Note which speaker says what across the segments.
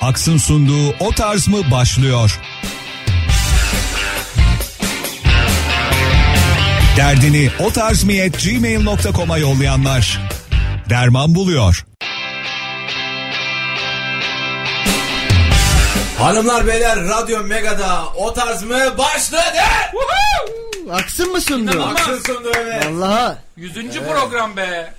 Speaker 1: Aks'ın sunduğu O Tarz mı başlıyor. Derdini o tarz gmail.com'a yollayanlar derman buluyor.
Speaker 2: Hanımlar beyler Radyo Mega'da o tarz mı başladı?
Speaker 3: Aksın mı sundu?
Speaker 4: İnanılmaz.
Speaker 2: Aksın sundu evet.
Speaker 3: Allah'a.
Speaker 4: Yüzüncü program be.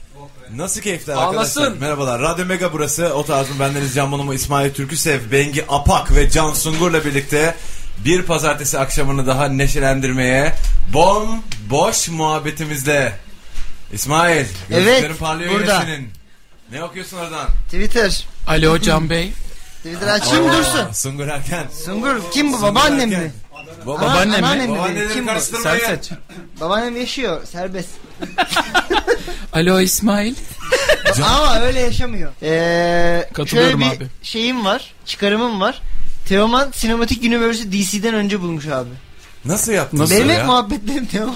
Speaker 2: Nasıl keyifler
Speaker 4: Ağlasın.
Speaker 2: arkadaşlar? Merhabalar Radyo Mega burası. O tarz mı bendeniz Can Bonomo, İsmail Türküsev, Bengi Apak ve Can Sungur'la birlikte bir pazartesi akşamını daha neşelendirmeye bom boş muhabbetimizle. İsmail,
Speaker 3: Evet,
Speaker 2: gözlerin parlıyor
Speaker 3: burada.
Speaker 2: yine senin. Ne okuyorsun oradan?
Speaker 3: Twitter.
Speaker 4: Alo Can Bey.
Speaker 3: Twitter açayım dursun.
Speaker 2: Aa, Sungur Erken.
Speaker 3: Sungur kim bu babaannem
Speaker 2: Erken.
Speaker 3: mi?
Speaker 2: Baba,
Speaker 3: Ana-
Speaker 4: Babaannem mi?
Speaker 3: anneannem değil.
Speaker 2: Babaanneleri
Speaker 3: Kim bu?
Speaker 2: karıştırmaya.
Speaker 3: Babaannem yaşıyor serbest.
Speaker 4: Alo İsmail.
Speaker 3: Ama öyle yaşamıyor. Ee, şöyle
Speaker 4: Katılıyorum
Speaker 3: bir
Speaker 4: abi.
Speaker 3: şeyim var. Çıkarımım var. Teoman Sinematik Universe'i DC'den önce bulmuş abi.
Speaker 2: Nasıl yaptın
Speaker 3: Benim
Speaker 2: bunu
Speaker 3: hep
Speaker 2: ya?
Speaker 3: muhabbetlerim Teoman.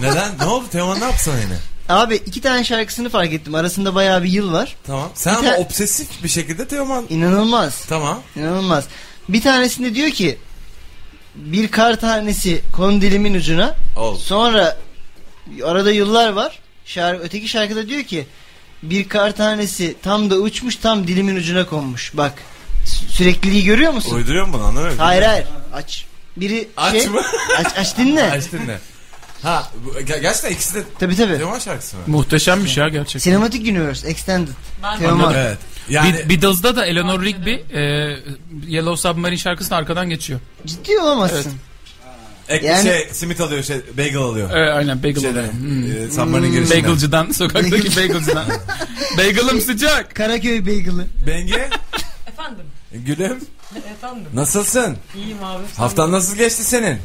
Speaker 2: Neden? Ne oldu? Teoman ne yapsın yine?
Speaker 3: Abi iki tane şarkısını fark ettim. Arasında bayağı bir yıl var.
Speaker 2: Tamam. Sen
Speaker 3: Bir
Speaker 2: ama
Speaker 3: te-
Speaker 2: obsesif bir şekilde Teoman.
Speaker 3: İnanılmaz.
Speaker 2: Tamam.
Speaker 3: İnanılmaz. Bir tanesinde diyor ki bir kar tanesi kondilimin ucuna
Speaker 2: Ol.
Speaker 3: Sonra arada yıllar var. Şarkı, öteki şarkıda diyor ki bir kar tanesi tam da uçmuş tam dilimin ucuna konmuş. Bak sü- sürekliliği görüyor musun?
Speaker 2: Uyduruyor mu bunu anlamıyorum.
Speaker 3: Hayır hayır aç. Biri
Speaker 2: Aç
Speaker 3: şey,
Speaker 2: mı?
Speaker 3: aç, aç dinle.
Speaker 2: Açtın ne? Ha bu- ge- gerçekten ikisi de
Speaker 3: Tabi tabi.
Speaker 2: Teoman şarkısı mı?
Speaker 4: Muhteşemmiş ya gerçekten.
Speaker 3: Sinematik Universe Extended.
Speaker 5: Ben-
Speaker 3: Teoman.
Speaker 2: Evet. Yani
Speaker 4: Be- Beatles'da da Eleanor Rigby e, Yellow Submarine şarkısını arkadan geçiyor.
Speaker 3: Ciddi olamazsın.
Speaker 2: ek,
Speaker 3: yani-
Speaker 2: şey simit alıyor şey bagel alıyor.
Speaker 4: E, aynen bagel
Speaker 2: Şeyden,
Speaker 4: oluyor. Hmm.
Speaker 2: e, Submarine girişinden.
Speaker 4: Bagelcıdan, sokaktaki bagelcıdan. Bagel'ım sıcak.
Speaker 3: Karaköy Bagel'ı.
Speaker 2: Bengi,
Speaker 5: Efendim.
Speaker 2: gülüm
Speaker 5: Efendim.
Speaker 2: nasılsın?
Speaker 5: İyiyim abi. Sen-
Speaker 2: Haftan nasıl geçti senin?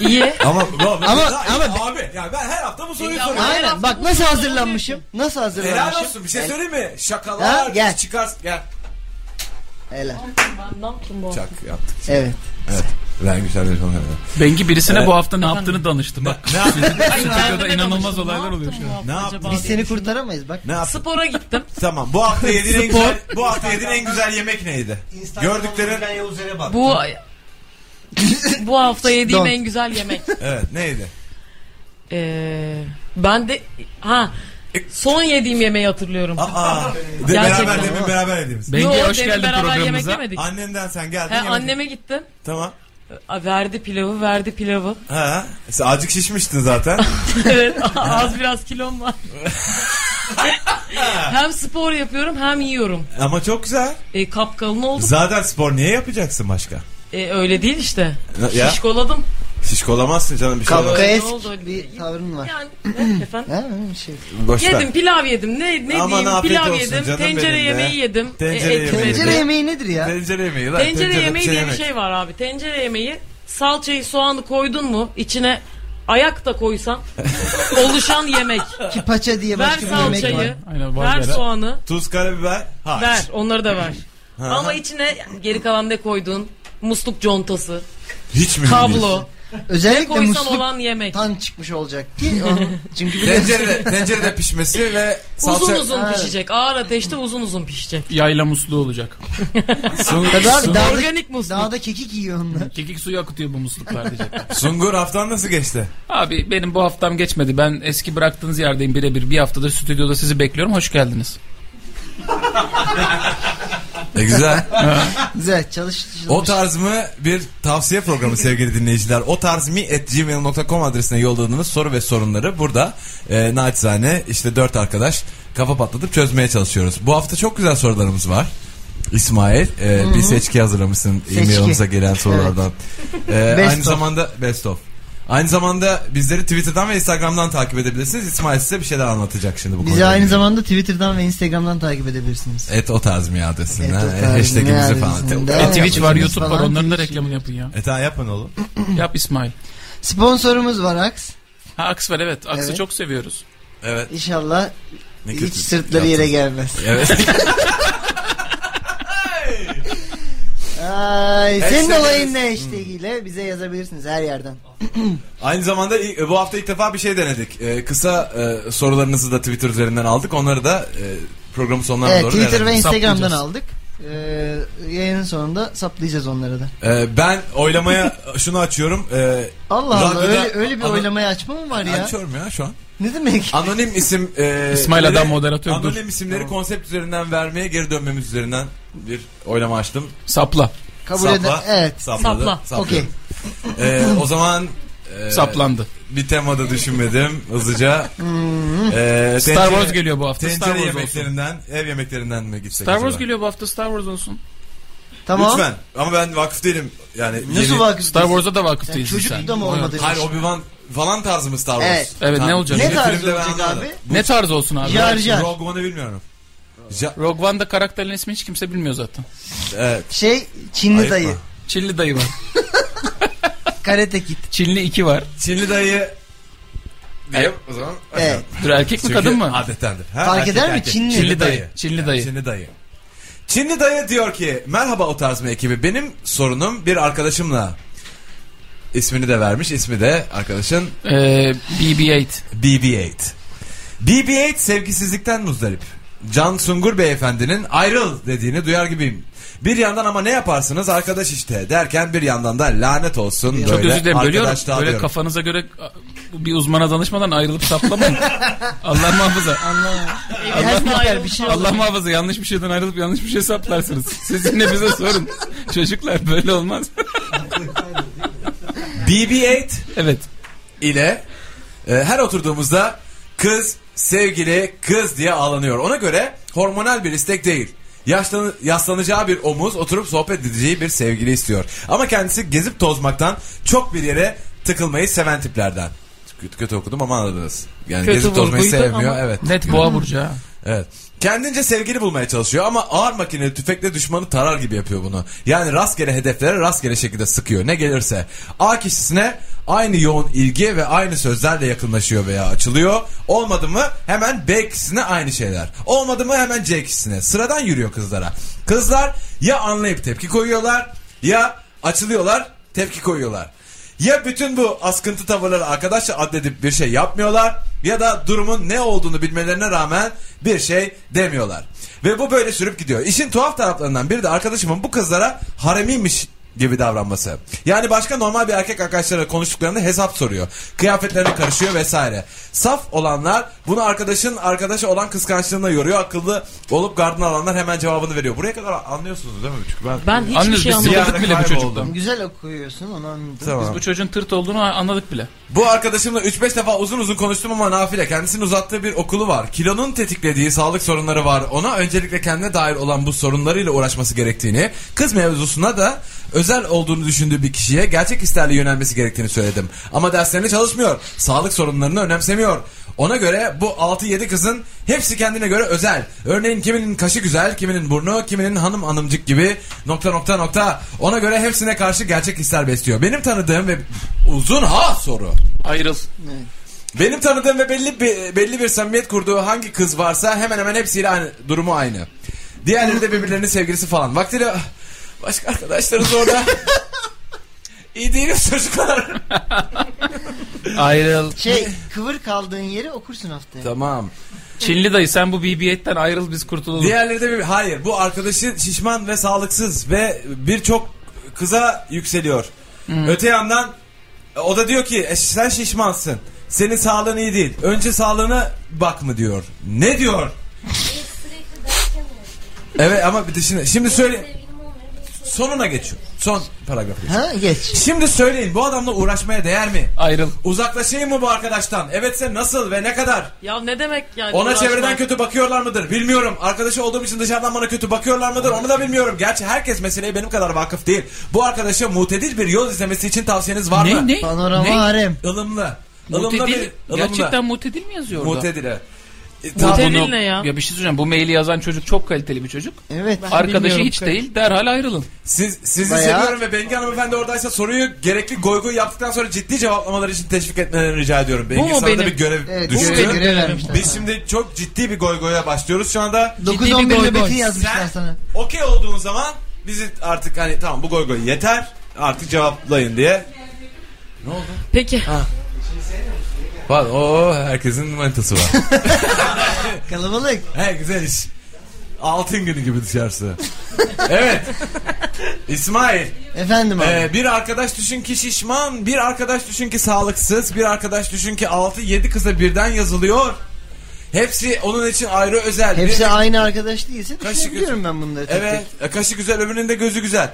Speaker 5: İyi.
Speaker 2: Ama ama,
Speaker 3: ama-
Speaker 2: abi ya ben her hafta bu soruyu
Speaker 5: Ya-
Speaker 2: soruyorum.
Speaker 3: Aynen bak nasıl hazırlanmışım. Nasıl
Speaker 2: Helal
Speaker 3: hazırlanmışım.
Speaker 2: olsun bir şey söyleyeyim mi?
Speaker 3: Ha,
Speaker 2: Şakalar
Speaker 3: gel.
Speaker 2: çıkar gel.
Speaker 3: Helal.
Speaker 5: Ben ne yaptım bu?
Speaker 2: Çak yaptık.
Speaker 3: Evet.
Speaker 2: Ben güzel bir
Speaker 4: Bengi birisine
Speaker 2: Evet.
Speaker 4: bu hafta ne yaptığını danıştı. Bak
Speaker 2: Ne yaptın?
Speaker 4: stüdyoda inanılmaz
Speaker 5: Ne
Speaker 4: olaylar
Speaker 5: yaptım
Speaker 4: oluyor şu
Speaker 5: bu
Speaker 4: an.
Speaker 5: hafta
Speaker 2: Ne
Speaker 5: acaba
Speaker 2: yaptın?
Speaker 3: Biz
Speaker 5: diye
Speaker 3: seni
Speaker 5: düşündüm.
Speaker 3: kurtaramayız bak.
Speaker 2: Ne yaptın?
Speaker 5: Spora gittim.
Speaker 2: Tamam bu hafta yediğin en güzel, bu hafta yediğin en güzel yemek neydi? Gördüklerin
Speaker 5: Bu bu hafta yediğim
Speaker 3: Don.
Speaker 5: en güzel yemek.
Speaker 2: evet neydi?
Speaker 5: Ee, ben de ha son yediğim yemeği hatırlıyorum.
Speaker 2: Aa, de
Speaker 5: Gerçekten.
Speaker 2: beraber demin beraber yediğimiz.
Speaker 4: Bengi
Speaker 5: Yo,
Speaker 4: hoş
Speaker 5: demin
Speaker 4: geldin
Speaker 5: beraber yemek
Speaker 4: programımıza.
Speaker 5: yemedik.
Speaker 2: Annenden sen geldin.
Speaker 5: He,
Speaker 2: yemek-
Speaker 5: anneme gittim.
Speaker 2: Tamam.
Speaker 5: A, Verdi pilavı, verdi pilavı.
Speaker 2: Ha, sen acık şişmiştin zaten.
Speaker 5: evet, az biraz kilom var. hem spor yapıyorum hem yiyorum.
Speaker 2: Ama çok güzel.
Speaker 5: E, kapkalın oldum.
Speaker 2: Zaten spor niye yapacaksın başka?
Speaker 5: E, öyle değil işte.
Speaker 2: Ya
Speaker 5: Şişkoladım.
Speaker 2: şişkolamazsın canım bir şey olmaz.
Speaker 3: Kafkaya
Speaker 5: Ne oldu öyle?
Speaker 3: bir şey? tavrın var.
Speaker 5: Yani ne, efendim.
Speaker 3: Ha, öyle bir şey.
Speaker 2: Boş ver.
Speaker 5: Yedim pilav yedim. Ne ne
Speaker 2: Aman
Speaker 5: diyeyim?
Speaker 2: afiyet
Speaker 5: Pilav
Speaker 2: olsun
Speaker 5: yedim.
Speaker 2: canım
Speaker 5: Tencere
Speaker 2: benim de.
Speaker 5: yemeği yedim.
Speaker 2: Tencere
Speaker 5: et
Speaker 2: yemeği.
Speaker 3: Tencere
Speaker 5: yedim.
Speaker 3: yemeği nedir ya?
Speaker 2: Tencere yemeği lan.
Speaker 5: Tencere
Speaker 2: tencerede
Speaker 5: yemeği
Speaker 2: bir
Speaker 5: diye bir
Speaker 2: yemek.
Speaker 5: şey var abi. Tencere yemeği salçayı soğanı koydun mu içine ayak da koysan oluşan yemek.
Speaker 3: Paça diye
Speaker 5: ver
Speaker 3: başka bir yemek var.
Speaker 5: salçayı,
Speaker 4: Aynen, var
Speaker 5: ver
Speaker 4: ya.
Speaker 5: soğanı,
Speaker 2: Tuz, karabiber, harç.
Speaker 5: ver onları da ver. Ama içine geri kalan ne koydun? Musluk contası,
Speaker 2: Hiç mi
Speaker 5: kablo,
Speaker 3: Özellikle
Speaker 5: koysan
Speaker 3: musluk
Speaker 5: olan yemek.
Speaker 3: tan çıkmış olacak ki. Çünkü biliyorsun.
Speaker 2: Tencerede, tencerede pişmesi ve salça...
Speaker 5: Uzun uzun
Speaker 3: Evet.
Speaker 5: pişecek. Ağır ateşte uzun uzun pişecek.
Speaker 4: Yayla musluğu olacak.
Speaker 2: Sun-
Speaker 3: Tabii abi
Speaker 2: Sun-
Speaker 3: dağda,
Speaker 5: Organik musluk.
Speaker 3: dağda kekik yiyor onlar.
Speaker 4: Kekik suyu akıtıyor bu musluklar diyecekler.
Speaker 2: Sungur haftan nasıl geçti?
Speaker 4: Abi benim bu haftam geçmedi. Ben eski bıraktığınız yerdeyim birebir. Bir haftadır stüdyoda sizi bekliyorum. Hoş geldiniz.
Speaker 2: E güzel.
Speaker 3: Güzel çalış. çalış.
Speaker 2: O tarz mı bir tavsiye programı sevgili dinleyiciler. O tarz mi at gmail.com adresine yolladığınız soru ve sorunları burada e, naçizane işte dört arkadaş kafa patlatıp çözmeye çalışıyoruz. Bu hafta çok güzel sorularımız var. İsmail e, bir seçki hazırlamışsın
Speaker 3: Seçki.
Speaker 2: e-mailimize gelen sorulardan. E,
Speaker 3: Best
Speaker 2: aynı
Speaker 3: of.
Speaker 2: zamanda best of. Aynı zamanda bizleri Twitter'dan ve Instagram'dan takip edebilirsiniz. İsmail size bir şeyler anlatacak şimdi bu
Speaker 3: Bizi
Speaker 2: konuyla
Speaker 3: aynı
Speaker 2: ilgili.
Speaker 3: zamanda Twitter'dan ve Instagram'dan takip edebilirsiniz.
Speaker 2: Et o tarz mı adresinden.
Speaker 3: Et o
Speaker 2: e,
Speaker 3: tarz mı
Speaker 2: hashtagimizi falan.
Speaker 3: adresinden.
Speaker 2: E,
Speaker 4: E,
Speaker 3: Evet,
Speaker 4: Twitch var,
Speaker 3: yapıyorsunuz
Speaker 4: YouTube var.
Speaker 3: falan,
Speaker 4: Onların da
Speaker 3: Twitch.
Speaker 4: reklamını yapın ya.
Speaker 2: E, tamam, yapın oğlum.
Speaker 4: Yap İsmail.
Speaker 3: Sponsorumuz var Aks.
Speaker 4: Ha Aks var evet. Aks'ı
Speaker 3: Evet.
Speaker 4: çok seviyoruz.
Speaker 2: Evet.
Speaker 3: İnşallah
Speaker 2: Ne
Speaker 3: hiç
Speaker 2: kötü
Speaker 3: sırtları yere
Speaker 2: yaptınız.
Speaker 3: gelmez.
Speaker 2: Evet.
Speaker 3: Ay, senin
Speaker 2: Hashtag-
Speaker 3: olayın ne hashtag ile bize yazabilirsiniz her yerden.
Speaker 2: Aynı zamanda ilk- bu hafta ilk defa bir şey denedik. Ee, kısa e, sorularınızı da Twitter üzerinden aldık. Onları da e, programın sonlarına
Speaker 3: Evet
Speaker 2: doğru
Speaker 3: Twitter ve
Speaker 2: verelim.
Speaker 3: Instagram'dan
Speaker 4: Saplayacağız.
Speaker 3: aldık. Ee, yayının sonunda saplayacağız onlara da.
Speaker 2: Ee, ben oylamaya şunu açıyorum. Ee,
Speaker 3: Allah Allah
Speaker 2: radyoda-
Speaker 3: öyle, öyle bir
Speaker 2: Ano-
Speaker 3: oylamayı açma mı var ya?
Speaker 2: Açıyorum ya şu an.
Speaker 3: Ne demek?
Speaker 2: Anonim isim e,
Speaker 4: İsmail Adam
Speaker 2: leri-
Speaker 4: moderatör, dur.
Speaker 2: Anonim isimleri konsept üzerinden vermeye geri dönmemiz üzerinden bir oylama açtım.
Speaker 4: Sapla.
Speaker 3: Kabul eder. Evet.
Speaker 2: Sapladı.
Speaker 5: Sapla.
Speaker 2: Sapladı.
Speaker 3: Okey.
Speaker 2: Ee, o zaman e,
Speaker 4: Saplandı.
Speaker 2: bir temada düşünmedim hızlıca.
Speaker 3: Hmm.
Speaker 2: Ee,
Speaker 4: Star Wars geliyor bu hafta.
Speaker 2: Tencere
Speaker 4: Star Wars olsun.
Speaker 2: yemeklerinden, ev yemeklerinden mi gitsek?
Speaker 4: Star Wars
Speaker 2: acaba?
Speaker 4: geliyor bu hafta Star Wars olsun.
Speaker 3: Tamam.
Speaker 2: Lütfen. Ama ben vakıf değilim. Yani
Speaker 3: Nasıl
Speaker 2: yeni-
Speaker 3: vakıf?
Speaker 4: Star Wars'a da vakıf
Speaker 3: Sen
Speaker 4: değilsin
Speaker 3: çocuk
Speaker 4: sen.
Speaker 3: da mı
Speaker 4: Oyna.
Speaker 3: olmadı?
Speaker 2: Hayır Obi-Wan falan tarzı mı Star Wars?
Speaker 3: Evet.
Speaker 4: Evet, ne olacak?
Speaker 2: Yeni
Speaker 3: Ne tarzı
Speaker 2: filmde ben
Speaker 3: olacak
Speaker 2: anlamadım.
Speaker 3: abi?
Speaker 4: Ne tarz olsun abi?
Speaker 3: Jar Jar.
Speaker 2: Rogue One'ı bilmiyorum. Ja-
Speaker 4: Rogue One'da karakterin ismi hiç kimse bilmiyor zaten.
Speaker 2: evet.
Speaker 3: Şey Çinli
Speaker 2: Ayıp
Speaker 3: dayı.
Speaker 2: mı?
Speaker 4: Çinli dayı var.
Speaker 3: Karate Kid.
Speaker 4: Çinli 2 var.
Speaker 2: Çinli dayı diyeyim o zaman.
Speaker 3: Evet.
Speaker 4: Dur erkek mi
Speaker 2: Çünkü
Speaker 4: kadın mı?
Speaker 2: Adetendir. Ha,
Speaker 3: Fark
Speaker 2: erkek,
Speaker 3: eder mi?
Speaker 2: erkek.
Speaker 3: Çinli.
Speaker 4: Çinli dayı. Çinli
Speaker 2: Yani
Speaker 4: dayı.
Speaker 2: Çinli dayı. Çinli dayı diyor ki merhaba o tarz mı ekibi benim sorunum bir arkadaşımla ismini de vermiş ismi de arkadaşın
Speaker 4: Ee, BB-8.
Speaker 2: BB-8. BB-8 sevgisizlikten muzdarip. Can Sungur beyefendinin ayrıl dediğini duyar gibiyim. Bir yandan ama ne yaparsınız arkadaş işte derken bir yandan da lanet olsun
Speaker 4: Çok
Speaker 2: böyle
Speaker 4: özür dilerim bölüyorum.
Speaker 2: arkadaş
Speaker 4: Böyle
Speaker 2: dağılıyorum.
Speaker 4: kafanıza göre a, bir uzmana danışmadan ayrılıp saplamayın. Allah muhafaza. Allah.
Speaker 3: Her miktar bir şey olur.
Speaker 4: Allah muhafaza yanlış bir şeyden ayrılıp yanlış bir şey saplarsınız. Siz yine bize sorun. Çocuklar böyle olmaz.
Speaker 2: BB-8
Speaker 4: evet.
Speaker 2: ile e, her oturduğumuzda kız sevgili kız diye ağlanıyor. Ona göre hormonal bir istek değil. Yaşlan yaslanacağı bir omuz oturup sohbet edeceği bir sevgili istiyor. Ama kendisi gezip tozmaktan çok bir yere tıkılmayı seven tiplerden. Kötü, kötü okudum ama anladınız. Yani
Speaker 5: Kötü
Speaker 2: gezip tozmayı
Speaker 5: vurguydu
Speaker 2: sevmiyor.
Speaker 5: ama-
Speaker 2: Evet.
Speaker 4: Net boğa burcu ha.
Speaker 2: Evet. Kendince sevgili bulmaya çalışıyor ama ağır makineli tüfekle düşmanı tarar gibi yapıyor bunu. Yani rastgele hedeflere rastgele şekilde sıkıyor ne gelirse. A kişisine aynı yoğun ilgi ve aynı sözlerle yakınlaşıyor veya açılıyor. Olmadı mı hemen B kişisine aynı şeyler. Olmadı mı hemen C kişisine. Sıradan yürüyor kızlara. Kızlar ya anlayıp tepki koyuyorlar ya açılıyorlar tepki koyuyorlar. Ya bütün bu askıntı tavırları arkadaşça addedip bir şey yapmıyorlar ya da durumun ne olduğunu bilmelerine rağmen bir şey demiyorlar. Ve bu böyle sürüp gidiyor. İşin tuhaf taraflarından biri de arkadaşımın bu kızlara haremiymiş gibi davranması. Yani başka normal bir erkek arkadaşlarıyla konuştuklarında hesap soruyor. Kıyafetlerine karışıyor vesaire. Saf olanlar bunu arkadaşın arkadaşı olan kıskançlığına yoruyor. Akıllı olup gardına alanlar hemen cevabını veriyor. Buraya kadar anlıyorsunuz değil mi? Çünkü ben...
Speaker 5: Ben hiçbir
Speaker 4: Anlıyoruz
Speaker 5: şey
Speaker 4: biz
Speaker 5: anlamadım.
Speaker 2: Yani
Speaker 4: sıkıldık bile bu
Speaker 2: kayboldum.
Speaker 4: çocuktan.
Speaker 3: Güzel okuyorsun onu anladım.
Speaker 2: Tamam.
Speaker 4: Biz bu çocuğun tırt olduğunu anladık bile.
Speaker 2: Bu arkadaşımla 3-5 defa uzun uzun konuştum ama nafile. Kendisinin uzattığı bir okulu var. Kilonun tetiklediği sağlık sorunları var. Ona öncelikle kendine dair olan bu sorunlarıyla uğraşması gerektiğini, kız mevzusuna da özel olduğunu düşündüğü bir kişiye gerçek isterle yönelmesi gerektiğini söyledim. Ama derslerine çalışmıyor. Sağlık sorunlarını önemsemiyor. Ona göre bu 6-7 kızın hepsi kendine göre özel. Örneğin kiminin kaşı güzel, kiminin burnu, kiminin hanım hanımcık gibi nokta nokta nokta. Ona göre hepsine karşı gerçek hisler besliyor. Benim tanıdığım ve uzun ha soru.
Speaker 4: Ayrıl.
Speaker 2: Benim tanıdığım ve belli bir, belli bir samimiyet kurduğu hangi kız varsa hemen hemen hepsiyle aynı, durumu aynı. Diğerleri de birbirlerinin sevgilisi falan. Vaktiyle ah, başka arkadaşlarınız orada. İyi değiliz çocuklar.
Speaker 4: Ayrıl.
Speaker 3: Şey kıvır kaldığın yeri okursun haftaya.
Speaker 2: tamam.
Speaker 4: Çinli dayı sen bu BB-8'den ayrıl biz kurtulalım.
Speaker 2: Diğerleri de bir... Hayır bu arkadaşı şişman ve sağlıksız ve birçok kıza yükseliyor. Öte yandan o da diyor ki "E, sen şişmansın. Senin sağlığın iyi değil. Önce sağlığına bak mı diyor. Ne diyor?
Speaker 6: Sürekli derken
Speaker 2: Evet ama bir de şimdi, şimdi söyle
Speaker 6: sevgilim olmuyor. şey
Speaker 2: sonuna geçiyor. Son paragraf. geçiyor.
Speaker 3: Ha geç.
Speaker 2: Şimdi söyleyin bu adamla uğraşmaya değer mi?
Speaker 4: Ayrıl.
Speaker 2: Uzaklaşayım mı bu arkadaştan? Evetse nasıl ve ne kadar?
Speaker 5: Ya ne demek yani?
Speaker 2: Ona
Speaker 5: uğraşmak?
Speaker 2: çevreden kötü bakıyorlar mıdır? Bilmiyorum. Arkadaşı olduğum için dışarıdan bana kötü bakıyorlar mıdır? Onu da bilmiyorum. Gerçi herkes meseleye benim kadar vakıf değil. Bu arkadaşa mutedil bir yol izlemesi için tavsiyeniz var mı?
Speaker 4: Ne ne?
Speaker 3: Panorama
Speaker 4: ne?
Speaker 3: harem.
Speaker 2: Ilımlı. Ilımlı
Speaker 4: Mutedil.
Speaker 2: bir... ılımlı.
Speaker 4: Gerçekten mutedil mi yazıyor orada?
Speaker 2: Mutedil evet. E,
Speaker 4: Ya
Speaker 2: tam-
Speaker 5: Mutedil
Speaker 4: bunu-
Speaker 5: ne ya?
Speaker 4: Ya bir şey söyleyeceğim. Bu maili yazan çocuk çok kaliteli bir çocuk.
Speaker 3: Evet.
Speaker 4: Arkadaşı
Speaker 5: bilmiyorum
Speaker 4: hiç
Speaker 5: kardeşim.
Speaker 4: değil derhal ayrılın.
Speaker 2: Siz, sizi
Speaker 3: Bayağı-
Speaker 2: seviyorum ve Bengi hanımefendi oradaysa soruyu gerekli goy goy yaptıktan sonra ciddi cevaplamaları için teşvik etmelerini rica ediyorum. Bengi
Speaker 4: mu
Speaker 2: sana da
Speaker 4: benim?
Speaker 2: bir görev
Speaker 3: Evet,
Speaker 2: düştü.
Speaker 3: görev, görev vermişler.
Speaker 2: Biz şimdi çok ciddi bir goy goya başlıyoruz şu anda.
Speaker 4: Ciddi bir
Speaker 3: 9-11
Speaker 4: goy
Speaker 3: nöbeti
Speaker 4: goy.
Speaker 3: yazmışlar
Speaker 2: Sen
Speaker 3: sana.
Speaker 2: okey olduğun zaman bizi artık hani tamam bu goy goy yeter artık cevaplayın diye.
Speaker 5: Peki.
Speaker 2: Var o herkesin manitası var.
Speaker 3: Kalabalık.
Speaker 2: He güzel iş. Altın günü gibi dışarısı. Evet. İsmail.
Speaker 3: Efendim abi.
Speaker 2: Ee, bir arkadaş düşün ki şişman, bir arkadaş düşün ki sağlıksız, bir arkadaş düşün ki 6-7 kıza birden yazılıyor. Hepsi onun için ayrı özel.
Speaker 3: Hepsi
Speaker 2: Bir-
Speaker 3: aynı arkadaş değilse
Speaker 2: Kaşık-
Speaker 3: düşünebiliyorum ben bunları tek
Speaker 2: Evet. e, Kaşı güzel öbürünün de gözü güzel.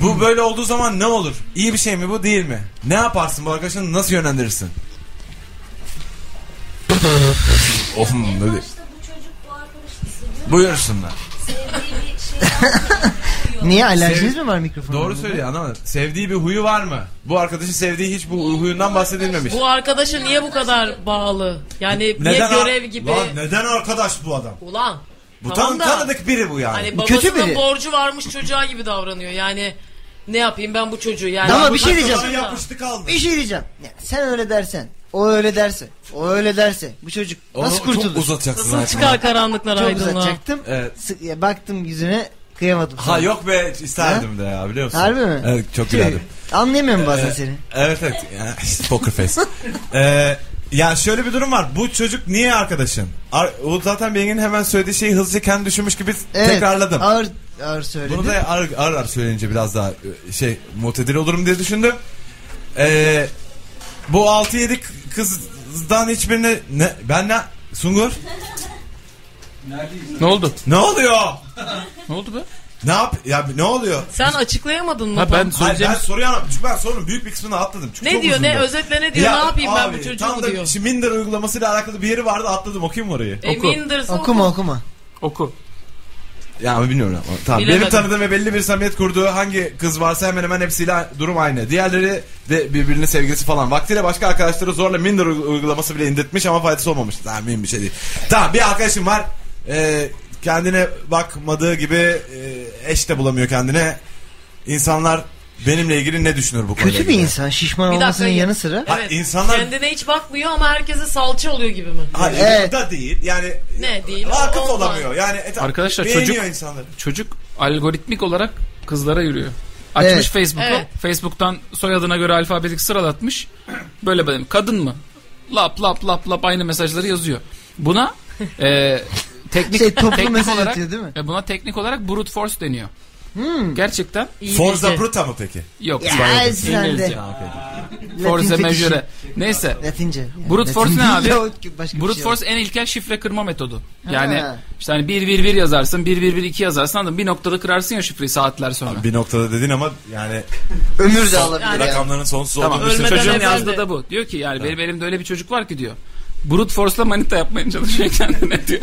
Speaker 2: bu böyle olduğu zaman ne olur? İyi bir şey mi bu değil mi? Ne yaparsın bu arkadaşını nasıl yönlendirirsin? oh,
Speaker 6: En
Speaker 2: böyle.
Speaker 6: başta bu çocuk bu arkadaşı seviyor.
Speaker 2: Buyursunlar.
Speaker 6: Sevdiği bir şey var.
Speaker 3: tek. Niye alerjiniz
Speaker 2: Sev-
Speaker 3: mi var mikrofona?
Speaker 2: Doğru söylüyor anlamadım. Sevdiği bir huyu var mı? Bu arkadaşı sevdiği hiç bu huyundan bahsedilmemiş.
Speaker 5: Bu arkadaşa niye bu kadar bağlı? Yani niye
Speaker 2: ar-
Speaker 5: görev gibi?
Speaker 2: Lan neden arkadaş bu adam?
Speaker 5: Ulan.
Speaker 2: Bu
Speaker 5: tamam
Speaker 2: tan-
Speaker 5: da,
Speaker 2: tanıdık biri bu yani.
Speaker 5: Hani
Speaker 3: Bu kötü
Speaker 5: babasının
Speaker 3: biri.
Speaker 5: borcu varmış çocuğa gibi davranıyor. Yani ne yapayım ben bu çocuğu yani.
Speaker 3: Ama
Speaker 5: Bu
Speaker 3: bir şey
Speaker 5: çocuğa-
Speaker 3: diyeceğim. Bir şey diyeceğim. Ya, sen öyle dersen, o öyle derse, o öyle derse bu çocuk
Speaker 2: Onu
Speaker 3: nasıl kurtulur?
Speaker 2: Çok uzatacaksın
Speaker 5: Nasıl çıkar karanlıklar
Speaker 3: Çok
Speaker 5: aydınlığa?
Speaker 3: uzatacaktım.
Speaker 2: Evet.
Speaker 3: Sık- ya, baktım yüzüne kıyamadım. sana.
Speaker 2: Ha yok be isterdim de ya biliyor musun?
Speaker 3: Harbi mi? Şey,
Speaker 2: Evet çok
Speaker 3: Tüh,
Speaker 2: gülerdim.
Speaker 3: Anlayamıyorum bazen seni.
Speaker 2: Evet evet. Ya, işte Poker face. Ee, ya şöyle bir durum var. Bu çocuk niye arkadaşın? Ar- o zaten Bengi'nin hemen söylediği şeyi hızlıca kendi düşünmüş gibi
Speaker 3: Evet,
Speaker 2: tekrarladım.
Speaker 3: Ağır, ağır söyledim.
Speaker 2: Bunu da ar- ar ar söyleyince biraz daha e, şey mutedil olurum diye düşündüm. Ee, bu 6-7 k- kızdan hiçbirine ne, ben ne Sungur
Speaker 4: Ne oldu?
Speaker 2: ne oluyor?
Speaker 4: Ne oldu be?
Speaker 2: Ne yap ya ne oluyor?
Speaker 5: Sen açıklayamadın mı?
Speaker 4: Ha, ben
Speaker 2: Hayır,
Speaker 4: söyleyeceğim.
Speaker 2: ben soruyu anlamadım. Çünkü ben sorunun büyük bir kısmını atladım. Çünkü
Speaker 5: ne
Speaker 2: çok
Speaker 5: diyor ne
Speaker 2: uzundu.
Speaker 5: özetle ne diyor ne yapayım ben bu
Speaker 2: abi,
Speaker 5: çocuğu
Speaker 2: tam
Speaker 5: mu
Speaker 2: da
Speaker 5: diyor.
Speaker 2: şu Minder uygulamasıyla alakalı bir yeri vardı atladım okuyayım mı orayı?
Speaker 5: E,
Speaker 4: Oku.
Speaker 5: Minders'ı
Speaker 3: Okuma okuma.
Speaker 4: Oku.
Speaker 2: Ya ama bilmiyorum ama tamam.
Speaker 5: Bilemedim.
Speaker 2: Benim tanıdığım ve belli bir samimiyet kurduğu hangi kız varsa hemen hemen hepsiyle durum aynı. Diğerleri de birbirinin sevgilisi falan. Vaktiyle başka arkadaşları zorla Minder uy- uygulaması bile indirtmiş ama faydası olmamış. Tamam mühim bir şey değil. Tamam bir arkadaşım var. Ee, kendine bakmadığı gibi e, eş de bulamıyor kendine. İnsanlar benimle ilgili ne düşünür bu konuda?
Speaker 3: Kötü bir insan şişman
Speaker 5: Bir dakika,
Speaker 3: olmasının
Speaker 5: ya-
Speaker 3: yanı sıra.
Speaker 2: Ha,
Speaker 5: Evet.
Speaker 2: insanlar-
Speaker 5: Kendine hiç bakmıyor ama herkese salça oluyor gibi mi?
Speaker 2: Hayır
Speaker 3: Evet.
Speaker 2: da değil yani
Speaker 5: Ne değil,
Speaker 2: vakıf
Speaker 5: olmaz.
Speaker 2: olamıyor yani e, ta-
Speaker 4: Arkadaşlar,
Speaker 2: beğeniyor
Speaker 4: çocuk-
Speaker 2: insanları.
Speaker 4: Çocuk algoritmik olarak kızlara yürüyor. Açmış
Speaker 3: Evet.
Speaker 4: Facebook'u.
Speaker 5: Evet.
Speaker 4: Facebook'tan soyadına göre alfabetik sıralatmış. Böyle böyle kadın mı? Lap lap lap lap aynı mesajları yazıyor. Buna e, teknik
Speaker 3: Şey, toplu
Speaker 4: teknik
Speaker 3: mesaj
Speaker 4: olarak
Speaker 3: atıyor, değil mi? Hmm.
Speaker 4: e, buna teknik olarak brute force deniyor. Gerçekten
Speaker 5: İyi
Speaker 2: Forza
Speaker 5: bilgi.
Speaker 2: Bruta mı peki?
Speaker 4: yok.
Speaker 3: Ya,
Speaker 4: İspanyolca,
Speaker 3: sen de.
Speaker 4: İngilizce.
Speaker 2: Ha, peki.
Speaker 4: Force
Speaker 3: Latin
Speaker 4: majeure.
Speaker 3: fetişi.
Speaker 4: Neyse.
Speaker 3: Latince. Yani
Speaker 4: Brute force
Speaker 3: Latin
Speaker 4: ne
Speaker 3: değil de
Speaker 4: abi?
Speaker 3: o- başka bir
Speaker 4: Brute
Speaker 3: şey
Speaker 4: force en ilkel şifre kırma metodu. Yani
Speaker 3: Ha.
Speaker 4: işte hani 1 1 1 yazarsın, 1 1 1 2 yazarsın anladın mı? Bir noktada kırarsın ya şifreyi saatler sonra.
Speaker 2: Bir noktada dedin ama yani
Speaker 3: yok. Ömür de alabilir ya.
Speaker 2: rakamların sonsuz
Speaker 4: Tamam.
Speaker 2: olduğunu
Speaker 5: Ölmeden
Speaker 2: düşünüyorum.
Speaker 4: Çocuğun
Speaker 5: evlendi.
Speaker 4: yazdığı da bu. Diyor ki yani benim elimde öyle bir çocuk var ki diyor. Brute force'la manita yapmaya çalışıyor kendine diyor.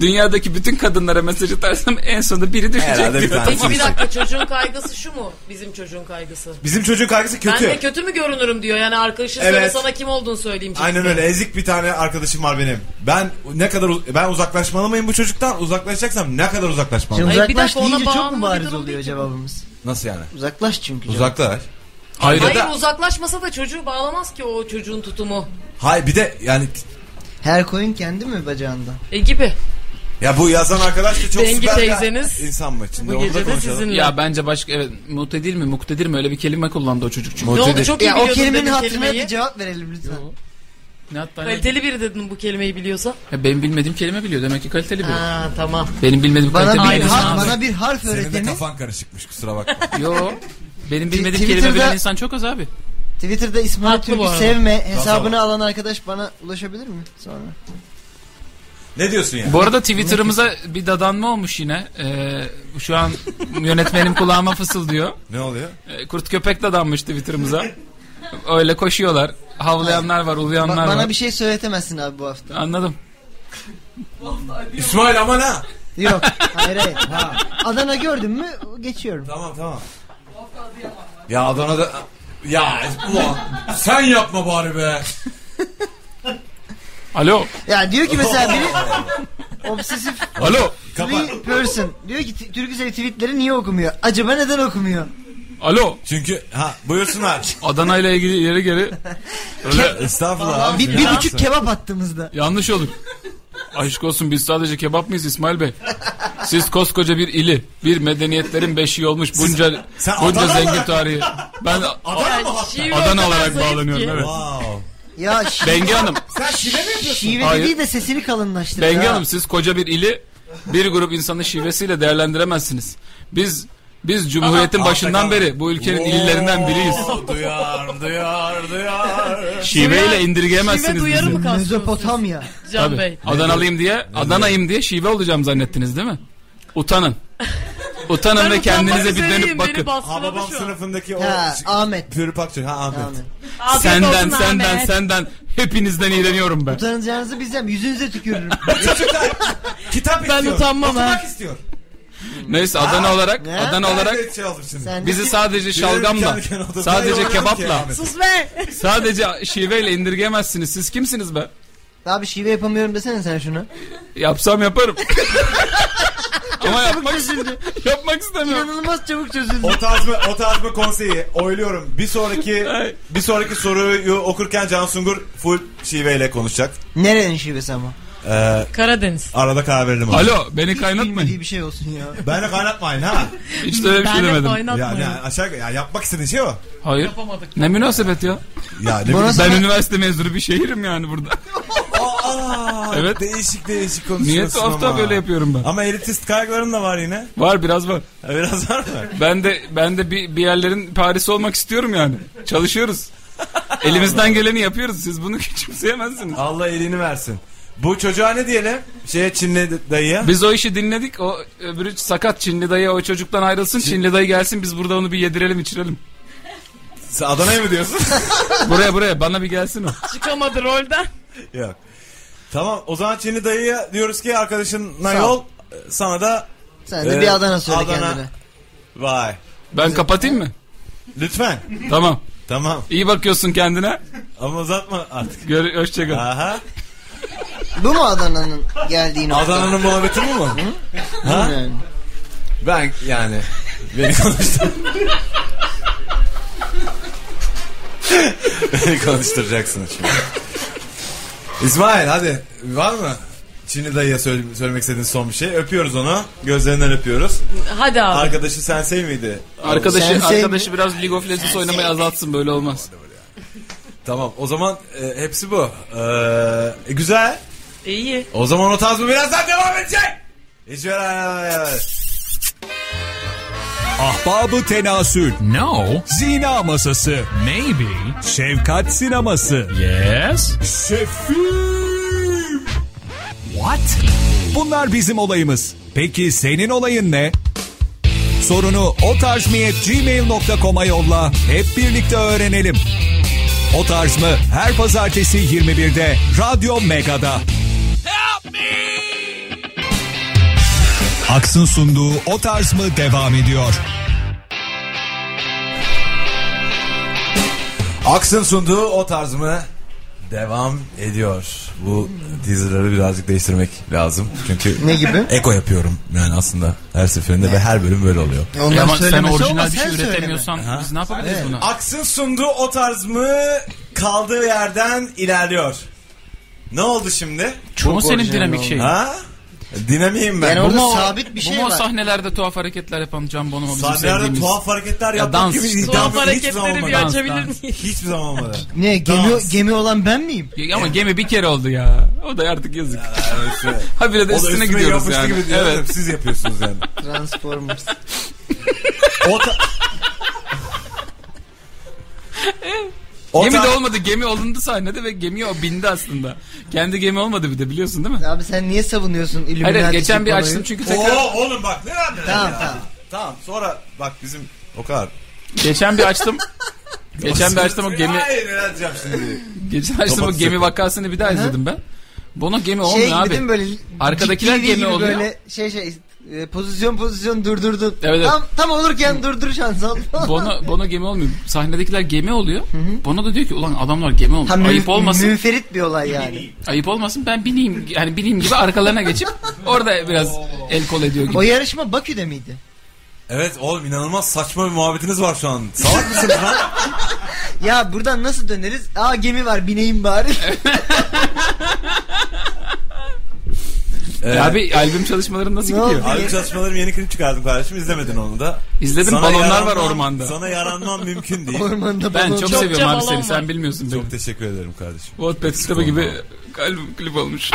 Speaker 4: Dünyadaki bütün kadınlara mesaj atarsam en sonunda biri düşecek
Speaker 2: Herhalde bir
Speaker 4: diyor.
Speaker 2: tanesi.
Speaker 4: Tamam.
Speaker 5: Peki bir dakika çocuğun kaygısı şu mu? Bizim çocuğun kaygısı.
Speaker 2: Bizim çocuğun kaygısı kötü.
Speaker 5: Ben de kötü mü görünürüm diyor. Yani arkadaşın söyle
Speaker 2: Evet.
Speaker 5: sana kim olduğunu söyleyeyim. şimdi.
Speaker 2: Aynen öyle. Ezik bir tane arkadaşım var benim. Ben ne kadar uz- ben uzaklaşmalı mıyım bu çocuktan? Uzaklaşacaksam ne kadar uzaklaşmam?
Speaker 3: Şimdi
Speaker 5: Hayır, bir
Speaker 3: uzaklaş
Speaker 5: dakika, ona
Speaker 3: deyince çok
Speaker 5: bağımlı
Speaker 3: mu
Speaker 5: bir
Speaker 3: bariz
Speaker 5: durum
Speaker 3: oluyor
Speaker 5: değil ki.
Speaker 3: cevabımız?
Speaker 2: Nasıl yani?
Speaker 3: Uzaklaş çünkü. cevap.
Speaker 2: Uzaklaş.
Speaker 4: Hayır.
Speaker 5: Hayır
Speaker 2: Ya da-
Speaker 5: uzaklaşmasa da çocuğu bağlamaz ki o çocuğun tutumu.
Speaker 2: Hayır bir de yani
Speaker 3: Her koyun kendi mi bacağında?
Speaker 5: E gibi.
Speaker 2: ya bu yazan arkadaş da çok
Speaker 5: Bengi
Speaker 2: süper bir
Speaker 5: teyzeniz
Speaker 2: insan mı? Şimdi
Speaker 5: Bu
Speaker 2: onu da
Speaker 5: gece de
Speaker 2: konuşalım.
Speaker 5: sizinle.
Speaker 4: Ya bence başka evet muktedir mi muktedir mi öyle bir kelime kullandı o çocuk çünkü.
Speaker 5: ne oldu çok iyi
Speaker 3: Ya o
Speaker 5: biliyordun
Speaker 3: kelimenin
Speaker 5: dedin
Speaker 3: hatırına
Speaker 5: kelimeyi.
Speaker 3: bir cevap verelim lütfen.
Speaker 4: Ne hatta ne-
Speaker 5: Kaliteli biri dedin bu kelimeyi biliyorsa.
Speaker 4: Ya benim bilmediğim kelime biliyor demek ki kaliteli biliyor.
Speaker 5: Ha tamam.
Speaker 4: Benim bilmediğim
Speaker 3: Bana
Speaker 4: kalite
Speaker 3: bir,
Speaker 4: bilmiyor.
Speaker 3: harf, bana bir harf
Speaker 2: Senin de
Speaker 3: öğretenin
Speaker 2: kafan karışıkmış kusura bakma.
Speaker 4: Yo. Benim bilmediğim
Speaker 3: Twitter'da-
Speaker 4: kelime bilen insan çok az abi.
Speaker 3: Twitter'da İsmail
Speaker 5: Haklı bu
Speaker 3: Türk'ü
Speaker 5: arada.
Speaker 3: sevme hesabını alan arkadaş bana ulaşabilir mi sonra?
Speaker 2: ne diyorsun yani?
Speaker 4: Bu arada Twitter'ımıza bir dadanma olmuş yine. Ee, şu an yönetmenim kulağıma fısıldıyor.
Speaker 2: Ne oluyor?
Speaker 4: Ee, Kurt köpek dadanmış Twitter'ımıza. Öyle koşuyorlar. Havlayanlar var,
Speaker 3: Ba-
Speaker 4: uluyanlar
Speaker 3: bana
Speaker 4: var.
Speaker 3: bir şey söyletemezsin abi bu hafta.
Speaker 4: Anladım.
Speaker 2: İsmail aman ha.
Speaker 3: Yok hayır hayır. Adana gördün mü geçiyorum.
Speaker 2: Tamam tamam. Ya Adana'da ya ulan sen yapma bari be.
Speaker 4: Alo.
Speaker 3: Ya diyor ki mesela biri obsesif
Speaker 4: Alo.
Speaker 2: Kapat.
Speaker 3: bir person diyor ki "T- Türküsel tweetleri niye okumuyor? Acaba neden okumuyor?
Speaker 4: Alo.
Speaker 2: Çünkü ha buyursunlar.
Speaker 4: Adana ile ilgili ileri geri öyle
Speaker 2: Estağfurullah. abi.
Speaker 3: Bir, bir buçuk kebap attığımızda.
Speaker 4: yanlış olur. Aşk olsun biz sadece kebap mıyız İsmail Bey? Siz koskoca bir ili, bir medeniyetlerin beşiği olmuş bunca
Speaker 2: sen
Speaker 4: bunca
Speaker 2: Adana
Speaker 4: zengin
Speaker 2: olarak-
Speaker 4: tarihi. Ben
Speaker 2: Adana mı?
Speaker 5: Şive o
Speaker 4: Adana
Speaker 5: kadar
Speaker 4: olarak
Speaker 5: zayıf
Speaker 4: bağlanıyorum
Speaker 5: ki.
Speaker 4: evet.
Speaker 2: Wow.
Speaker 3: Ya şi-
Speaker 4: Bengi Hanım,
Speaker 2: Sen şile mi yapıyorsun?
Speaker 3: şive
Speaker 4: Hayır.
Speaker 3: dediği de sesini kalınlaştırır.
Speaker 4: Bengi
Speaker 3: ha.
Speaker 4: Hanım siz koca bir ili bir grup insanın şivesiyle değerlendiremezsiniz. Biz biz Cumhuriyet'in
Speaker 2: Aha.
Speaker 4: başından beri bu ülkenin illerinden biriyiz.
Speaker 2: Oo, Duyar duyar duyar.
Speaker 4: Şiveyle
Speaker 5: Duyar-
Speaker 4: indirgeyemezsiniz
Speaker 5: şive duyarı
Speaker 4: bizi.
Speaker 5: mı kastıyorsun?
Speaker 3: Mezopotamya.
Speaker 5: Can
Speaker 4: Tabii.
Speaker 5: Bey.
Speaker 4: Adanalıyım diye, Adana'yım diye şive olacağım zannettiniz değil mi? Utanın. Utanın
Speaker 5: Ben
Speaker 4: ve kendinize
Speaker 5: utanmak
Speaker 4: bir dönüp
Speaker 5: üzereyim, beni
Speaker 4: bakın.
Speaker 5: baskıladı
Speaker 2: Hababam
Speaker 5: şu an.
Speaker 2: sınıfındaki o
Speaker 3: Ha, Ahmet.
Speaker 2: pürüpakçı. Ha Ahmet.
Speaker 3: Ahmet.
Speaker 5: Afiyet
Speaker 4: Senden,
Speaker 5: olsun
Speaker 4: senden,
Speaker 5: Ahmet.
Speaker 4: senden hepinizden iğreniyorum ben.
Speaker 3: Utanacağınızı bilsem yüzünüze tükürürüm.
Speaker 2: Çocuklar kitap
Speaker 5: Ben
Speaker 2: istiyor.
Speaker 5: utanmam ha.
Speaker 2: Okumak istiyor.
Speaker 4: Neyse Adana olarak,
Speaker 3: ne?
Speaker 4: Adana
Speaker 2: Ben
Speaker 4: olarak
Speaker 2: de şey oldum şimdi.
Speaker 3: Sen
Speaker 4: bizi sadece şalgamla,
Speaker 2: Yürürken- yürürken
Speaker 5: şey
Speaker 2: odada
Speaker 4: sadece
Speaker 2: yürüyorum ki
Speaker 4: kebapla,
Speaker 2: Ahmet.
Speaker 5: Sus be.
Speaker 4: sadece şiveyle indirgeyemezsiniz. Siz kimsiniz be?
Speaker 3: Abi şive yapamıyorum desene sen şunu.
Speaker 4: Yapsam yaparım. Ama yapmak, yapmak istemiyorum.
Speaker 3: İnanılmaz çabuk çözüldü.
Speaker 2: O tarz mı, o tarz mı konseyi oyluyorum. Bir sonraki
Speaker 4: Ay.
Speaker 2: bir sonraki soruyu okurken Can Sungur full şiveyle konuşacak.
Speaker 3: Nerenin şivesi ama?
Speaker 2: Ee,
Speaker 5: Karadeniz.
Speaker 2: arada kahve verelim. abi.
Speaker 4: Alo beni
Speaker 3: Bilmediği
Speaker 4: kaynatmayın.
Speaker 3: bir şey olsun ya.
Speaker 2: Beni kaynatmayın ha.
Speaker 4: Hiç de öyle bir şey
Speaker 5: Ben de
Speaker 4: demedim.
Speaker 2: yani,
Speaker 5: oynatmayın.
Speaker 2: yani aşağı ya yapmak istediğin şey o.
Speaker 4: Hayır.
Speaker 5: Yapamadık.
Speaker 4: Ne münasebet ya.
Speaker 2: Ya ne
Speaker 3: Bu
Speaker 2: bileyim.
Speaker 3: nasıl-
Speaker 4: Ben
Speaker 3: Sana-
Speaker 4: üniversite mezunu bir şehirim yani burada.
Speaker 2: Aa,
Speaker 4: Evet.
Speaker 2: Değişik değişik
Speaker 4: Niye
Speaker 2: konuşuyorsun
Speaker 4: tuhaf tuhaf
Speaker 2: ama.
Speaker 4: böyle yapıyorum ben?
Speaker 2: Ama elitist kaygıların da var yine.
Speaker 4: Var biraz var.
Speaker 2: Ha, Biraz var mı?
Speaker 4: Ben de ben de bir, bir yerlerin Paris'i olmak istiyorum yani. Çalışıyoruz. Elimizden geleni yapıyoruz. Siz bunu küçümseyemezsiniz.
Speaker 2: Allah elini versin. Bu çocuğa ne diyelim? Şeye Çinli dayıya.
Speaker 4: Biz o işi dinledik. O öbürü sakat Çinli dayı o çocuktan ayrılsın. Çinli dayı gelsin biz burada onu bir yedirelim içirelim.
Speaker 2: Sen Adana'ya mı diyorsun?
Speaker 4: Buraya buraya bana bir gelsin o.
Speaker 5: Çıkamadı rolden.
Speaker 2: Yok. Tamam o zaman Çinli dayıya diyoruz ki arkadaşınla
Speaker 3: Sağ ol.
Speaker 2: yol sana da
Speaker 3: Sen de
Speaker 2: Ee,
Speaker 3: bir Adana söyle
Speaker 2: Adana.
Speaker 3: kendine.
Speaker 2: vay.
Speaker 4: Ben kapatayım mı?
Speaker 2: Lütfen.
Speaker 4: Tamam.
Speaker 2: tamam
Speaker 4: İyi bakıyorsun kendine.
Speaker 2: ama uzatma artık.
Speaker 4: Gör, hoşça kal.
Speaker 2: Aha.
Speaker 3: Bu mu Adana'nın geldiği nokta?
Speaker 2: Adana'nın muhabbeti mi bu?
Speaker 3: Ha? Yani.
Speaker 2: Ben yani beni konuştur. beni konuşturacaksınız şimdi. İsmail hadi var mı? Çinli dayıya söyle- söylemek istediğin son bir şey. Öpüyoruz onu. Gözlerinden öpüyoruz.
Speaker 5: Hadi abi.
Speaker 2: Arkadaşı sensei miydi?
Speaker 4: Arkadaşı
Speaker 3: Sen sevmi-
Speaker 4: arkadaşı biraz League of Legends oynamayı azaltsın böyle olmaz.
Speaker 2: Tamam o zaman e, hepsi bu. E, güzel.
Speaker 5: İyi.
Speaker 2: O zaman o tarz mı birazdan devam edecek? Hiç ver
Speaker 1: Ahbabı tenasül.
Speaker 7: No,
Speaker 1: Zina masası.
Speaker 7: maybe,
Speaker 1: Şefkat sineması.
Speaker 7: yes.
Speaker 1: Şefim.
Speaker 7: What?
Speaker 1: Bunlar bizim olayımız. Peki senin olayın ne? Sorunu o tarz gmail.com'a yolla. Hep birlikte öğrenelim. O tarz mı? Her pazartesi 21'de Radyo Mega'da. Aks'ın sunduğu O Tarz mı devam ediyor.
Speaker 2: Aksın sunduğu o tarz mı? Devam ediyor. Bu teaserları birazcık değiştirmek lazım. Çünkü
Speaker 3: Ne gibi?
Speaker 2: Eko yapıyorum yani aslında her seferinde ve her bölüm böyle oluyor.
Speaker 3: Onlar
Speaker 4: Ama sen
Speaker 3: söylemesi
Speaker 4: orijinal
Speaker 3: olmaz,
Speaker 4: bir şey
Speaker 3: sen söyleme.
Speaker 4: üretemiyorsan biz ne yapabiliriz buna?
Speaker 2: Aksın sunduğu o tarz mı? Kaldığı yerden ilerliyor. Ne oldu şimdi?
Speaker 4: Bu mu senin
Speaker 3: orijinal
Speaker 4: dinamik
Speaker 3: oldu.
Speaker 4: şeyin?
Speaker 2: Ha? Dinamiyim ben.
Speaker 3: Yani
Speaker 2: Bu
Speaker 3: orada
Speaker 4: Ama o-
Speaker 3: sabit bir
Speaker 4: bu
Speaker 3: şey
Speaker 4: mu o
Speaker 3: var.
Speaker 4: sahnelerde tuhaf hareketler yapan Can Bonomo bizim
Speaker 2: Sahnelerde
Speaker 4: sevdiğimiz.
Speaker 2: tuhaf hareketler
Speaker 4: Ya
Speaker 2: yaptım
Speaker 4: dans
Speaker 2: gibi
Speaker 4: işte.
Speaker 2: iddiam
Speaker 5: Tuhaf
Speaker 2: yok. Hiçbir zaman
Speaker 5: hareketleri bir
Speaker 2: olmadı.
Speaker 4: dans,
Speaker 5: açabilir
Speaker 4: dans.
Speaker 5: miyim?
Speaker 2: Hiçbir zaman olmadı.
Speaker 3: Ne gemi,
Speaker 2: Dans.
Speaker 3: gemi olan ben miyim?
Speaker 4: Ya Ama gemi bir kere oldu ya. O da artık yazık. Ha bir de
Speaker 2: O da
Speaker 4: üstüne, gidiyoruz
Speaker 2: yapıştı
Speaker 4: yani.
Speaker 2: gibi diyor.
Speaker 4: evet.
Speaker 2: Siz yapıyorsunuz yani.
Speaker 3: Transformers.
Speaker 2: O ta- O
Speaker 4: gemi de
Speaker 2: tar-
Speaker 4: olmadı. Gemi olundu sahnede ve gemiye o bindi aslında. Kendi gemi olmadı bir de biliyorsun değil mi?
Speaker 3: Abi sen niye savunuyorsun
Speaker 4: Hayır,
Speaker 3: Illuminati
Speaker 4: hayır, geçen bir
Speaker 3: konuyu?
Speaker 4: açtım çünkü tekrar
Speaker 2: Oo oğlum bak ne yaptın?
Speaker 3: Tamam
Speaker 2: ya?
Speaker 3: tamam.
Speaker 2: Tamam sonra bak bizim o kadar.
Speaker 4: geçen bir açtım. geçen bir açtım o gemi
Speaker 2: Hayır ne yapacağım şimdi?
Speaker 4: geçen açtım o
Speaker 2: Kapat
Speaker 4: gemi
Speaker 2: sesini.
Speaker 4: vakasını bir daha izledim ben. Buna gemi olmuyor
Speaker 3: Şey
Speaker 4: abi.
Speaker 3: gibi değil mi böyle?
Speaker 4: Arkadakiler
Speaker 3: ciddi
Speaker 4: gemi
Speaker 3: gibi
Speaker 4: oluyor.
Speaker 3: Böyle şey şey e, pozisyon pozisyon durdurdun.
Speaker 4: Evet, evet.
Speaker 3: Tam, tam olurken durdur şans al.
Speaker 4: Bono, Bono gemi olmuyor. Sahnedekiler gemi oluyor. Bono da diyor ki ulan adamlar gemi olmuş.
Speaker 3: Tam
Speaker 4: Ayıp
Speaker 3: mü-
Speaker 4: olmasın.
Speaker 3: Münferit bir olay yani.
Speaker 4: Ayıp olmasın ben bineyim. Yani bineyim gibi arkalarına geçip orada biraz el kol ediyor gibi.
Speaker 3: O yarışma Bakü'de miydi?
Speaker 2: Evet oğlum inanılmaz saçma bir muhabbetiniz var şu an. Salak mısınız lan?
Speaker 3: Ya buradan nasıl döneriz? Aa gemi var bineyim bari.
Speaker 2: Ee,
Speaker 4: Ya abi albüm çalışmaları nasıl
Speaker 3: Ee, Ne
Speaker 4: gidiyor?
Speaker 3: oldu?
Speaker 2: Abi çalışmalarım yeni klip çıkardım kardeşim izlemedin onu da.
Speaker 4: İzledim,
Speaker 2: Sana
Speaker 4: balonlar
Speaker 2: yaranmam-
Speaker 4: var ormanda.
Speaker 2: Sana yaranmam mümkün değil.
Speaker 3: Ormanda
Speaker 4: Ben
Speaker 3: balon
Speaker 4: çok
Speaker 5: Çok
Speaker 4: seviyorum abi
Speaker 5: balon
Speaker 4: seni
Speaker 5: var.
Speaker 4: sen bilmiyorsun beni.
Speaker 2: Çok teşekkür ederim kardeşim.
Speaker 4: Wattpad kitabı gibi albüm klip olmuş.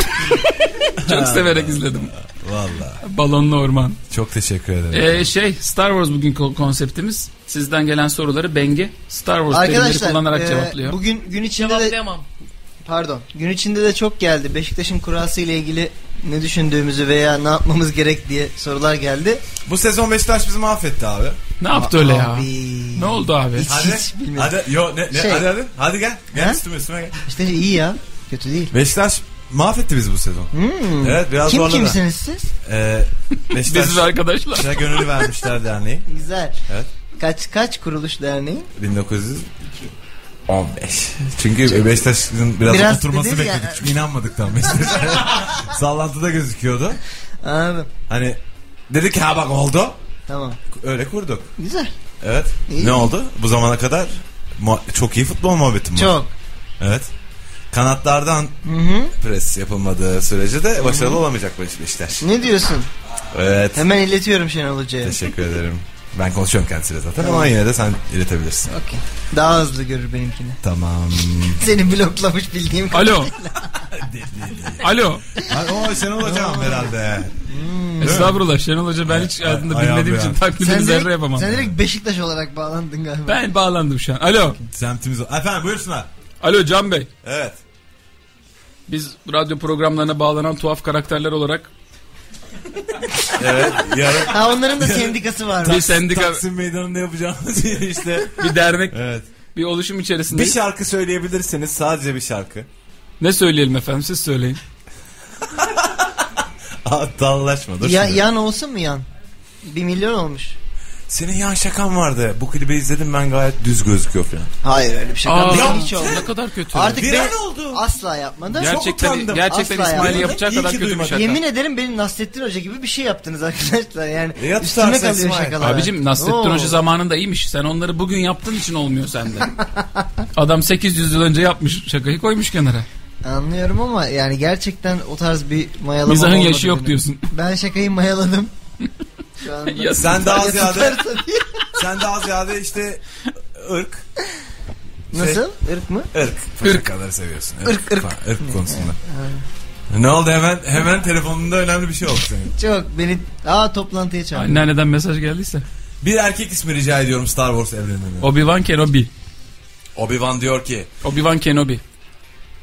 Speaker 4: Çok severek izledim.
Speaker 2: Valla.
Speaker 4: Balonlu Orman.
Speaker 2: Çok teşekkür ederim.
Speaker 4: Ee, şey Star Wars bugün ko- konseptimiz. Sizden gelen soruları Bengi Star Wars terimleri
Speaker 3: Arkadaşlar
Speaker 4: kullanarak
Speaker 3: e,
Speaker 4: cevaplıyor.
Speaker 3: bugün gün içinde de
Speaker 5: Cevaplayamam.
Speaker 3: pardon gün içinde de çok geldi. Beşiktaş'ın kurası ile ilgili ne düşündüğümüzü veya ne yapmamız gerek diye sorular geldi.
Speaker 2: Bu sezon Beşiktaş bizi mahvetti abi.
Speaker 4: Ne yaptı öyle ya?
Speaker 3: Abi.
Speaker 4: Ne oldu abi?
Speaker 3: Hiç-
Speaker 2: Hadi.
Speaker 3: bilmiyorum.
Speaker 2: hadi. Yo, ne, ne,
Speaker 3: Şey.
Speaker 2: hadi hadi. Hadi gel. Gel
Speaker 3: Ha?
Speaker 2: üstüme üstüme gel.
Speaker 3: İşte iyi ya. Kötü değil.
Speaker 2: Beşiktaş mahvetti bizi bu sezon.
Speaker 3: Hmm.
Speaker 2: Evet biraz
Speaker 3: Kim
Speaker 2: zorladı.
Speaker 3: kimsiniz siz?
Speaker 2: Ee,
Speaker 4: Biz
Speaker 2: Beşiktaş
Speaker 4: arkadaşlar.
Speaker 2: Beşiktaş'a gönüllü vermişler derneği.
Speaker 3: Güzel.
Speaker 2: Evet.
Speaker 3: Kaç kaç kuruluş derneğin?
Speaker 2: 1915. Çünkü Beşiktaş'ın biraz,
Speaker 3: Biraz
Speaker 2: oturması
Speaker 3: dediniz ya.
Speaker 2: bekledik. Çünkü inanmadık tam Beşiktaş'a. Sallantıda gözüküyordu.
Speaker 3: Anladım.
Speaker 2: Hani dedik ki, ha bak oldu.
Speaker 3: Tamam.
Speaker 2: Öyle kurduk.
Speaker 3: Güzel.
Speaker 2: Evet.
Speaker 3: İyi.
Speaker 2: Ne oldu? Bu zamana kadar muha- çok iyi futbol muhabbetim var.
Speaker 3: Çok.
Speaker 2: Evet. Kanatlardan
Speaker 3: Hı hı.
Speaker 2: pres yapılmadığı sürece de başarılı olamayacak Beş- Beşiktaş.
Speaker 3: Ne diyorsun?
Speaker 2: Evet.
Speaker 3: Hemen iletiyorum Şenol Hoca'ya.
Speaker 2: Teşekkür ederim. Ben konuşuyorum kendisiyle zaten ama yine de sen iletebilirsin.
Speaker 3: Okey. Daha hızlı görür benimkini.
Speaker 2: Tamam.
Speaker 3: Seni bloklamış bildiğim kadar.
Speaker 4: Alo. Alo.
Speaker 2: Ay, o sen olacağım herhalde.
Speaker 4: Estağfurullah Şenol Hoca ben hiç hayatımda
Speaker 2: Ay-
Speaker 4: bilmediğim
Speaker 2: ayağım
Speaker 4: için
Speaker 2: bir
Speaker 4: taklidini zerre yapamam.
Speaker 3: sen direkt Beşiktaş olarak bağlandın galiba.
Speaker 4: Ben bağlandım şu an. Alo.
Speaker 2: Semtimiz o. Efendim buyursunlar.
Speaker 4: Alo Can Bey.
Speaker 2: Evet.
Speaker 4: Biz radyo programlarına bağlanan tuhaf karakterler olarak
Speaker 2: Evet. Yarın
Speaker 3: Ha onların da sendikası var.
Speaker 4: bir sendika,
Speaker 2: Taksim Meydanı'nda yapacağımız yer işte.
Speaker 4: bir dernek,
Speaker 2: Evet.
Speaker 4: bir oluşum
Speaker 2: Bir
Speaker 4: içerisindeyiz.
Speaker 2: şarkı söyleyebilirsiniz sadece bir şarkı.
Speaker 4: Ne söyleyelim efendim siz söyleyin.
Speaker 2: Aa, Dallaşma dur
Speaker 3: Ya,
Speaker 2: şimdi.
Speaker 3: yan olsun mu yan? Bir milyon olmuş.
Speaker 2: Senin yan şakan vardı. Bu klibi izledim ben gayet düz gözüküyor falan.
Speaker 3: Hayır öyle bir şey.
Speaker 4: Aa,
Speaker 3: hiç olmadı.
Speaker 4: ne kadar kötü.
Speaker 3: Artık
Speaker 2: Bir
Speaker 3: ben
Speaker 2: an oldu.
Speaker 3: asla yapmadım.
Speaker 2: Çok
Speaker 4: gerçekten
Speaker 2: utandım.
Speaker 4: gerçekten
Speaker 3: Asla
Speaker 4: İsmail'i
Speaker 3: yani.
Speaker 4: yapacak
Speaker 2: İyi
Speaker 4: kadar
Speaker 2: ki
Speaker 4: kötü bir
Speaker 2: duymadım.
Speaker 4: şaka.
Speaker 3: Yemin ederim benim Nasrettin Hoca gibi bir şey yaptınız arkadaşlar. Yani
Speaker 2: E ya
Speaker 3: üstüme
Speaker 2: tutarsa
Speaker 3: kalıyor
Speaker 2: İsmail.
Speaker 3: şakalar.
Speaker 4: Abicim Nasrettin
Speaker 3: Oo.
Speaker 4: Hoca zamanında iyiymiş. Sen onları bugün yaptığın için olmuyor sende. Adam 800 yıl önce yapmış şakayı koymuş kenara.
Speaker 3: Anlıyorum ama yani gerçekten o tarz bir mayalama
Speaker 4: Mizahın
Speaker 3: olmadı
Speaker 4: yaşı yok
Speaker 3: benim.
Speaker 4: diyorsun.
Speaker 3: Ben şakayı mayaladım. Şu anda.
Speaker 4: Ya
Speaker 2: Sen daha
Speaker 3: Ya
Speaker 2: ziyade
Speaker 3: tutarsa diye.
Speaker 2: sen daha ziyade işte ırk
Speaker 3: Nasıl?
Speaker 2: Şey-
Speaker 3: Irk mı?
Speaker 2: ırk şakaları seviyorsun.
Speaker 3: Irk, ırk.
Speaker 2: falan, ırk konusunda. Ne oldu hemen hemen telefonunda önemli bir şey oldu senin.
Speaker 3: Çok beni aa toplantıya çağırdı.
Speaker 4: Anneanneden mesaj geldiyse.
Speaker 2: Bir erkek ismi rica ediyorum Star Wars evreninde.
Speaker 4: Obi-Wan Kenobi.
Speaker 2: Obi-Wan diyor ki
Speaker 4: Obi-Wan Kenobi.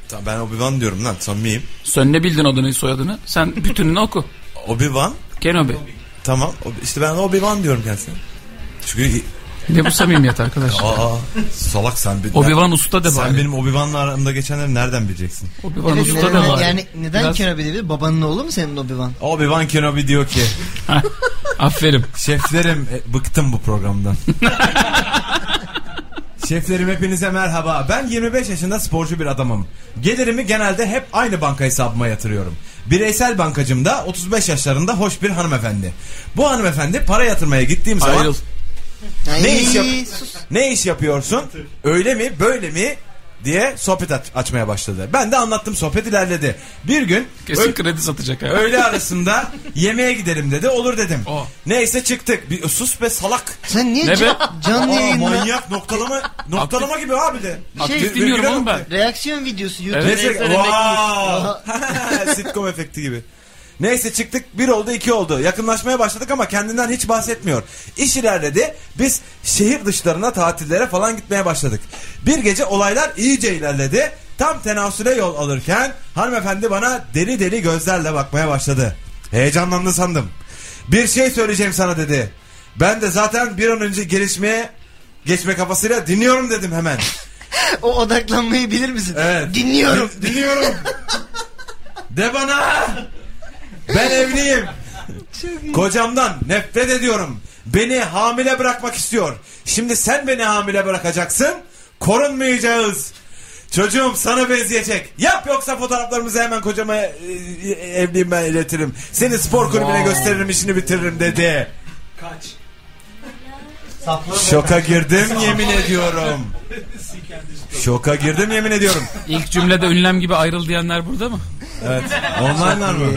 Speaker 2: "Tamam, ben Obi-Wan diyorum lan samimiyim.
Speaker 4: Sen ne bildin adını soyadını? Sen bütününü oku.
Speaker 2: Obi-Wan
Speaker 4: Kenobi.
Speaker 2: tamam Obi- işte ben Obi-Wan diyorum kendisine. Çünkü
Speaker 4: Ne bu samimiyet arkadaş?
Speaker 2: aa salak sen bir
Speaker 4: Obi-Wan usta de
Speaker 2: sen
Speaker 4: bari.
Speaker 2: benim Obi-Wan'la aramda geçenleri nereden bileceksin?
Speaker 4: Obi-Wan
Speaker 3: Evet,
Speaker 4: usta
Speaker 3: neden-
Speaker 4: da bari.
Speaker 3: yani neden
Speaker 4: Biraz-
Speaker 3: Kenobi dedi? Babanın oğlu mu senin Obi-Wan?
Speaker 2: Obi-Wan Kenobi diyor ki
Speaker 4: Aferin.
Speaker 2: Şeflerim e, bıktım bu programdan. Şeflerim hepinize merhaba. Ben 25 yaşında sporcu bir adamım. Gelirimi genelde hep aynı banka hesabıma yatırıyorum. Bireysel bankacım da 35 yaşlarında hoş bir hanımefendi. Bu hanımefendi para yatırmaya gittiğim zaman
Speaker 4: Ayrıl.
Speaker 3: Ay,
Speaker 2: Ne iş yap-
Speaker 3: sus.
Speaker 2: ne iş yapıyorsun? Öyle mi? Böyle mi? diye sohbet aç- açmaya başladı. Ben de anlattım sohbet ilerledi. Bir gün
Speaker 4: Kesin
Speaker 2: ö-
Speaker 4: kredi satacak ha.
Speaker 2: öğle arasında yemeğe gidelim dedi. Olur dedim.
Speaker 4: O.
Speaker 2: Neyse çıktık. Bir, sus be salak.
Speaker 3: Sen niye
Speaker 4: Ne
Speaker 3: can,
Speaker 4: be?
Speaker 3: canlı
Speaker 2: Aa,
Speaker 3: yayında
Speaker 2: manyak noktalama noktalama gibi abi de.
Speaker 4: Aktif
Speaker 2: Şey,
Speaker 4: dinliyorum
Speaker 2: virgüle
Speaker 4: oğlum ben.
Speaker 2: bak.
Speaker 3: reaksiyon videosu YouTube?
Speaker 4: Evet.
Speaker 2: Neyse,
Speaker 5: Neyse,
Speaker 2: wow. Sitcom efekti gibi. Neyse çıktık bir oldu iki oldu. Yakınlaşmaya başladık ama kendinden hiç bahsetmiyor. İş ilerledi. Biz şehir dışlarına tatillere falan gitmeye başladık. Bir gece olaylar iyice ilerledi. Tam tenasüle yol alırken hanımefendi bana deli deli gözlerle bakmaya başladı. Heyecanlandı sandım. Bir şey söyleyeceğim sana dedi. Ben de zaten bir an önce gelişmeye geçme kafasıyla dinliyorum dedim hemen.
Speaker 3: O odaklanmayı bilir misin?
Speaker 2: Evet.
Speaker 3: Dinliyorum.
Speaker 2: Din- dinliyorum. De bana. Ben evliyim. Kocamdan nefret ediyorum. Beni hamile bırakmak istiyor. Şimdi sen beni hamile bırakacaksın. Korunmayacağız. Çocuğum sana benzeyecek. Yap yoksa fotoğraflarımızı hemen kocama e, e, evliyim ben iletirim. Seni spor kulübüne gösteririm işini bitiririm dedi. Kaç? Şoka girdim yemin ediyorum. Şoka girdim yemin ediyorum.
Speaker 4: İlk cümlede ünlem gibi ayrıl diyenler burada mı?
Speaker 2: Evet. Online'lar mı?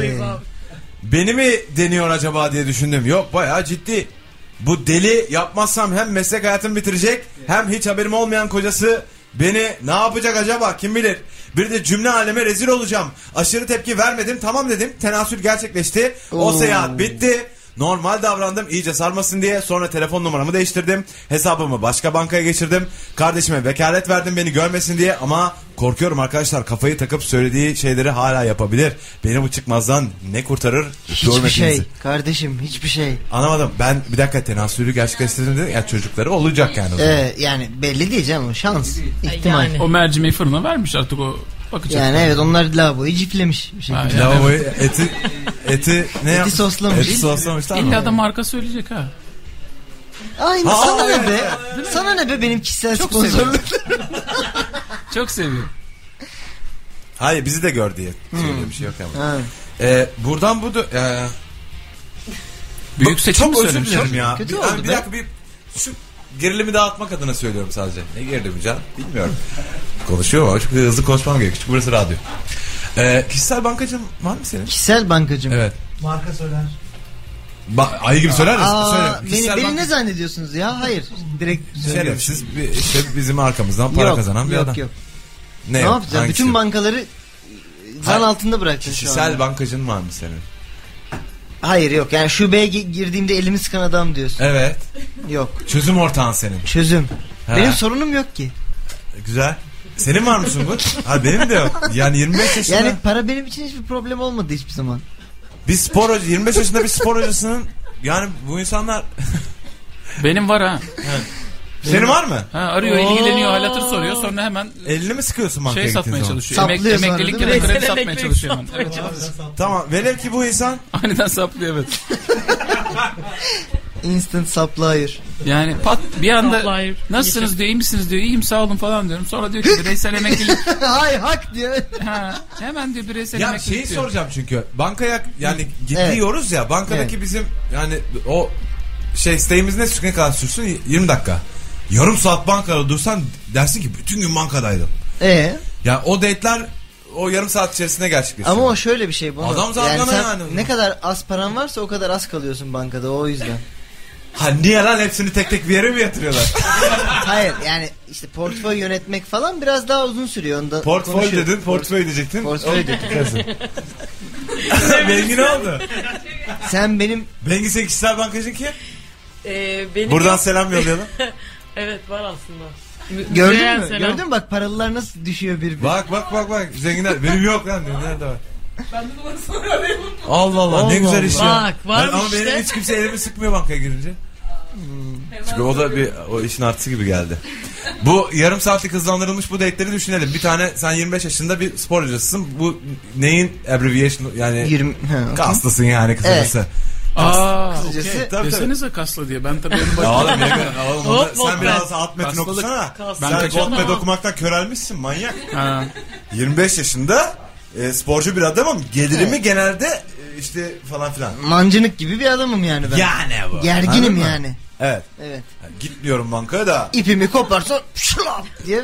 Speaker 2: Beni mi deniyor acaba diye düşündüm. Yok bayağı ciddi. Bu deli yapmazsam hem meslek hayatımı bitirecek hem hiç haberim olmayan kocası beni ne yapacak acaba kim bilir. Bir de cümle aleme rezil olacağım. Aşırı tepki vermedim. Tamam dedim. Tenasül gerçekleşti. O
Speaker 3: Oo.
Speaker 2: seyahat bitti. Normal davrandım iyice sarmasın diye. Sonra telefon numaramı değiştirdim. Hesabımı başka bankaya geçirdim. Kardeşime vekalet verdim beni görmesin diye. Ama korkuyorum arkadaşlar kafayı takıp söylediği şeyleri hala yapabilir. Beni bu çıkmazdan ne kurtarır?
Speaker 3: Hiçbir
Speaker 2: Görmesinizi.
Speaker 3: şey kardeşim hiçbir şey.
Speaker 2: Anlamadım. Ben bir dakika tenasülü gerçekleştirdim dedim. Ya çocukları olacak yani. o zaman.
Speaker 3: Ee, yani belli değil canım şans. ihtimal.
Speaker 5: Yani.
Speaker 4: O mercimeği fırına vermiş artık o bakacak.
Speaker 3: Yani
Speaker 2: şey
Speaker 3: evet onlar lavaboyu ciplemiş bir şekilde.
Speaker 4: Ha, yani
Speaker 2: Lavaboyu eti eti ne yapmış?
Speaker 3: soslamış.
Speaker 2: Eti soslamışlar mı?
Speaker 4: İlla da marka söyleyecek ha.
Speaker 3: Aynı
Speaker 2: Aa,
Speaker 3: sana
Speaker 2: evet.
Speaker 3: ne be? Sana ne be benim kişisel
Speaker 4: Çok
Speaker 3: sponsorluğum?
Speaker 4: Çok seviyorum.
Speaker 2: Hayır bizi de gör diye. Söylediğim bir şey yok ama.
Speaker 3: Hmm. Ha.
Speaker 2: Ee, buradan bu da- ee,
Speaker 4: Büyük seçim mi
Speaker 2: çok özür
Speaker 4: söylemiş?
Speaker 2: dilerim ya.
Speaker 3: kötü
Speaker 2: bir,
Speaker 3: oldu
Speaker 2: bir
Speaker 3: be.
Speaker 2: dakika bir şu gerilimi dağıtmak adına söylüyorum sadece. Ne gerilimi canım bilmiyorum. Konuşuyorum ama çok hızlı konuşmam gerekiyor. Çünkü burası radyo. Ee, kişisel bankacılığın var mı senin?
Speaker 3: Kişisel bankacım.
Speaker 2: Evet.
Speaker 8: Marka söyler.
Speaker 2: Ba- ayı gibi söyler misin?
Speaker 3: Aa,
Speaker 2: Söyle.
Speaker 3: beni,
Speaker 2: Kişisel
Speaker 3: beni
Speaker 2: bank-
Speaker 3: ne zannediyorsunuz ya? Hayır. Direkt söylüyorum.
Speaker 2: Şerefsiz bir, işte bizim arkamızdan para
Speaker 3: Yok,
Speaker 2: kazanan bir
Speaker 3: yok,
Speaker 2: adam.
Speaker 3: Yok
Speaker 2: Ne,
Speaker 3: Ne yapacağız?
Speaker 2: Hangisi?
Speaker 3: Bütün bankaları zan
Speaker 2: Hayır,
Speaker 3: altında bıraktın şu
Speaker 2: Kişisel
Speaker 3: anda.
Speaker 2: bankacın var mı senin?
Speaker 3: Hayır yok. Yani şubeye gi- girdiğimde elimi sıkan adam diyorsun.
Speaker 2: Evet.
Speaker 3: Yok.
Speaker 2: Çözüm ortağın senin.
Speaker 3: Çözüm.
Speaker 2: Ha.
Speaker 3: Benim sorunum yok ki.
Speaker 2: E, Güzel. Senin var mı Sungur? ha benim de yok. Yani 25 yaşında
Speaker 3: Yani para benim için hiçbir problem olmadı hiçbir zaman.
Speaker 2: bir spor hoca, 25 yaşında bir spor hocasının yani bu insanlar
Speaker 4: Benim var ha.
Speaker 2: senin var mı?
Speaker 4: ha arıyor
Speaker 5: Oo.
Speaker 4: ilgileniyor hal hatır soruyor sonra hemen
Speaker 2: Elini mi sıkıyorsun bankaya
Speaker 4: şey
Speaker 2: gittiğin
Speaker 4: satmaya
Speaker 2: zaman?
Speaker 4: çalışıyor. Emek,
Speaker 3: Saplıyor sonra,
Speaker 4: emeklilik ya
Speaker 3: değil
Speaker 4: da
Speaker 5: mi?
Speaker 4: kredi satmaya
Speaker 5: Emeklilik
Speaker 4: çalışıyor hemen.
Speaker 5: satmaya
Speaker 4: Evet.
Speaker 5: çalışıyor.
Speaker 2: Tamam velev ki bu insan
Speaker 4: Aniden saplıyor evet.
Speaker 3: Instant supplier.
Speaker 4: Yani pat bir anda
Speaker 5: Supplier.
Speaker 4: nasılsınız diyor iyi misiniz diyor iyiyim sağ olun falan diyorum. Sonra diyor ki bireysel emeklilik.
Speaker 3: Hay hak diye.
Speaker 4: Ha, hemen diyor bireysel
Speaker 2: Ya şey
Speaker 4: emeklilik
Speaker 2: şeyi
Speaker 4: diyor.
Speaker 2: soracağım çünkü bankaya yani gidiyoruz ya bankadaki bizim yani o şey isteğimiz ne ne kadar sürsün 20 dakika. Yarım saat bankada dursan dersin ki bütün gün bankadaydım.
Speaker 3: Ee,
Speaker 2: Ya o date'ler o yarım saat içerisinde gerçekleşiyor.
Speaker 3: ama o şöyle bir şey. Bunu,
Speaker 2: Adam zargana
Speaker 3: sen
Speaker 2: yani.
Speaker 3: Ne kadar az paran varsa o kadar az kalıyorsun bankada o yüzden.
Speaker 2: Ha niye lan hepsini tek tek bir yere mi yatırıyorlar?
Speaker 3: Hayır yani işte portföy yönetmek falan biraz daha uzun sürüyor. Onda
Speaker 2: portföy
Speaker 3: konuşuyoruz.
Speaker 2: dedin, portföy diyecektin.
Speaker 3: Portföy dedim.
Speaker 2: Bengi ne oldu?
Speaker 3: Sen benim
Speaker 2: Bengi sen kişisel bankacın kim?
Speaker 5: Ee, benim
Speaker 2: Buradan selam yollayalım.
Speaker 5: Evet var aslında.
Speaker 3: gördün
Speaker 5: Reyhan
Speaker 3: mü?
Speaker 5: selam.
Speaker 3: Gördün mü bak paralılar nasıl düşüyor birbirine.
Speaker 2: bak bak bak bak zenginler. Benim yok lan diyor. Nerede var? Allah Allah, ne güzel iş ya.
Speaker 5: Bak, varmış
Speaker 2: Ben- ama
Speaker 5: işte.
Speaker 2: benim hiç kimse elimi sıkmıyor bankaya girince. Çünkü o da bir o işin artısı gibi geldi. Bu yarım saatlik hızlandırılmış bu date'leri düşünelim. Bir tane sen 25 yaşında bir spor hocasısın. Bu neyin abbreviation yani
Speaker 3: 20 ha, okey.
Speaker 2: kaslısın yani kısacası.
Speaker 4: Aa,
Speaker 3: Kısacası-
Speaker 4: okey.
Speaker 2: Tabii,
Speaker 4: Desenize kaslı diye. Ben tabii onu
Speaker 2: Ya
Speaker 4: başladım.
Speaker 2: Oğlum, ne kadar- oğlum, onda-
Speaker 5: Hop,
Speaker 2: sen
Speaker 5: Voltbed.
Speaker 2: biraz alt metin
Speaker 4: Kaslılık.
Speaker 2: okusana.
Speaker 5: Kaslılık.
Speaker 2: Sen
Speaker 4: Ben kaçırdım
Speaker 2: Voltbed
Speaker 5: ama.
Speaker 2: okumaktan körelmişsin manyak.
Speaker 4: Ha.
Speaker 2: 25 yaşında e, sporcu bir adamım. Gelirimi genelde e, işte falan filan.
Speaker 3: Mancınık gibi bir adamım yani ben.
Speaker 2: Yani bu. Anladın
Speaker 3: Gerginim
Speaker 2: mı?
Speaker 3: yani.
Speaker 2: Evet.
Speaker 3: Evet.
Speaker 2: Ha, Git diyorum bankaya da.
Speaker 3: İpimi koparsa şlap diye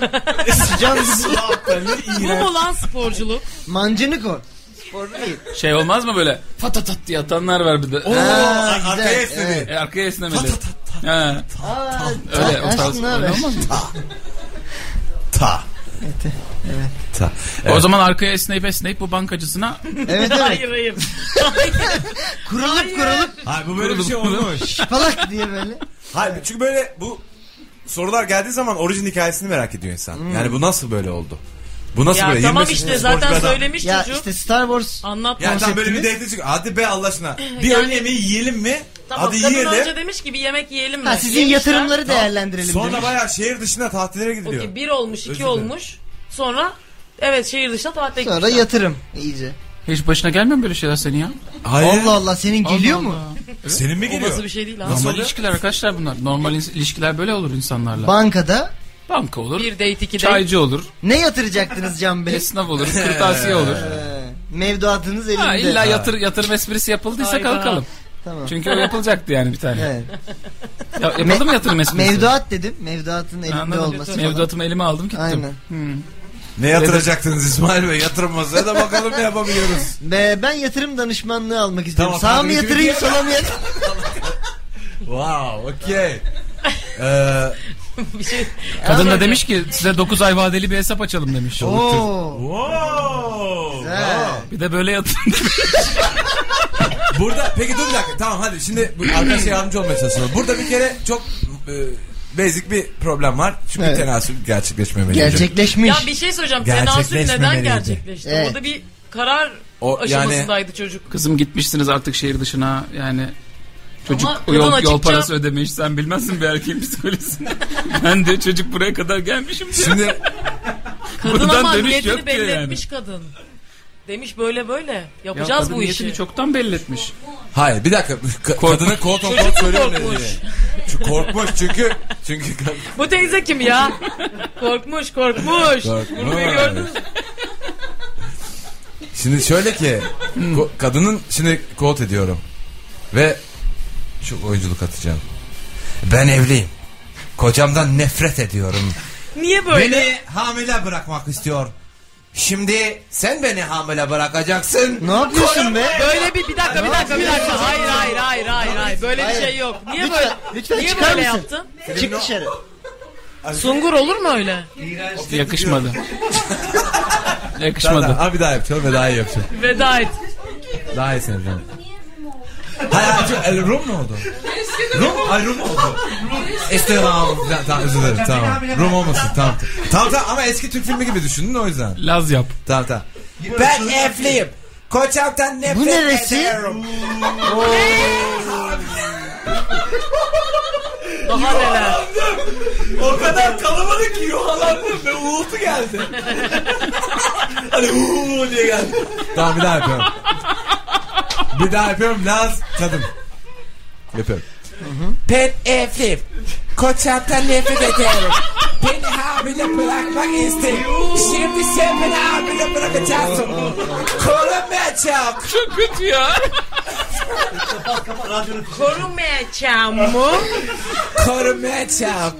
Speaker 3: sıcağım gibi.
Speaker 5: Bu mu lan sporculuk?
Speaker 3: Mancınık o. Sporlu değil.
Speaker 4: Şey olmaz mı böyle patatat diye atanlar var bir de.
Speaker 2: Oo,
Speaker 3: Ha, güzel,
Speaker 2: arkaya esnedi.
Speaker 4: E, arkaya esnemeli. Ha,
Speaker 3: Aa,
Speaker 4: öyle o
Speaker 3: aşkım
Speaker 4: tarz.
Speaker 3: ne
Speaker 4: öyle
Speaker 3: haber?
Speaker 4: olmaz mı?
Speaker 2: Ta.
Speaker 3: Evet,
Speaker 2: Ta.
Speaker 4: O
Speaker 2: Evet.
Speaker 4: zaman arkaya esneyip esneyip bu bankacısına
Speaker 3: Evet evet.
Speaker 5: Hayır hayır.
Speaker 3: Kurulup kurulup
Speaker 2: Hayır bu böyle bir şey
Speaker 4: Kurulum.
Speaker 2: olmuş.
Speaker 3: şapalak diye böyle.
Speaker 2: Hayır çünkü böyle bu sorular geldiği zaman orijin hikayesini merak ediyor insan.
Speaker 3: Hmm.
Speaker 2: Yani bu nasıl böyle oldu? Bu nasıl
Speaker 5: ya
Speaker 2: böyle?
Speaker 5: tamam
Speaker 2: 25
Speaker 5: işte
Speaker 2: yaşında sporcu bir
Speaker 5: zaten
Speaker 2: adam.
Speaker 5: söylemiş
Speaker 3: Ya
Speaker 5: çocuk.
Speaker 3: işte Star Wars
Speaker 5: Anlatmamış.
Speaker 2: Yani tam böyle bir
Speaker 3: Konseptimiz-
Speaker 2: date çık. Hadi be Allah aşkına. Bir
Speaker 5: Yani-
Speaker 2: öğle yemeği yiyelim mi?
Speaker 5: Tamam,
Speaker 2: Hadi
Speaker 5: kadın
Speaker 2: yiyelim.
Speaker 5: önce demiş ki bir yemek yiyelim mi?
Speaker 3: ha, sizin
Speaker 5: Yemişler.
Speaker 3: yatırımları değerlendirelim
Speaker 2: Sonra
Speaker 3: demiş.
Speaker 2: bayağı şehir dışına tatillere gidiliyor.
Speaker 5: Okey bir olmuş iki
Speaker 2: dilerim.
Speaker 5: olmuş. Sonra evet şey şehir dışına tatile
Speaker 3: Sonra
Speaker 5: gitmişler.
Speaker 3: yatırım iyice.
Speaker 4: hiç başına gelmiyor mu böyle şeyler senin ya?
Speaker 2: Hayır.
Speaker 3: Allah Allah senin geliyor mu?
Speaker 2: Senin mi
Speaker 5: O nasıl
Speaker 2: geliyor?
Speaker 5: bir şey değil abi.
Speaker 4: Normal
Speaker 2: oluyor?
Speaker 4: ilişkiler arkadaşlar bunlar. Normal ins- ilişkiler böyle olur insanlarla.
Speaker 3: Bankada
Speaker 4: Banka olur,
Speaker 5: Bir date iki date.
Speaker 4: çaycı olur,
Speaker 3: ne yatıracaktınız Can Bey?
Speaker 4: esnaf olur, kırtasiye olur.
Speaker 3: Ee, Mevduatınız elimde.
Speaker 4: Ha, illa yatır, yatırım esprisi yapıldıysa
Speaker 5: Hayda.
Speaker 4: kalkalım.
Speaker 3: Tamam.
Speaker 4: Çünkü o yapılacaktı yani bir tane.
Speaker 3: Evet.
Speaker 4: Ya, yapıldı mı yatırım esprisi?
Speaker 3: Mevduat dedim. Mevduatın elimde
Speaker 4: Anladım.
Speaker 3: olması. falan.
Speaker 4: Mevduatımı elime aldım gittim.
Speaker 3: Aynen.
Speaker 2: Ne yatıracaktınız İsmail Bey? Yatırım masaya da bakalım ne yapabiliyoruz.
Speaker 3: Be, ben yatırım danışmanlığı almak istiyorum.
Speaker 2: Tamam,
Speaker 3: Sağ
Speaker 2: hadi
Speaker 3: mı
Speaker 2: yürü
Speaker 3: yatırayım
Speaker 2: git.
Speaker 3: sola mı yatırayım?
Speaker 2: wow, okey. Ee,
Speaker 5: bir şey.
Speaker 4: Kadın da demiş ki size 9 ay vadeli bir hesap açalım demiş.
Speaker 3: Oo.
Speaker 2: Wow.
Speaker 3: Güzel.
Speaker 4: Bir de böyle yatın.
Speaker 2: Burada peki dur bir dakika tamam hadi şimdi bu arkadaşa yardımcı olmaya çalışalım. Burada bir kere çok e, basic bir problem var. Çünkü
Speaker 3: Evet.
Speaker 2: tenasül gerçekleşmemeli.
Speaker 5: Ya
Speaker 3: Gerçekleşmiş.
Speaker 5: bir şey söyleyeceğim. Tenasül
Speaker 2: Gerçekleşmemeliydi.
Speaker 5: neden gerçekleşti?
Speaker 3: Evet.
Speaker 5: Orada bir karar
Speaker 2: O,
Speaker 5: aşamasındaydı çocuk.
Speaker 4: Kızım gitmişsiniz artık şehir dışına yani çocuk
Speaker 5: Ama kadın
Speaker 4: yol,
Speaker 5: açıkça-
Speaker 4: yol parası ödemiş sen bilmezsin bir erkeğin psikolojisini. ben de çocuk buraya kadar gelmişim diyor.
Speaker 2: Şimdi
Speaker 5: Kadın
Speaker 4: Buradan
Speaker 5: ama
Speaker 4: dönüş
Speaker 5: niyetini
Speaker 4: yok diyor
Speaker 5: belli
Speaker 4: yani.
Speaker 5: etmiş kadın. Demiş böyle böyle
Speaker 4: Ya
Speaker 5: yapacağız
Speaker 4: kadın
Speaker 5: bu
Speaker 4: niyetini
Speaker 5: işi.
Speaker 4: çoktan belli etmiş.
Speaker 2: hayır bir dakika Ka- kadına kol on kol
Speaker 5: Çocuk mu
Speaker 2: söylüyor
Speaker 5: korkmuş?
Speaker 2: dedi. Çünkü korkmuş çünkü çünkü
Speaker 5: Bu teyze kim ya? korkmuş korkmuş. Bunu bir gördün mü?
Speaker 2: Şimdi şöyle ki ko- kadının şimdi quote ediyorum ve çok oyunculuk atacağım. Ben evliyim. Kocamdan nefret ediyorum.
Speaker 5: Niye böyle?
Speaker 2: Beni hamile bırakmak istiyor. Şimdi sen beni hamile bırakacaksın.
Speaker 3: Ne yapıyorsun be?
Speaker 5: Böyle bir bir dakika bir dakika bir dakika. Hayır hayır hayır hayır hayır. Böyle bir
Speaker 3: Hayır.
Speaker 5: şey yok. Niye
Speaker 3: Lütfen-
Speaker 5: böyle?
Speaker 3: lütfen
Speaker 5: niye
Speaker 3: çıkar
Speaker 5: böyle
Speaker 3: mısın?
Speaker 5: yaptın?
Speaker 3: Çık dışarı.
Speaker 5: Sungur olur mu öyle?
Speaker 4: Yakışmadı.
Speaker 2: Daha,
Speaker 4: Yakışmadı.
Speaker 2: daha, abi daha yapacağım ve daha iyi yapacağım.
Speaker 5: Veda et.
Speaker 2: Daha iyi seneden. Hayır hayır, çok- e, Rum mu oldu? Rum? Ay Rum oldu. Estağfurullah. Tamam özür dilerim tamam. Rum olmasın tamam. Tamam tamam ama eski Türk filmi gibi düşündün o yüzden.
Speaker 4: Laz yap.
Speaker 2: Tamam tamam. Ben evliyim. Koçamdan nefret
Speaker 3: Bu neresi?
Speaker 2: ediyorum.
Speaker 5: Daha neler.
Speaker 2: O kadar kalamadı ki yuhalandım ve uğultu geldi. hani uuu diye geldi. Tamam bir daha yapıyorum. bir daha yapıyorum Laz kadın. Yapıyorum. Ben evliyim. Koçamdan nefret ediyorum. Beni hamile bırakmak istedim. Şimdi sen beni hamile bırakacaksın. Korumayacağım.
Speaker 4: Çok kötü ya.
Speaker 5: Korumayacağım mı?
Speaker 2: Korumayacağım.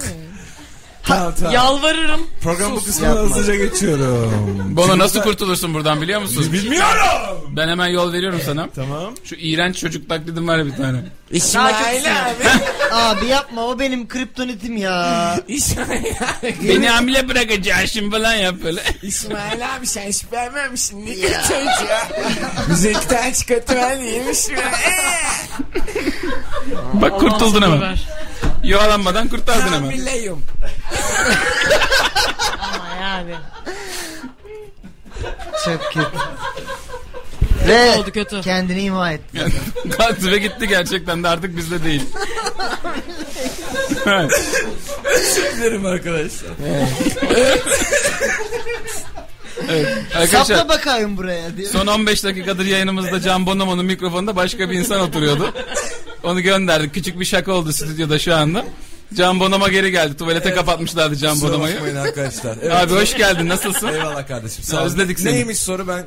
Speaker 2: Tamam tamam.
Speaker 5: Yalvarırım.
Speaker 2: Program bu kısmına hızlıca geçiyorum.
Speaker 4: Bana nasıl kurtulursun buradan biliyor musun?
Speaker 2: Bilmiyorum.
Speaker 4: Ben hemen yol veriyorum sana.
Speaker 2: Tamam.
Speaker 4: Şu iğrenç çocuk taklidim var ya bir tane.
Speaker 2: İsmail abi.
Speaker 3: Abi yapma o benim kriptonitim ya.
Speaker 2: İsmail abi.
Speaker 4: Beni hamile bırakacaksın falan yap böyle.
Speaker 2: İsmail abi sen hiç beğenmemişsin. Ne kötü çocuğa. Bize iki tane çikolata yemiş mi? Ee.
Speaker 4: Bak kurtuldun hemen.
Speaker 5: Ver.
Speaker 4: Yuvalanmadan kurtardın hemen.
Speaker 2: Hamileyim.
Speaker 5: Ama yani.
Speaker 3: Çok kötü. Ve
Speaker 5: oldu kötü.
Speaker 3: kendini imha etti.
Speaker 4: Kalktı ve gitti gerçekten de artık bizde değil. Evet.
Speaker 2: Dilerim arkadaşlar.
Speaker 4: Arkadaşlar
Speaker 2: şey.
Speaker 3: Sapla bakayım buraya diyor.
Speaker 4: son 15 dakikadır yayınımızda Can Bonomo'nun mikrofonunda başka bir insan oturuyordu. Onu gönderdik. Küçük bir şaka oldu stüdyoda şu anda. Can Bonomo geri geldi. Tuvalete kapatmışlardı Can
Speaker 2: Kusura
Speaker 4: Bonomo'yu.
Speaker 2: bakmayın arkadaşlar. Evet.
Speaker 4: Abi hoş geldin. Nasılsın?
Speaker 2: Eyvallah kardeşim. Sağ ol.
Speaker 4: Özledik seni.
Speaker 2: Neymiş soru ben?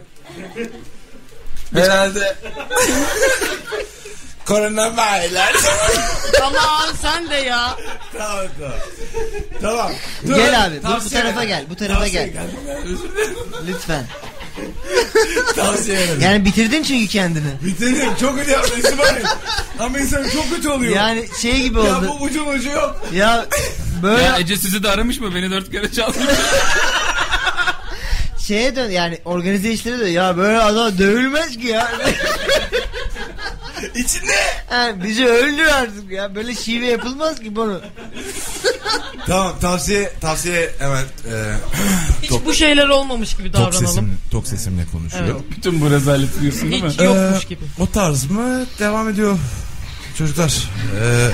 Speaker 2: Herhalde. Koronavirüs.
Speaker 5: Aman sen de ya.
Speaker 2: tamam tamam. Tamam. Dur.
Speaker 3: Gel abi bu, bu
Speaker 2: Tavsiye
Speaker 3: tarafa
Speaker 2: ver.
Speaker 3: gel. Bu tarafa
Speaker 2: Tavsiye
Speaker 3: gel.
Speaker 2: geldim ben, özür dilerim.
Speaker 3: Lütfen.
Speaker 2: Tavsiye ederim.
Speaker 3: Yani bitirdin çünkü kendini.
Speaker 2: Bitirdim. Çok kötü yaptın İsmail. Ama insan çok kötü oluyor.
Speaker 3: Yani şey gibi
Speaker 2: ya
Speaker 3: oldu.
Speaker 2: bu ucun ucu yok.
Speaker 3: Ya böyle
Speaker 4: Ya Ece sizi de aramış mı? Beni dört kere çaldı.
Speaker 3: şeye dön yani organize işlere dön. Ya böyle adam dövülmez ki ya.
Speaker 2: İçinde.
Speaker 3: Yani bizi öldür artık ya. Böyle şive yapılmaz ki bunu.
Speaker 2: Tamam tavsiye tavsiye hemen e,
Speaker 5: Hiç bu şeyler olmamış gibi
Speaker 2: tok
Speaker 5: davranalım.
Speaker 2: sesim tok sesimle konuşuyor.
Speaker 4: Bütün bu rezaleti diyorsun değil mi?
Speaker 5: Hiç yokmuş
Speaker 2: Ee,
Speaker 5: gibi.
Speaker 2: O tarz mı devam ediyor çocuklar? E,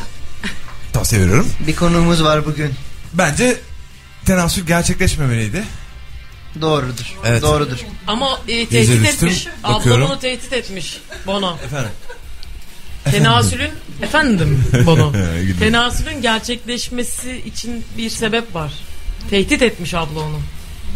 Speaker 2: tavsiye veriyorum.
Speaker 3: Bir konuğumuz var bugün.
Speaker 2: Bence tenasül gerçekleşmemeliydi.
Speaker 3: Doğrudur.
Speaker 2: Evet.
Speaker 3: Doğrudur.
Speaker 5: Ama e,
Speaker 2: Gece
Speaker 5: tehdit
Speaker 2: düştüm,
Speaker 5: etmiş. Abla
Speaker 2: bakıyorum.
Speaker 5: bunu tehdit etmiş. Bono.
Speaker 2: Efendim.
Speaker 5: Tenasülün efendim Bono.
Speaker 2: Gülüyor.
Speaker 5: Tenasülün gerçekleşmesi için bir sebep var. Tehdit etmiş abla onu.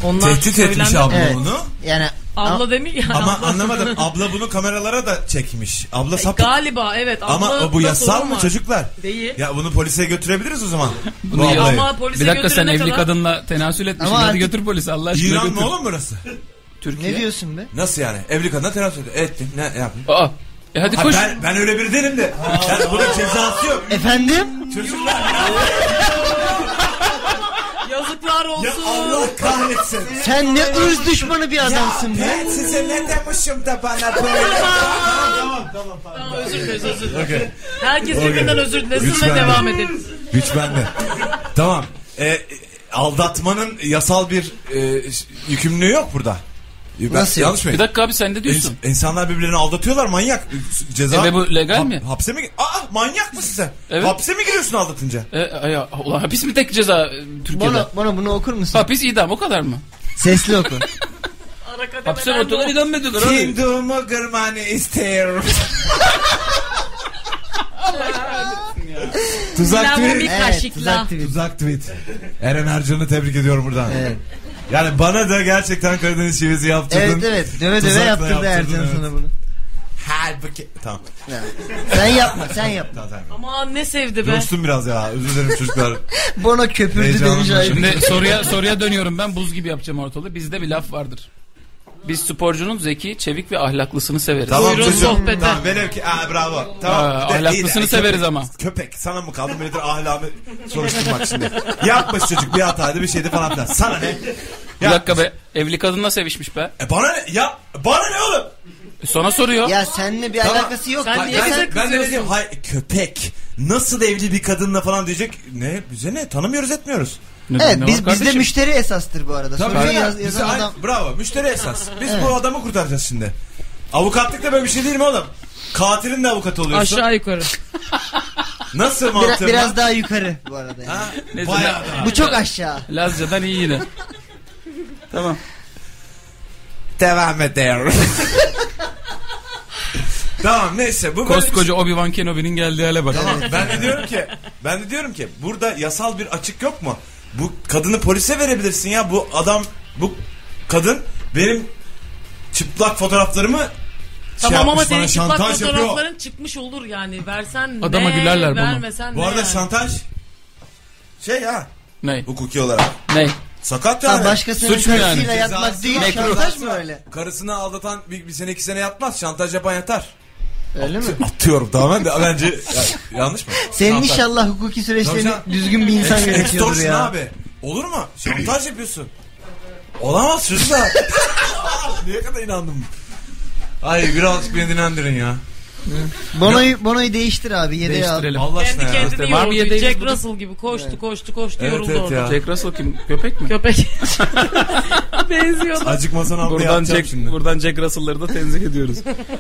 Speaker 5: Onlar
Speaker 2: Tehdit etmiş
Speaker 5: söylendi.
Speaker 2: abla
Speaker 3: Evet.
Speaker 2: onu.
Speaker 3: Yani
Speaker 5: Abla demiş yani.
Speaker 2: Ama
Speaker 5: abla-
Speaker 2: anlamadım. Abla bunu kameralara da çekmiş. Abla sapık.
Speaker 5: Galiba evet.
Speaker 2: Ama
Speaker 5: abla
Speaker 2: bu
Speaker 5: da
Speaker 2: yasal
Speaker 5: sorun
Speaker 2: mı
Speaker 5: var.
Speaker 2: çocuklar?
Speaker 5: Değil.
Speaker 2: Ya bunu polise götürebiliriz o zaman. Bu
Speaker 4: ya-
Speaker 2: ablayı.
Speaker 5: Ama polise
Speaker 4: Bir dakika sen
Speaker 5: götürene
Speaker 4: evli
Speaker 5: kadar-
Speaker 4: kadınla tenasül etmişsin.
Speaker 3: Ama
Speaker 4: Hadi
Speaker 3: artık-
Speaker 4: götür polise Allah aşkına
Speaker 2: İran
Speaker 4: götür.
Speaker 2: mı oğlum burası?
Speaker 4: Türkiye.
Speaker 3: ne diyorsun be?
Speaker 2: Nasıl yani? Evli kadına teras ediyor. E, Ettim. Ne yapayım?
Speaker 4: Aa. E hadi
Speaker 2: Ha,
Speaker 4: koş.
Speaker 2: ben, ben öyle biri değilim de. Yani bunun cezası yok.
Speaker 3: Efendim?
Speaker 2: Çocuklar.
Speaker 5: Yazıklar olsun.
Speaker 2: kahretsin.
Speaker 3: Sen ne ırz düşmanı bir adamsın be.
Speaker 2: Ben size ne demişim de bana böyle.
Speaker 5: Tamam, özür dileriz özür dileriz.
Speaker 2: okay.
Speaker 5: Herkes birbirinden özür dilesin
Speaker 2: Lütfen.
Speaker 5: ve devam edelim.
Speaker 2: Güç bende. tamam. Ee, aldatmanın yasal bir e, ş- yükümlülüğü yok burada. E, Ben-
Speaker 3: Nasıl yok?
Speaker 2: Yanlış mı?
Speaker 4: Bir dakika abi sen ne diyorsun?
Speaker 2: İns- İnsanlar birbirlerini aldatıyorlar manyak. Ceza.
Speaker 4: E ve bu legal
Speaker 2: Ha-
Speaker 4: mi?
Speaker 2: Hapse mi? gi- Aa manyak mısın sen?
Speaker 4: Evet.
Speaker 2: Hapse mi giriyorsun aldatınca?
Speaker 4: E, ay, ay, ulan hapis mi tek ceza e, Türkiye'de?
Speaker 3: Bana, bana bunu okur musun?
Speaker 4: Hapis idam o kadar mı?
Speaker 3: Sesli oku.
Speaker 5: Ara kademeler
Speaker 4: Hapse mi atıyorlar
Speaker 5: de olsun.
Speaker 4: idam ediyorlar abi?
Speaker 2: Hindumu kırmanı istiyorum. Tuzak
Speaker 5: Lavabo bir
Speaker 2: tweet.
Speaker 5: kaşıkla.
Speaker 3: tweet.
Speaker 2: Tuzak tweet. Eren Ercan'ı tebrik ediyorum buradan.
Speaker 3: Evet.
Speaker 2: Yani bana da gerçekten Karadeniz şivesi yaptırdın.
Speaker 3: Evet evet. Döve döve
Speaker 2: Tuzakla
Speaker 3: yaptırdı
Speaker 2: yaptırdın,
Speaker 3: Ercan
Speaker 2: evet.
Speaker 3: sana bunu.
Speaker 2: Halbuki... Tamam.
Speaker 3: Sen yapma sen yapma.
Speaker 2: Tamam, tamam.
Speaker 5: Aman ne sevdi be.
Speaker 2: Coştum biraz ya. Özür dilerim çocuklar.
Speaker 3: Bono köpürdü
Speaker 2: Heyecanlı
Speaker 3: demiş ayrı.
Speaker 4: Şimdi soruya soruya dönüyorum ben buz gibi yapacağım ortalığı. Bizde bir laf vardır. Biz sporcunun zeki, çevik ve ahlaklısını severiz.
Speaker 2: Tamam
Speaker 5: Buyurun
Speaker 2: çocuğum.
Speaker 5: sohbete.
Speaker 2: Tamam velev ki aa, bravo. Tamam.
Speaker 4: Aa,
Speaker 2: Bir de-
Speaker 4: ahlaklısını
Speaker 2: iyi de-
Speaker 4: severiz
Speaker 2: köpek-
Speaker 4: ama.
Speaker 2: Köpek sana mı kaldı böyledir ahlamı soruşturmak şimdi. Yapmış çocuk bir hataydı bir şeydi falan filan. Sana ne?
Speaker 4: Bir dakika be. Evli kadınla sevişmiş be.
Speaker 2: E bana ne? Ya bana ne oğlum?
Speaker 4: E, Sana soruyor.
Speaker 3: Ya seninle bir
Speaker 2: Tamam.
Speaker 3: alakası yok.
Speaker 5: Sen
Speaker 3: Ya
Speaker 5: E, niye bize
Speaker 2: ben de ne
Speaker 5: kızıyorsun?
Speaker 2: diyeyim? Hay köpek. Nasıl evli bir kadınla falan diyecek. Ne bize ne tanımıyoruz etmiyoruz.
Speaker 4: Ne-
Speaker 3: Evet
Speaker 4: ne
Speaker 3: biz
Speaker 4: var
Speaker 3: bizde
Speaker 4: kardeşim?
Speaker 3: müşteri esastır bu arada. Soruyu
Speaker 2: bize-
Speaker 3: yaz-
Speaker 2: bize-
Speaker 3: yazan
Speaker 2: ay-
Speaker 3: adam.
Speaker 2: Bravo müşteri esas. Biz bu adamı kurtaracağız şimdi. Avukatlık da böyle bir şey değil mi oğlum? Katilin de avukatı oluyorsun.
Speaker 5: Aşağı yukarı.
Speaker 2: Şey Nasıl
Speaker 3: Bira-
Speaker 2: mantığım?
Speaker 3: biraz daha yukarı bu arada. yani.
Speaker 2: Ha?
Speaker 4: Neyse,
Speaker 2: Bayağı da.
Speaker 3: Bu çok aşağı.
Speaker 4: Lazca'dan iyi yine. tamam.
Speaker 2: Devam ediyorum. tamam neyse bu böyle bir-
Speaker 4: Koskoca Obi-Wan Kenobi'nin geldiği hale bak.
Speaker 2: Tamam, ben de diyorum ki ben de diyorum ki burada yasal bir açık yok mu? Bu kadını polise verebilirsin ya bu adam bu kadın benim çıplak fotoğraflarımı şey
Speaker 5: Tamam ama
Speaker 2: yapmış
Speaker 5: senin
Speaker 2: bana,
Speaker 5: çıplak
Speaker 2: şantaj yapıyor.
Speaker 5: fotoğrafların çıkmış olur yani. Versen
Speaker 4: Adama
Speaker 5: ne,
Speaker 4: gülerler bunu.
Speaker 5: vermesen
Speaker 2: Bu
Speaker 5: ne
Speaker 2: arada
Speaker 5: yani.
Speaker 2: şantaj şey ya
Speaker 4: Ney?
Speaker 2: hukuki olarak
Speaker 4: Ney?
Speaker 2: sakat yani.
Speaker 3: Ha, başkasının
Speaker 4: Suç mu yani?
Speaker 3: karısıyla yatmak
Speaker 2: Cezası
Speaker 3: değil.
Speaker 2: var.
Speaker 3: Şantaj mı öyle?
Speaker 2: Karısını aldatan bir, bir sene iki sene yatmaz. Şantaj yapan yatar.
Speaker 3: Öyle mi?
Speaker 2: Atıyorum tamamen de bence ya- yanlış mı?
Speaker 3: Senin
Speaker 2: Şantaj.
Speaker 3: inşallah hukuki süreçlerini
Speaker 2: Tabii canım.
Speaker 3: düzgün bir insan yönetiyordur
Speaker 2: Extortion
Speaker 3: ya.
Speaker 2: abi. Olur mu? Şantaj yapıyorsun. Olamaz çocuklar. Niye kadar inandım? Ay birazcık beni dinlendirin ya.
Speaker 3: Bonoyu, bonoyu değiştir abi yedeğe al.
Speaker 4: Değiştirelim.
Speaker 2: Allah
Speaker 5: Kendi
Speaker 2: aşkına ya.
Speaker 5: kendini
Speaker 4: Var mı
Speaker 5: yordu.
Speaker 4: yedeğiniz
Speaker 5: Jack
Speaker 4: burada?
Speaker 5: Russell gibi koştu koştu koştu
Speaker 2: Evet,
Speaker 5: yoruldu
Speaker 2: evet
Speaker 5: orada.
Speaker 2: ya.
Speaker 4: Jack Russell kim? Köpek mi?
Speaker 5: Köpek. Benziyordu.
Speaker 2: Acıkmasan abla
Speaker 4: Buradan
Speaker 2: yapacağım
Speaker 4: Jack,
Speaker 2: şimdi.
Speaker 4: buradan Jack Russell'ları da tenzih ediyoruz.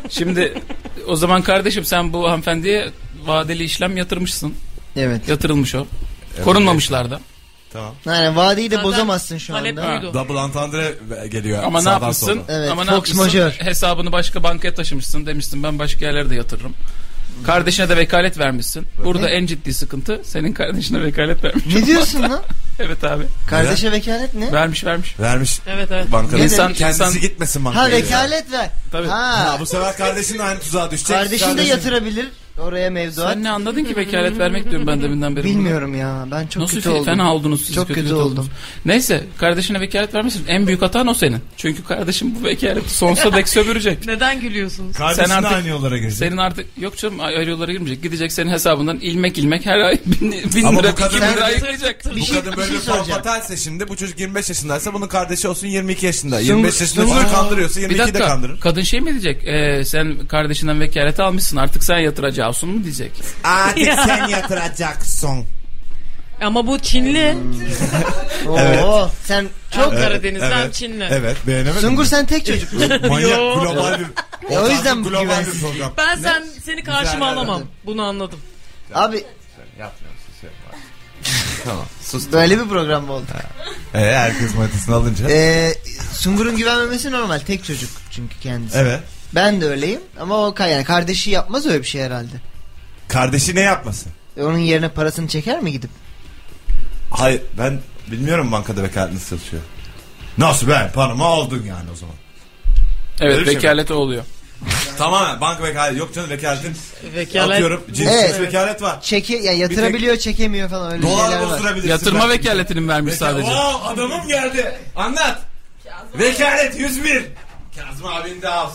Speaker 4: Şimdi o zaman kardeşim sen bu hanımefendiye vadeli işlem yatırmışsın.
Speaker 3: Evet.
Speaker 4: Yatırılmış o. Korunmamışlar da.
Speaker 2: Tamam.
Speaker 3: Yani vadiyi de
Speaker 5: Zaten
Speaker 3: bozamazsın şu
Speaker 5: Talep
Speaker 3: anda.
Speaker 5: buydu.
Speaker 2: Double entendre geliyor
Speaker 4: Ama ne
Speaker 2: sağdan
Speaker 4: yapmışsın?
Speaker 2: soldan.
Speaker 3: Evet,
Speaker 4: Ama ne
Speaker 3: Fox
Speaker 4: yapmışsın?
Speaker 3: Major.
Speaker 4: Hesabını başka bankaya taşımışsın demişsin ben başka yerlere de yatırırım.
Speaker 2: Hmm.
Speaker 4: Kardeşine de vekalet vermişsin. Burada en ciddi sıkıntı senin kardeşine vekalet vermiş.
Speaker 3: Ne diyorsun lan?
Speaker 4: Evet abi.
Speaker 3: Kardeşe vekalet ne?
Speaker 4: Vermiş vermiş.
Speaker 2: Vermiş
Speaker 5: Evet evet.
Speaker 2: bankada.
Speaker 3: Ne
Speaker 4: İnsan,
Speaker 2: Kendisi
Speaker 4: insan,
Speaker 2: gitmesin bankaya.
Speaker 3: Ha vekalet ver.
Speaker 4: Tabii.
Speaker 3: Ha.
Speaker 2: Ha, bu sefer kardeşin de aynı tuzağa düşecek.
Speaker 3: Kardeşin de yatırabilir oraya mevduat.
Speaker 4: sen ne anladın ki vekalet vermek diyorum ben deminden beri.
Speaker 3: Bilmiyorum ya. Ben çok
Speaker 4: Nasıl
Speaker 3: kötü
Speaker 4: fe-
Speaker 3: oldum.
Speaker 4: fena oldunuz siz
Speaker 3: Çok kötü
Speaker 4: oldunuz.
Speaker 3: oldum.
Speaker 4: Neyse kardeşine vekalet vermesin. En büyük hatan o senin. Çünkü kardeşim bu vekaleti sonsuza dek sömürecek.
Speaker 5: Neden gülüyorsunuz?
Speaker 2: Kardeşin
Speaker 4: Sen
Speaker 2: de
Speaker 4: artık-
Speaker 2: aynı yollara girecek.
Speaker 4: Senin artık yok canım ay- ayrı yollara girmeyecek. Gidecek senin hesabından ilmek ilmek her ay bin, bin
Speaker 2: Ama bu
Speaker 4: lira
Speaker 2: kadın-
Speaker 4: iki bin lira
Speaker 2: Sen-
Speaker 4: yıkayacak.
Speaker 2: Bu
Speaker 3: Bir şey-
Speaker 2: kadın
Speaker 3: bir
Speaker 2: böyle
Speaker 3: şey
Speaker 2: bir form
Speaker 3: soracağım.
Speaker 2: hataysa şimdi bu çocuk 25 yaşındaysa bunun kardeşi olsun 22 yaşında. 25 yaşında
Speaker 3: Sungur-
Speaker 2: çocuk kandırıyorsa
Speaker 4: Bir
Speaker 2: 22'yi de
Speaker 4: dakika
Speaker 2: kandırır.
Speaker 4: kadın şey mi diyecek Ee, sen kardeşinden vekaleti almışsın artık sen yatıracaksın mu diyecek.
Speaker 2: Artık sen yatıracaksın.
Speaker 5: Ama bu Çinli.
Speaker 2: Hmm.
Speaker 3: Oo, sen çok
Speaker 5: Evet. Karadeniz'den Çinli.
Speaker 2: Evet beğenemedim.
Speaker 3: Sungur sen tek çocuk.
Speaker 2: Manyak global bir.
Speaker 3: E, o yüzden bu
Speaker 2: global bir
Speaker 3: güvensiz.
Speaker 2: program.
Speaker 5: Ben sen seni karşıma
Speaker 2: Güzel
Speaker 5: alamam.
Speaker 2: yerlerden.
Speaker 5: Bunu anladım.
Speaker 3: Abi
Speaker 2: Tamam sus.
Speaker 3: böyle bir program mı oldu? E,
Speaker 2: Ee, herkes matisini alınca.
Speaker 3: Ee, Sungur'un güvenmemesi normal. Tek çocuk çünkü kendisi.
Speaker 2: evet.
Speaker 3: Ben de öyleyim ama o ka- yani kardeşi yapmaz öyle bir şey herhalde.
Speaker 2: Kardeşi ne yapmasın?
Speaker 3: E, Onun yerine parasını çeker mi gidip?
Speaker 2: Hayır ben bilmiyorum bankada vekalet nasıl çalışıyor. Nasıl ben paramı aldın yani o zaman.
Speaker 4: Evet
Speaker 2: Öyle bir şey mi?
Speaker 4: vekalet o oluyor.
Speaker 2: Tamamen banka vekaleti yok canım vekaletin.
Speaker 5: Vekalet.
Speaker 2: Atıyorum cinsiz
Speaker 3: Evet.
Speaker 2: vekalet var.
Speaker 3: Çeke ya yatırabiliyor, çekemiyor falan öyle
Speaker 2: Dolar
Speaker 3: şeyler var.
Speaker 2: bozdurabilirsin.
Speaker 4: Yatırma
Speaker 2: belki.
Speaker 4: vekaletini mi vermiş
Speaker 2: Veka-
Speaker 4: sadece.
Speaker 2: Wow, adamım geldi. Anlat. Vekalet 101. Kazım abin de az.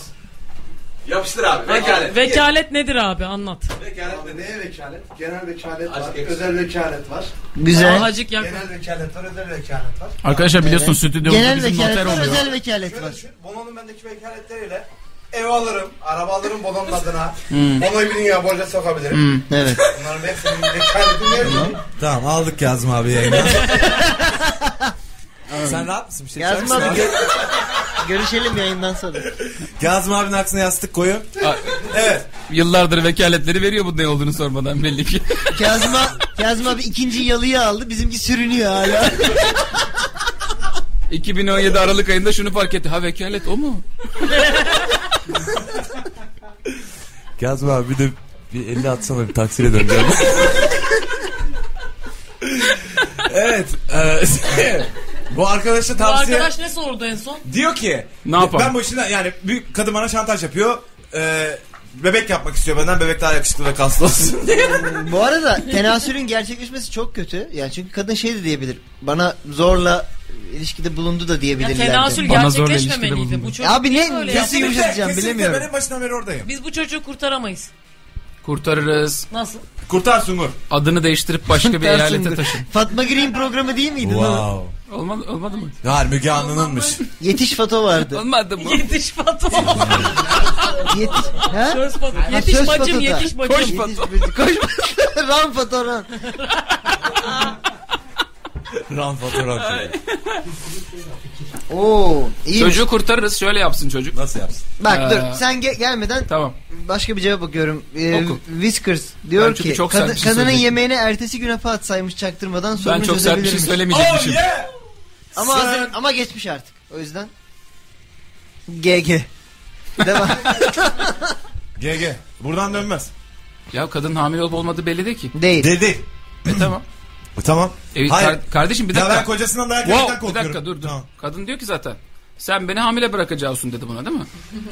Speaker 2: Yapıştır abi. Vekalet.
Speaker 5: Vekalet nedir abi anlat.
Speaker 2: Vekalet de neye vekalet?
Speaker 8: Genel vekalet
Speaker 2: Aşk
Speaker 8: var,
Speaker 2: hepsi.
Speaker 8: özel vekalet var.
Speaker 3: Güzel.
Speaker 5: Hacık yak.
Speaker 8: Genel vekalet var, özel vekalet var.
Speaker 4: Arkadaşlar biliyorsunuz stüdyomuzda
Speaker 3: Genel
Speaker 4: bizim noter
Speaker 3: vekalet var,
Speaker 4: oluyor.
Speaker 3: özel vekalet
Speaker 8: Şöyle
Speaker 3: var.
Speaker 8: düşün, Bono'nun bendeki vekaletleriyle ev alırım, araba alırım Bono'nun adına.
Speaker 4: Hmm.
Speaker 8: Bono'yu bir dünya borca sokabilirim.
Speaker 3: Evet.
Speaker 8: Bunların hepsinin vekaleti mevcut.
Speaker 2: Tamam aldık Kazım abi yayına. Sen rahat mısın? Bir şey ister
Speaker 3: Yazma
Speaker 2: misin abi?
Speaker 3: abi. gö- Görüşelim yayından sonra.
Speaker 2: Kazım abinin aksine yastık koyu. evet.
Speaker 4: Yıllardır vekaletleri veriyor bu ne olduğunu sormadan belli ki.
Speaker 3: Kazım, a- Kazım abi ikinci yalıyı aldı. Bizimki sürünüyor hala.
Speaker 4: 2017 Aralık ayında şunu fark etti. Ha vekalet o mu?
Speaker 2: Kazım abi bir de bir 50 atsana bir taksiyle döneceğim. evet. e, bu arkadaşa
Speaker 5: Bu
Speaker 2: tavsiye...
Speaker 5: arkadaş ne sordu en son?
Speaker 2: Diyor ki
Speaker 4: Ne yapalım?
Speaker 2: ben bu işinden yani büyük kadın bana şantaj yapıyor. E, bebek yapmak istiyor benden bebek daha yakışıklı ve kaslı olsun diye.
Speaker 3: Bu arada tenasülün gerçekleşmesi çok kötü. Yani çünkü kadın şey de diyebilir. Bana zorla ilişkide bulundu da
Speaker 5: Ya
Speaker 3: diyebilirler.
Speaker 5: tenasül
Speaker 3: de.
Speaker 4: Bana zorla ilişkide
Speaker 5: gerçekleşmemeliydi. Bu
Speaker 4: bulundu.
Speaker 5: çocuk
Speaker 3: Abi
Speaker 5: niye
Speaker 3: ne-
Speaker 5: böyle
Speaker 3: kesin-
Speaker 5: yaptı?
Speaker 2: Kesinlikle,
Speaker 3: Yumuşatacağım,
Speaker 2: kesinlikle
Speaker 3: bilemiyorum.
Speaker 2: benim başından beri oradayım.
Speaker 5: Biz bu çocuğu kurtaramayız.
Speaker 4: Kurtarırız.
Speaker 5: Nasıl?
Speaker 2: Kurtar Sungur.
Speaker 4: Adını değiştirip başka bir
Speaker 3: Tersin
Speaker 4: eyalete
Speaker 3: dur.
Speaker 4: taşın.
Speaker 3: Fatma Green programı değil miydi?
Speaker 4: Olmadı, olmadı mı?
Speaker 2: Hayır Müge Anlı'nınmış.
Speaker 3: Yetiş Fato vardı.
Speaker 4: Olmadı mı?
Speaker 5: Yetiş Fato.
Speaker 3: Yetiş. Ha?
Speaker 5: Söz Fato.
Speaker 3: Ha,
Speaker 5: Yetiş
Speaker 3: söz
Speaker 5: bacım
Speaker 3: Fato'da.
Speaker 5: yetiş bacım. E,
Speaker 4: Koş
Speaker 5: Yetiş-
Speaker 4: Fato.
Speaker 3: Koş. ran Fato ran.
Speaker 2: Ran fotoğraf.
Speaker 3: Oo. iyi.
Speaker 4: Çocuğu kurtarırız. Şöyle yapsın çocuk.
Speaker 2: Nasıl yapsın?
Speaker 3: Bak
Speaker 4: Ee,
Speaker 3: dur sen ge- gelmeden
Speaker 4: Tamam.
Speaker 3: başka bir cevap bakıyorum. Ee,
Speaker 4: Oku.
Speaker 3: Whiskers diyor
Speaker 4: Ben çünkü
Speaker 3: ki
Speaker 4: çok
Speaker 3: kadın-
Speaker 4: sert bir şey
Speaker 3: kadının
Speaker 4: söyleyecektim.
Speaker 3: yemeğine ertesi güne Fat saymış çaktırmadan
Speaker 4: Ben
Speaker 3: sorunu
Speaker 4: çok sert bir şey
Speaker 3: çözebilirmiş.
Speaker 2: Oh,
Speaker 4: söylemeyecekmişim.
Speaker 3: ama
Speaker 2: Sen-
Speaker 3: hazır- ama geçmiş artık. O yüzden GG. Devam.
Speaker 2: GG. Buradan dönmez.
Speaker 4: Ya kadın hamile olup olmadığı belli değil ki.
Speaker 3: Değil.
Speaker 2: Dedi.
Speaker 4: E tamam.
Speaker 2: Tamam.
Speaker 4: E, kar-
Speaker 2: Hmm. Hayır.
Speaker 4: kardeşim bir
Speaker 2: Ya
Speaker 4: dakika.
Speaker 2: ben kocasından dayak
Speaker 4: Wow,
Speaker 2: yemekten
Speaker 4: bir
Speaker 2: korkuyorum.
Speaker 4: dakika dur dur.
Speaker 2: Tamam.
Speaker 4: Kadın diyor ki zaten sen beni hamile bırakacaksın dedi buna değil mi?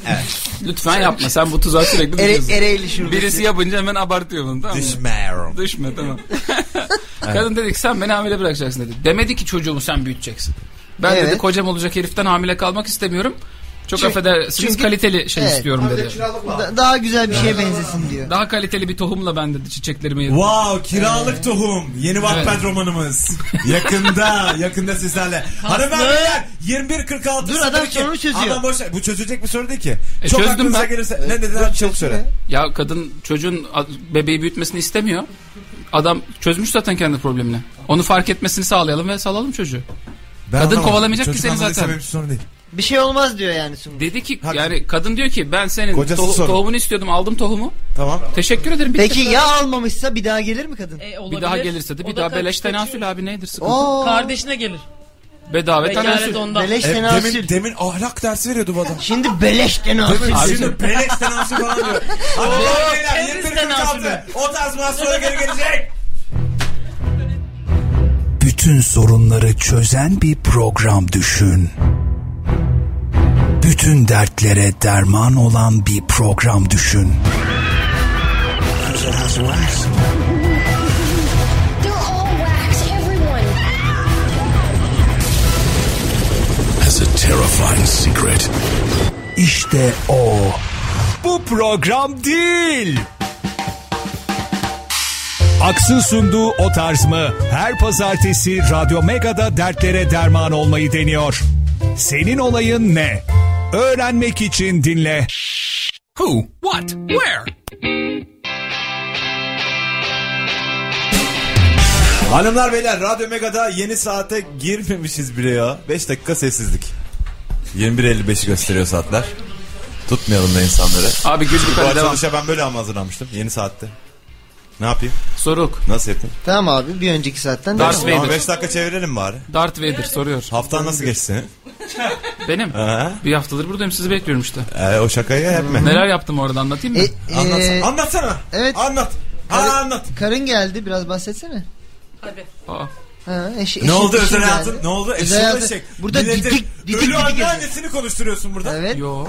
Speaker 4: Evet. Lütfen yapma sen bu tuzağa sürekli
Speaker 3: Ere,
Speaker 4: düşüyorsun.
Speaker 3: Ereğli şurada.
Speaker 4: Birisi yapınca hemen abartıyor bunu tamam mı?
Speaker 2: Düşmüyorum.
Speaker 4: Düşme tamam. Kadın dedi ki sen beni hamile bırakacaksın dedi. Demedi ki çocuğumu sen büyüteceksin. Ben dedi
Speaker 3: Evet.
Speaker 4: kocam olacak heriften hamile kalmak istemiyorum. Çok
Speaker 3: Çünkü-
Speaker 4: affedersiniz
Speaker 3: çünkü-
Speaker 4: kaliteli şey
Speaker 3: Evet.
Speaker 4: istiyorum
Speaker 8: Bir de
Speaker 4: dedi.
Speaker 8: kiralık var.
Speaker 3: Da- daha güzel bir şeye benzesin diyor.
Speaker 4: Daha kaliteli bir tohumla ben dedi çiçeklerimi yedim.
Speaker 2: Wow kiralık tohum. Yeni Wattpad
Speaker 4: Evet.
Speaker 2: romanımız. Yakında, yakında sizlerle. Hanımlar beyler 21.46
Speaker 3: Dur, adam
Speaker 2: 02.
Speaker 3: sorunu çözüyor.
Speaker 2: Adam boş ver. Bu çözülecek bir soru değil ki.
Speaker 4: E,
Speaker 2: Çok
Speaker 4: çözdüm
Speaker 2: aklınıza
Speaker 4: ben.
Speaker 2: gelirse. Ne dedin abi çabuk söyle.
Speaker 4: Ya kadın çocuğun a- bebeği büyütmesini istemiyor. Adam çözmüş zaten kendi problemini. Onu fark etmesini sağlayalım ve salalım çocuğu.
Speaker 2: Ben
Speaker 4: Kadın
Speaker 2: anlamadım.
Speaker 4: kovalamayacak ki
Speaker 2: Çocuk
Speaker 4: seni
Speaker 2: anladıysa
Speaker 4: zaten.
Speaker 2: benim için sorun değil.
Speaker 3: Bir şey olmaz diyor yani Sungur.
Speaker 4: Dedi ki
Speaker 2: Haklısın.
Speaker 4: yani kadın diyor ki ben senin
Speaker 2: Kocası
Speaker 4: to-
Speaker 2: sorun.
Speaker 4: tohumunu istiyordum aldım tohumu.
Speaker 2: Tamam.
Speaker 4: Teşekkür ederim. bitti.
Speaker 3: Peki ya almamışsa bir daha gelir mi kadın?
Speaker 5: E,
Speaker 4: bir
Speaker 5: olabilir.
Speaker 4: daha gelirse de
Speaker 5: O
Speaker 4: bir
Speaker 5: da
Speaker 4: daha
Speaker 5: ka-
Speaker 4: beleş
Speaker 5: kaçıyor.
Speaker 4: tenasül abi nedir sıkıntı?
Speaker 3: Oo.
Speaker 5: Kardeşine gelir.
Speaker 4: Bedava tenasül.
Speaker 5: Vekalet ondan.
Speaker 3: Beleş
Speaker 2: E,
Speaker 3: tenasül.
Speaker 2: demin, demin ahlak dersi veriyordu bu adam.
Speaker 3: Şimdi beleş tenasül.
Speaker 2: Abi
Speaker 4: Abi-
Speaker 2: şimdi beleş tenasül falan diyor. Abi beyler
Speaker 5: temiz
Speaker 2: 21.46.
Speaker 5: tenasülü.
Speaker 2: O tarz masumlara geri gelecek.
Speaker 7: Bütün sorunları çözen bir program düşün. Bütün dertlere derman olan bir program düşün.
Speaker 6: They're all wax, everyone.
Speaker 7: As a terrifying secret. İşte o
Speaker 1: Bu program değil. Aks'ın sunduğu o tarz mı? Her pazartesi Radyo Mega'da dertlere derman olmayı deniyor. Senin olayın ne? Öğrenmek için dinle.
Speaker 7: Who, what, where?
Speaker 2: Hanımlar beyler Radyo Mega'da yeni saate girmemişiz bile ya. 5 dakika sessizlik. 21.55'i gösteriyor saatler. Tutmayalım da insanları.
Speaker 4: Abi güldük
Speaker 2: Bu
Speaker 4: hadi devam.
Speaker 2: açılışa ben böyle ama hazırlanmıştım yeni saatte. Ne yapayım?
Speaker 4: Soruk.
Speaker 2: Nasıl yapayım?
Speaker 3: Tamam abi bir önceki saatten
Speaker 4: Darth
Speaker 3: devam.
Speaker 4: Vader.
Speaker 2: Ama 5 dakika çevirelim bari.
Speaker 4: Darth Vader soruyor.
Speaker 2: Haftan nasıl geçti
Speaker 4: Benim.
Speaker 2: Aha.
Speaker 4: Bir haftadır buradayım sizi bekliyorum işte.
Speaker 2: Ee, o şakayı yapma.
Speaker 4: Neler yaptım orada anlatayım mı?
Speaker 3: E, e,
Speaker 2: Anlatsana. Anlatsana.
Speaker 3: evet.
Speaker 2: Anlat.
Speaker 3: Karı-
Speaker 2: Ha, anlat.
Speaker 3: Karın geldi biraz bahsetsene.
Speaker 5: Hadi.
Speaker 4: Aa.
Speaker 3: Ha, eşi-
Speaker 2: Ne
Speaker 3: eşi-
Speaker 2: oldu
Speaker 3: eşi
Speaker 2: özel
Speaker 3: geldi.
Speaker 2: hayatın? Ne oldu?
Speaker 3: şey Özel
Speaker 2: Eşyalı
Speaker 3: hayatı-
Speaker 2: eşek.
Speaker 3: Burada
Speaker 2: Milleti-
Speaker 3: didik didik
Speaker 2: Ölü
Speaker 3: didik edeceğiz.
Speaker 2: anneannesini konuşturuyorsun burada.
Speaker 3: Evet.
Speaker 4: Yo.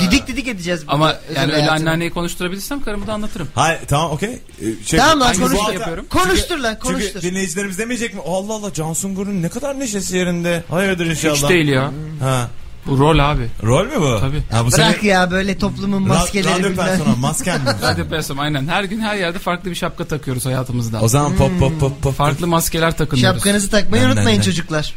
Speaker 3: Didik didik edeceğiz. burada
Speaker 4: Ama
Speaker 3: özel
Speaker 4: yani öyle
Speaker 3: hayatını.
Speaker 4: anneanneyi konuşturabilirsem karımı da anlatırım.
Speaker 2: Hayır tamam okey. Ee, Şey,
Speaker 3: Tamam lan
Speaker 4: Hangi
Speaker 3: konuştur.
Speaker 4: bu yapıyorum?
Speaker 3: Konuştur lan konuştur.
Speaker 2: Çünkü dinleyicilerimiz demeyecek mi? Allah Allah Can Sungur'un ne kadar neşesi yerinde. Hayırdır inşallah.
Speaker 4: Hiç değil ya.
Speaker 2: Ha.
Speaker 4: Bu rol abi.
Speaker 2: Rol mü bu?
Speaker 4: Tabii.
Speaker 2: Ha, bu
Speaker 3: Bırak ya böyle toplumun
Speaker 2: Ra-
Speaker 3: maskeleri
Speaker 2: radyo
Speaker 3: bilmem.
Speaker 2: personel masken mi?
Speaker 4: Radyo Persona, aynen. Her gün her yerde farklı bir şapka takıyoruz hayatımızda.
Speaker 2: o zaman pop pop pop pop.
Speaker 4: Farklı maskeler takınıyoruz.
Speaker 3: Şapkanızı takmayı
Speaker 2: Ben- ben-
Speaker 3: unutmayın
Speaker 2: ben.
Speaker 3: çocuklar.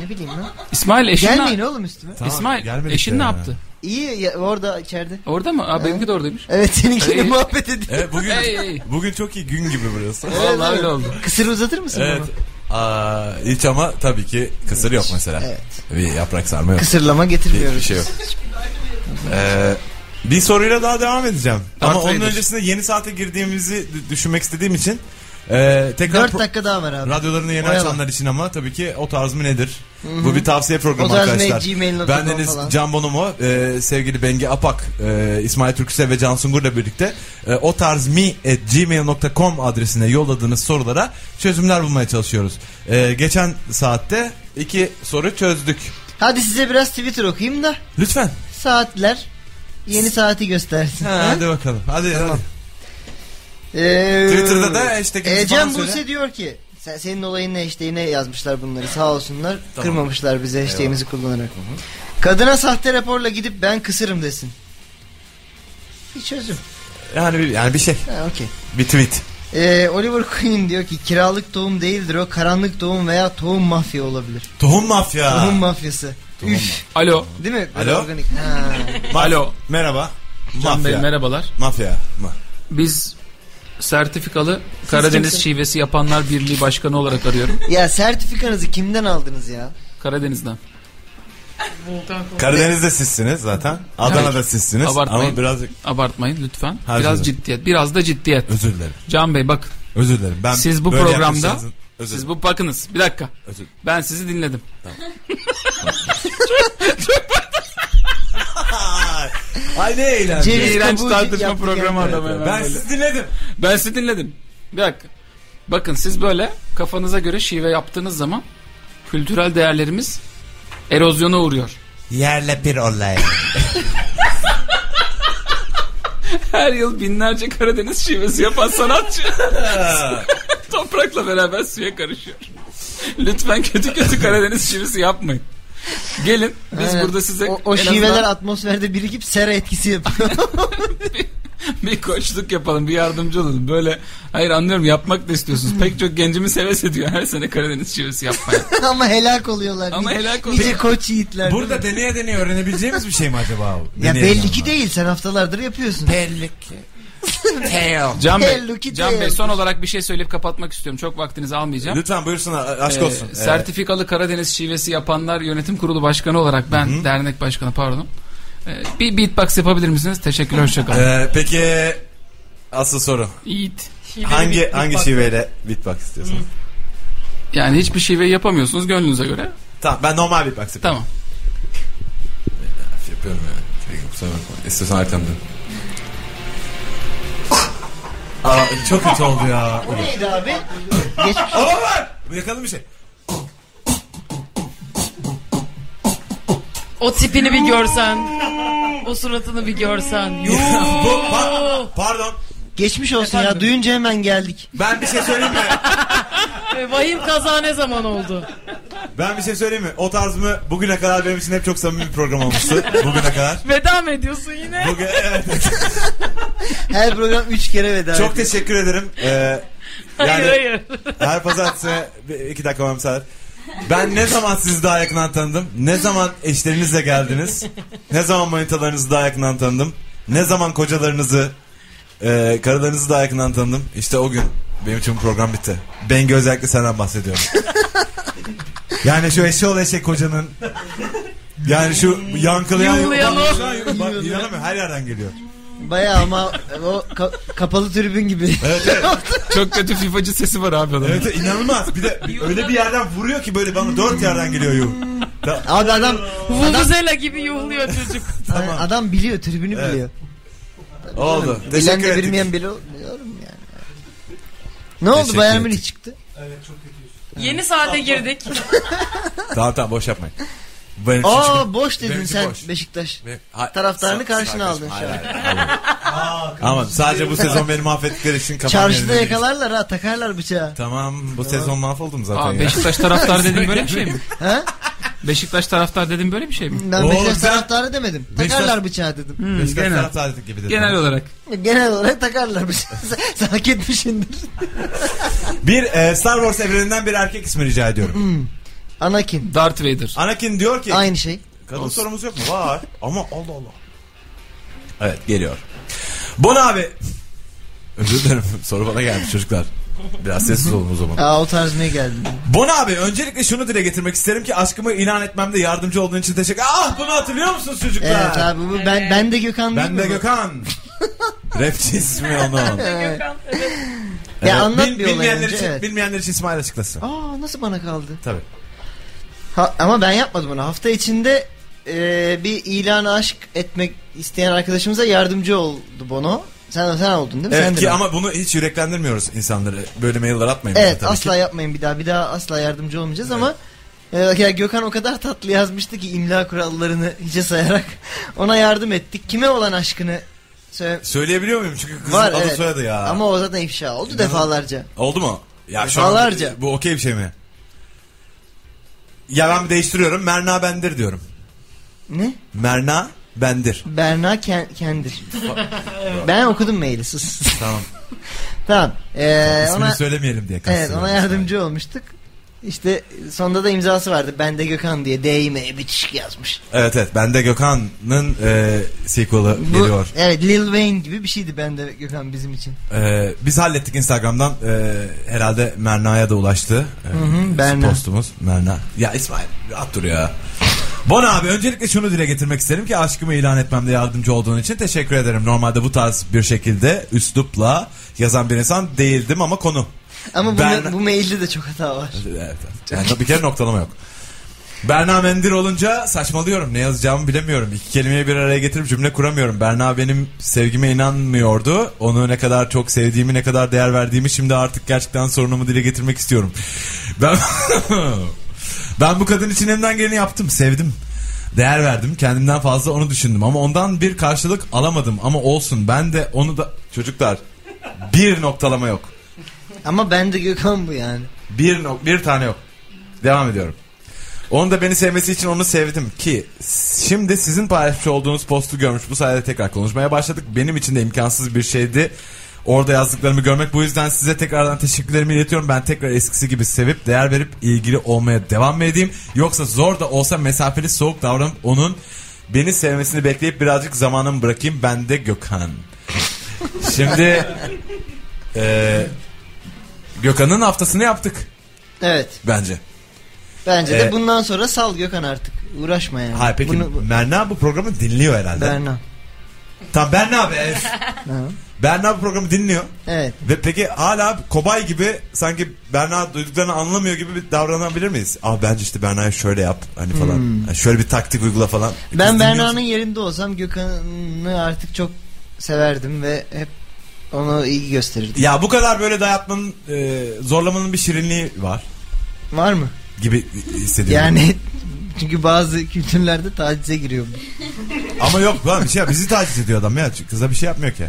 Speaker 3: Ne bileyim lan.
Speaker 4: İsmail eşin
Speaker 3: Gelmeyin
Speaker 4: ne...
Speaker 3: oğlum üstüme.
Speaker 2: Tamam,
Speaker 4: İsmail
Speaker 2: gelmedik
Speaker 4: eşin ne
Speaker 2: ya.
Speaker 4: yaptı?
Speaker 3: İyi ya, orada içeride.
Speaker 4: Orada mı? Aa, benimki de oradaymış.
Speaker 3: Evet seninkiyle
Speaker 4: İyi.
Speaker 3: muhabbet edin.
Speaker 2: Evet bugün
Speaker 4: Ey, ey.
Speaker 2: bugün çok iyi gün gibi burası.
Speaker 4: Vallahi öyle oldu.
Speaker 3: Kısır uzatır mısın
Speaker 2: evet.
Speaker 3: bunu?
Speaker 2: Aa, hiç ama tabii ki kısır yok mesela.
Speaker 3: Evet.
Speaker 2: Bir yaprak sarma yok.
Speaker 3: Kısırlama
Speaker 2: Bir,
Speaker 3: getirmiyoruz.
Speaker 2: bir şey yok. Ee, bir soruyla daha devam edeceğim. ama
Speaker 4: Darth
Speaker 2: onun
Speaker 4: Vader.
Speaker 2: öncesinde yeni saate girdiğimizi d- düşünmek istediğim için e, tekrar
Speaker 3: 4
Speaker 2: pro-
Speaker 3: dakika daha var abi.
Speaker 2: radyolarını yeni
Speaker 3: Oyalan.
Speaker 2: açanlar için ama tabii ki o tarz mı nedir? Bu bir tavsiye
Speaker 3: O
Speaker 2: programı
Speaker 3: tarz ne?
Speaker 2: arkadaşlar.
Speaker 3: gmail.com
Speaker 2: Bendeniz
Speaker 3: falan.
Speaker 2: Can Bonomo, e, sevgili Bengi Apak, e, İsmail Türküse ve Can Sungur'la birlikte e, o tarz mi gmail.com adresine yolladığınız sorulara çözümler bulmaya çalışıyoruz. E, geçen saatte iki soru çözdük.
Speaker 3: Hadi size biraz Twitter okuyayım da
Speaker 2: Lütfen.
Speaker 3: saatler yeni saati göstersin.
Speaker 2: Ha,
Speaker 3: Ha?
Speaker 2: hadi bakalım. Hadi. hadi.
Speaker 3: Ee,
Speaker 2: Twitter'da da hashtag'imizi
Speaker 3: Ecem
Speaker 2: falan söyle.
Speaker 3: Buse diyor ki sen, senin olayın ne işte yine yazmışlar bunları sağ olsunlar. Kırmamışlar bize hashtag'imizi kullanarak. Kadına sahte raporla gidip ben kısırım desin. Bir çözüm.
Speaker 2: Yani bir, yani bir şey.
Speaker 3: Ha, okey.
Speaker 2: Bir tweet.
Speaker 3: Ee, Oliver Queen diyor ki kiralık tohum değildir o karanlık tohum veya tohum mafya olabilir.
Speaker 2: Tohum mafya.
Speaker 3: Tohum mafyası. Üf.
Speaker 4: Alo.
Speaker 3: Değil mi? Böyle
Speaker 2: Alo?
Speaker 3: organik. Ha.
Speaker 2: Alo. Merhaba.
Speaker 4: Can Bey
Speaker 2: mafya.
Speaker 4: merhabalar.
Speaker 2: Mafya. Ma-
Speaker 4: Biz sertifikalı Karadeniz şivesi yapanlar birliği başkanı olarak arıyorum.
Speaker 3: ya sertifikanızı kimden aldınız ya?
Speaker 4: Karadeniz'den.
Speaker 2: Karadeniz'de sizsiniz zaten. Adana'da sizsiniz.
Speaker 4: Abartmayın.
Speaker 2: Ama biraz
Speaker 4: Abartmayın lütfen.
Speaker 2: Her
Speaker 4: biraz
Speaker 2: zaman.
Speaker 4: ciddiyet. Biraz da ciddiyet.
Speaker 2: özür dilerim.
Speaker 4: Can Bey bak.
Speaker 2: Özür dilerim. Ben
Speaker 4: Siz bu
Speaker 2: böyle
Speaker 4: programda-
Speaker 2: yaklaşacağınızın- özür
Speaker 4: Siz bu bakınız. Bir dakika.
Speaker 2: Özür-
Speaker 4: Ben sizi dinledim.
Speaker 2: Ay, Ay ne eğlenceli.
Speaker 3: Ceviz
Speaker 4: İğrenç
Speaker 3: kabuğu
Speaker 4: tartışma
Speaker 3: yaptık
Speaker 4: programı
Speaker 3: yani.
Speaker 4: adamı hemen
Speaker 2: Ben
Speaker 4: böyle.
Speaker 2: sizi dinledim.
Speaker 4: Ben sizi dinledim. Bir dakika. Bakın siz böyle kafanıza göre şive yaptığınız zaman kültürel değerlerimiz erozyona uğruyor.
Speaker 2: Yerle bir olay.
Speaker 4: Her yıl binlerce Karadeniz şivesi yapan sanatçı toprakla beraber suya karışıyor. Lütfen kötü kötü Karadeniz şivesi yapmayın. Gelin biz
Speaker 3: Aynen.
Speaker 4: burada size
Speaker 3: o, o
Speaker 4: en
Speaker 3: şiveler
Speaker 4: azından
Speaker 3: atmosferde birikip sera etkisi yapıyor.
Speaker 4: bir koçluk yapalım, bir yardımcı olalım. Böyle hayır anlıyorum yapmak da istiyorsunuz. Pek çok gencimi seves ediyor her sene Karadeniz şivesi yapmaya.
Speaker 3: Ama helak oluyorlar.
Speaker 4: Ama
Speaker 3: Nice-
Speaker 4: helak
Speaker 3: Nice
Speaker 4: oluyor.
Speaker 3: koç yiğitler.
Speaker 2: Burada deneye deneye öğrenebileceğimiz bir şey mi acaba? bu?
Speaker 3: ya
Speaker 2: Deneyelim
Speaker 3: belli ki
Speaker 2: ama.
Speaker 3: değil sen haftalardır yapıyorsun.
Speaker 2: Belli ki. Teo.
Speaker 4: Can Bey,
Speaker 3: Hello Kitty
Speaker 4: Can Bey
Speaker 3: yapmış.
Speaker 4: son olarak bir şey söyleyip kapatmak istiyorum. Çok vaktinizi almayacağım.
Speaker 2: Lütfen buyursunlar a- aşk
Speaker 4: Ee,
Speaker 2: olsun. Ee,
Speaker 4: sertifikalı Karadeniz şivesi yapanlar yönetim kurulu başkanı olarak ben dernek başkanı pardon. Ee, bir beatbox yapabilir misiniz? Teşekkürler hoşçakalın.
Speaker 2: e, peki asıl soru.
Speaker 4: Yiğit.
Speaker 2: Hangi hangi şiveyle beatbox istiyorsun?
Speaker 4: Yani hiçbir şive yapamıyorsunuz gönlünüze göre.
Speaker 2: Tamam ben normal beatbox yapıyorum.
Speaker 4: Tamam.
Speaker 2: Şey Yapıyorum Şey, yani. Peki, Kusura bakma. İstiyorsan arkamda. Aa, çok kötü oldu ya.
Speaker 3: Neydi abi? Geçmiş.
Speaker 2: Ama var. Yakaladım bir şey.
Speaker 5: O tipini bir görsen. O suratını bir görsen. Yuh.
Speaker 2: Bu, pa- pardon.
Speaker 3: Geçmiş olsun ya duyunca hemen geldik.
Speaker 2: Ben bir şey söyleyeyim mi?
Speaker 5: Ve Vahim kaza ne zaman oldu?
Speaker 2: Ben bir şey söyleyeyim mi? O tarz mı? Bugüne kadar benim için hep çok samimi bir program olmuştu. Bugüne kadar.
Speaker 5: Veda mı ediyorsun yine?
Speaker 2: Bugün, evet.
Speaker 3: Her program 3 kere veda
Speaker 2: Çok
Speaker 3: ediyor.
Speaker 2: teşekkür ederim. Ee,
Speaker 5: Hayır
Speaker 2: yani
Speaker 5: hayır.
Speaker 2: her pazartesi bir- iki dakika var müsaade. Ben ne zaman sizi daha yakından tanıdım? Ne zaman eşlerinizle geldiniz? Ne zaman manitalarınızı daha yakından tanıdım? Ne zaman kocalarınızı, e, karılarınızı daha yakından tanıdım? İşte o gün benim için bu program bitti. Bengi özellikle senden bahsediyorum. yani şu eşi eşek kocanın... Yani şu yankılayan...
Speaker 5: Yumlayan o.
Speaker 2: Bak, bak, inanamıyorum, her yerden geliyor.
Speaker 3: Baya ama o ka- kapalı tribün gibi.
Speaker 2: Evet evet.
Speaker 4: Çok kötü FIFA'cı sesi var abi adamın.
Speaker 2: Evet evet, inanılmaz. Bir de öyle bir yerden vuruyor ki böyle bana dört yerden geliyor yuh. Ta-
Speaker 3: Abi adam
Speaker 5: Vuvuzela gibi yuhluyor çocuk.
Speaker 2: Tamam.
Speaker 3: adam biliyor tribünü
Speaker 2: Evet.
Speaker 3: biliyor.
Speaker 2: Oldu.
Speaker 3: Bilen
Speaker 2: Teşekkür
Speaker 3: de
Speaker 2: ettik.
Speaker 3: bilmeyen bile oluyorum yani. Ne oldu
Speaker 2: Teşekkür
Speaker 3: Bayern
Speaker 2: ettik.
Speaker 3: Münih çıktı.
Speaker 5: Yeni saate girdik.
Speaker 2: Tamam tamam boş yapmayın. Benim için çünkü-
Speaker 3: Aa boş dedin
Speaker 2: Benimki
Speaker 3: sen
Speaker 2: boş.
Speaker 3: Beşiktaş.
Speaker 2: Benim- Hayır,
Speaker 3: Taraftarını
Speaker 2: sa-
Speaker 3: karşına
Speaker 2: sa-
Speaker 3: aldın şu
Speaker 2: Hayır,
Speaker 3: an.
Speaker 2: hayır, hayır. Ama sadece bu sezon beni mahvettikleri için kafam
Speaker 3: Çarşıda
Speaker 2: yerine değil.
Speaker 3: yakalarlar ha takarlar bıçağı.
Speaker 2: Tamam bu sezon mahvoldum zaten
Speaker 4: Aa,
Speaker 2: ya.
Speaker 4: Beşiktaş taraftar dediğim böyle bir şey mi?
Speaker 3: Ha?
Speaker 4: Beşiktaş taraftar dedim böyle bir şey mi?
Speaker 3: Ben
Speaker 2: Oğlum
Speaker 3: Beşiktaş
Speaker 2: sen-
Speaker 3: taraftarı demedim.
Speaker 2: Beşiktaş-
Speaker 3: Takarlar bıçağı dedim.
Speaker 4: Hmm,
Speaker 2: Beşiktaş
Speaker 4: genel.
Speaker 2: taraftarı gibi dedi.
Speaker 4: Genel olarak.
Speaker 3: Genel olarak takarlar bıçağı. Sen- Sen hak etmişsindir.
Speaker 2: Bir e, Star Wars evreninden bir erkek ismi rica
Speaker 3: Hmm.
Speaker 2: ediyorum.
Speaker 3: Anakin.
Speaker 4: Darth Vader.
Speaker 2: Anakin diyor ki
Speaker 3: Aynı şey.
Speaker 2: Kadın sorumuz yok mu? Var. Ama Allah Allah. Evet geliyor. Bon abi. Özür dilerim. Soru bana gelmiş çocuklar. Biraz sessiz olun o zaman.
Speaker 3: Aa, o tarz ne geldi?
Speaker 2: Bon abi öncelikle şunu dile getirmek isterim ki aşkımı ilan etmemde yardımcı olduğun için teşekkür Ah bunu hatırlıyor musunuz çocuklar?
Speaker 3: Evet abi bu ben, ben de Gökhan değil
Speaker 2: Ben de
Speaker 3: mi bu?
Speaker 2: Gökhan. Rapçi ismi onun.
Speaker 5: Gökhan, evet.
Speaker 3: Ya anlat bir olay
Speaker 2: bilmeyenler
Speaker 3: önce,
Speaker 2: için,
Speaker 3: evet.
Speaker 2: bilmeyenler için İsmail açıklasın.
Speaker 3: Aa nasıl bana kaldı?
Speaker 2: Tabii.
Speaker 3: Ha, ama ben yapmadım onu. Hafta içinde e, bir ilanı aşk etmek isteyen arkadaşımıza yardımcı oldu Bono. Sen sen oldun değil mi? Sen
Speaker 2: Evet
Speaker 3: de
Speaker 2: ki
Speaker 3: ben.
Speaker 2: ama bunu hiç yüreklendirmiyoruz insanları. Böyle mailler atmayın. bize
Speaker 3: Evet
Speaker 2: tabii
Speaker 3: asla
Speaker 2: ki.
Speaker 3: yapmayın bir daha. Bir daha asla yardımcı olmayacağız ama e, ya Gökhan o kadar tatlı yazmıştı ki imla kurallarını hiçe sayarak ona yardım ettik. Kime olan aşkını söyle
Speaker 2: Söyleyebiliyor muyum? Çünkü kızın
Speaker 3: var
Speaker 2: adı
Speaker 3: evet.
Speaker 2: soyadı ya.
Speaker 3: Ama o zaten ifşa oldu defalarca.
Speaker 2: Oldu mu? Ya şu an
Speaker 3: Defalarca.
Speaker 2: bu okey bir şey mi? Ya ben değiştiriyorum. Merna Bendir diyorum.
Speaker 3: Ne?
Speaker 2: Merna Bendir.
Speaker 3: Berna Ken- Kendir. ben okudum maili sus.
Speaker 2: Tamam.
Speaker 3: tamam. Ee,
Speaker 2: İsmini
Speaker 3: ona,
Speaker 2: söylemeyelim diye kastım.
Speaker 3: evet, ona yardımcı olmuştuk. İşte sonda da imzası vardı. Ben de Gökhan diye değme bitişik yazmış.
Speaker 2: Evet evet. Bende Gökhan'ın e, sequel'ı
Speaker 3: Bu,
Speaker 2: geliyor.
Speaker 3: Evet Lil Wayne gibi bir şeydi ben de Gökhan bizim için.
Speaker 2: E, biz hallettik Instagram'dan. E, herhalde Merna'ya da ulaştı. E,
Speaker 3: hı, Berna.
Speaker 2: Postumuz Merna. Ya İsmail rahat dur ya. Bon abi öncelikle şunu dile getirmek isterim ki aşkımı ilan etmemde yardımcı olduğun için teşekkür ederim. Normalde bu tarz bir şekilde üslupla yazan bir insan değildim ama konu
Speaker 3: Ama bu,
Speaker 2: Ben-
Speaker 3: bu mailde de çok hata var.
Speaker 2: Evet, evet. Yani bir kere noktalama yok. Berna Mendir olunca saçmalıyorum. Ne yazacağımı bilemiyorum. İki kelimeyi bir araya getirip cümle kuramıyorum. Berna benim sevgime inanmıyordu. Onu ne kadar çok sevdiğimi, ne kadar değer verdiğimi şimdi artık gerçekten sorunumu dile getirmek istiyorum. Ben ben bu kadın için elimden geleni yaptım. Sevdim. Değer verdim. Kendimden fazla onu düşündüm. Ama ondan bir karşılık alamadım. Ama olsun. Ben de onu da... Çocuklar bir noktalama yok.
Speaker 3: Ama ben de Gökhan bu yani.
Speaker 2: Bir, no- bir tane yok. Devam ediyorum. Onu da beni sevmesi için onu sevdim ki şimdi sizin paylaşmış olduğunuz postu görmüş bu sayede tekrar konuşmaya başladık. Benim için de imkansız bir şeydi orada yazdıklarımı görmek. Bu yüzden size tekrardan teşekkürlerimi iletiyorum. Ben tekrar eskisi gibi sevip değer verip ilgili olmaya devam mı edeyim? Yoksa zor da olsa mesafeli soğuk davranıp onun beni sevmesini bekleyip birazcık zamanımı bırakayım. Ben de Gökhan. Şimdi eee, Gökhan'ın haftasını yaptık
Speaker 3: Evet.
Speaker 2: bence.
Speaker 3: Bence
Speaker 2: Ee,
Speaker 3: de bundan sonra sal Gökhan artık. Uğraşma yani.
Speaker 2: Hayır peki
Speaker 3: Bunu, bu-
Speaker 2: Merna bu programı dinliyor herhalde.
Speaker 3: Berna.
Speaker 2: Tamam Berna be. evet.
Speaker 3: Tamam.
Speaker 2: Berna bu programı dinliyor.
Speaker 3: Evet.
Speaker 2: Ve peki hala kobay gibi sanki Berna duyduklarını anlamıyor gibi bir davranabilir miyiz? Aa bence işte Berna'ya şöyle yap hani falan. Yani şöyle bir taktik uygula falan. Kız
Speaker 3: Hmm. Ben
Speaker 2: dinliyor
Speaker 3: Berna'nın
Speaker 2: musun?
Speaker 3: yerinde olsam Gökhan'ı artık çok severdim ve hep onu iyi gösterirdim.
Speaker 2: Ya bu kadar böyle dayatmanın e, zorlamanın bir şirinliği var
Speaker 3: Var mı?
Speaker 2: gibi hissediyorum.
Speaker 3: Yani çünkü bazı kültürlerde tacize giriyor. bu.
Speaker 2: Ama yok lan bir şey yap. Bizi taciz ediyor adam ya. Kıza bir şey yapmıyor ki.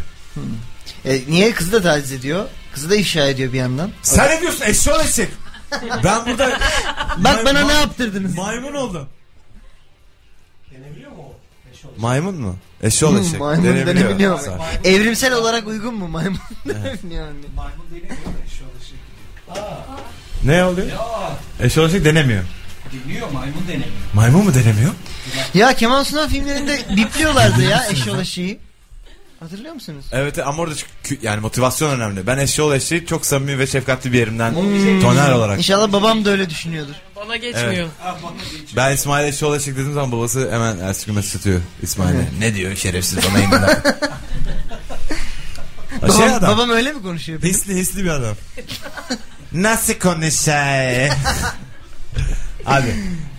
Speaker 3: E, niye kızı da taciz ediyor? Kızı da ifşa ediyor bir yandan.
Speaker 2: Sen ne diyorsun? Eşşoğlu eşek. Ben burada...
Speaker 3: Bak bana
Speaker 2: Ma-
Speaker 3: ne yaptırdınız?
Speaker 2: Maymun oldum. Maymun mu? Eşşoğlu
Speaker 3: Hmm,
Speaker 2: eşek.
Speaker 3: maymun
Speaker 2: Denebiliyor.
Speaker 3: denebiliyor.
Speaker 2: Sağ-
Speaker 3: Evrimsel olarak uygun mu maymun? denebiliyor yani.
Speaker 8: Maymun değil mi? Eşyalı şey.
Speaker 2: Ne oluyor? Eşşoğlu eşek denemiyor.
Speaker 8: Deniyor maymun denemiyor.
Speaker 2: Maymun mu denemiyor?
Speaker 3: Ya Kemal Sunal filmlerinde bipliyorlardı ya eşyola şeyi. Hatırlıyor musunuz?
Speaker 2: Evet e, ama orada çünkü- yani motivasyon önemli. Ben eşşoğlu eşeği çok samimi ve şefkatli bir yerimden toner olarak.
Speaker 3: İnşallah babam da öyle düşünüyordur.
Speaker 5: Bana geçmiyor.
Speaker 2: Ben İsmail eşşoğlu eşek dediğim zaman babası hemen ertesi gün mesaj atıyor İsmail'e. ne diyor şerefsiz bana engel. şey
Speaker 3: Babam,
Speaker 2: adam.
Speaker 3: babam öyle mi konuşuyor?
Speaker 2: Hisli hisli bir adam. Nasıl konuşay? Abi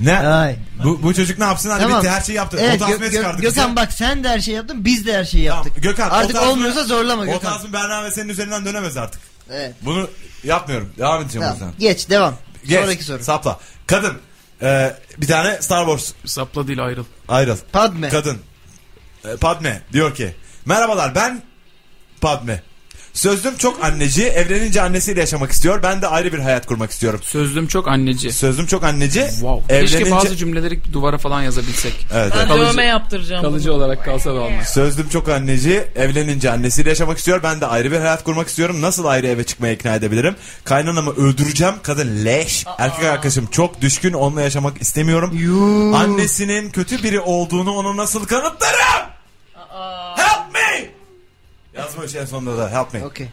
Speaker 2: ne?
Speaker 3: Ay.
Speaker 2: Bu, bu çocuk ne yapsın? Hadi
Speaker 3: Tamam.
Speaker 2: bitti her şeyi yaptı.
Speaker 3: Evet,
Speaker 2: o
Speaker 3: Gö-
Speaker 2: tasmaya
Speaker 3: Gö-
Speaker 2: çıkardık.
Speaker 3: Gökhan
Speaker 2: bize.
Speaker 3: bak sen de her şeyi yaptın biz de her şeyi
Speaker 2: Tamam,
Speaker 3: yaptık.
Speaker 2: Gökhan, o
Speaker 3: Artık
Speaker 2: tasma-
Speaker 3: olmuyorsa zorlama
Speaker 2: O
Speaker 3: Gökhan.
Speaker 2: tasmin Berna ve senin üzerinden dönemez artık.
Speaker 3: Evet.
Speaker 2: Bunu yapmıyorum. Devam edeceğim o
Speaker 3: Tamam.
Speaker 2: yüzden.
Speaker 3: Geç devam.
Speaker 2: Geç,
Speaker 3: Sonraki soru.
Speaker 2: Sapla. Kadın. Ee, bir tane Star Wars
Speaker 4: Sapla değil ayrıl.
Speaker 2: ayrıl. e,
Speaker 3: Padme.
Speaker 2: Kadın. Ee, Padme diyor ki. Merhabalar ben Padme. Sözlüm çok anneci. Evlenince annesiyle yaşamak istiyor. Ben de ayrı bir hayat kurmak istiyorum.
Speaker 4: Sözlüm çok anneci.
Speaker 2: Sözlüm çok anneci.
Speaker 4: Wow. Keşke
Speaker 2: Evlenince...
Speaker 4: bazı cümleleri duvara falan yazabilsek.
Speaker 2: Evet,
Speaker 5: Ben
Speaker 2: evet.
Speaker 4: Kalıcı-
Speaker 5: dövme yaptıracağım.
Speaker 4: Kalıcı olarak kalsa da olmaz.
Speaker 2: Sözlüm çok anneci. Evlenince annesiyle yaşamak istiyor. Ben de ayrı bir hayat kurmak istiyorum. Nasıl ayrı eve çıkmaya ikna edebilirim? Kaynanamı öldüreceğim. Kadın leş. Erkek arkadaşım çok düşkün. Onunla yaşamak istemiyorum. Annesinin kötü biri olduğunu ona nasıl kanıtlarım? Help me! Yazmış en sonunda da help me.
Speaker 3: Okey.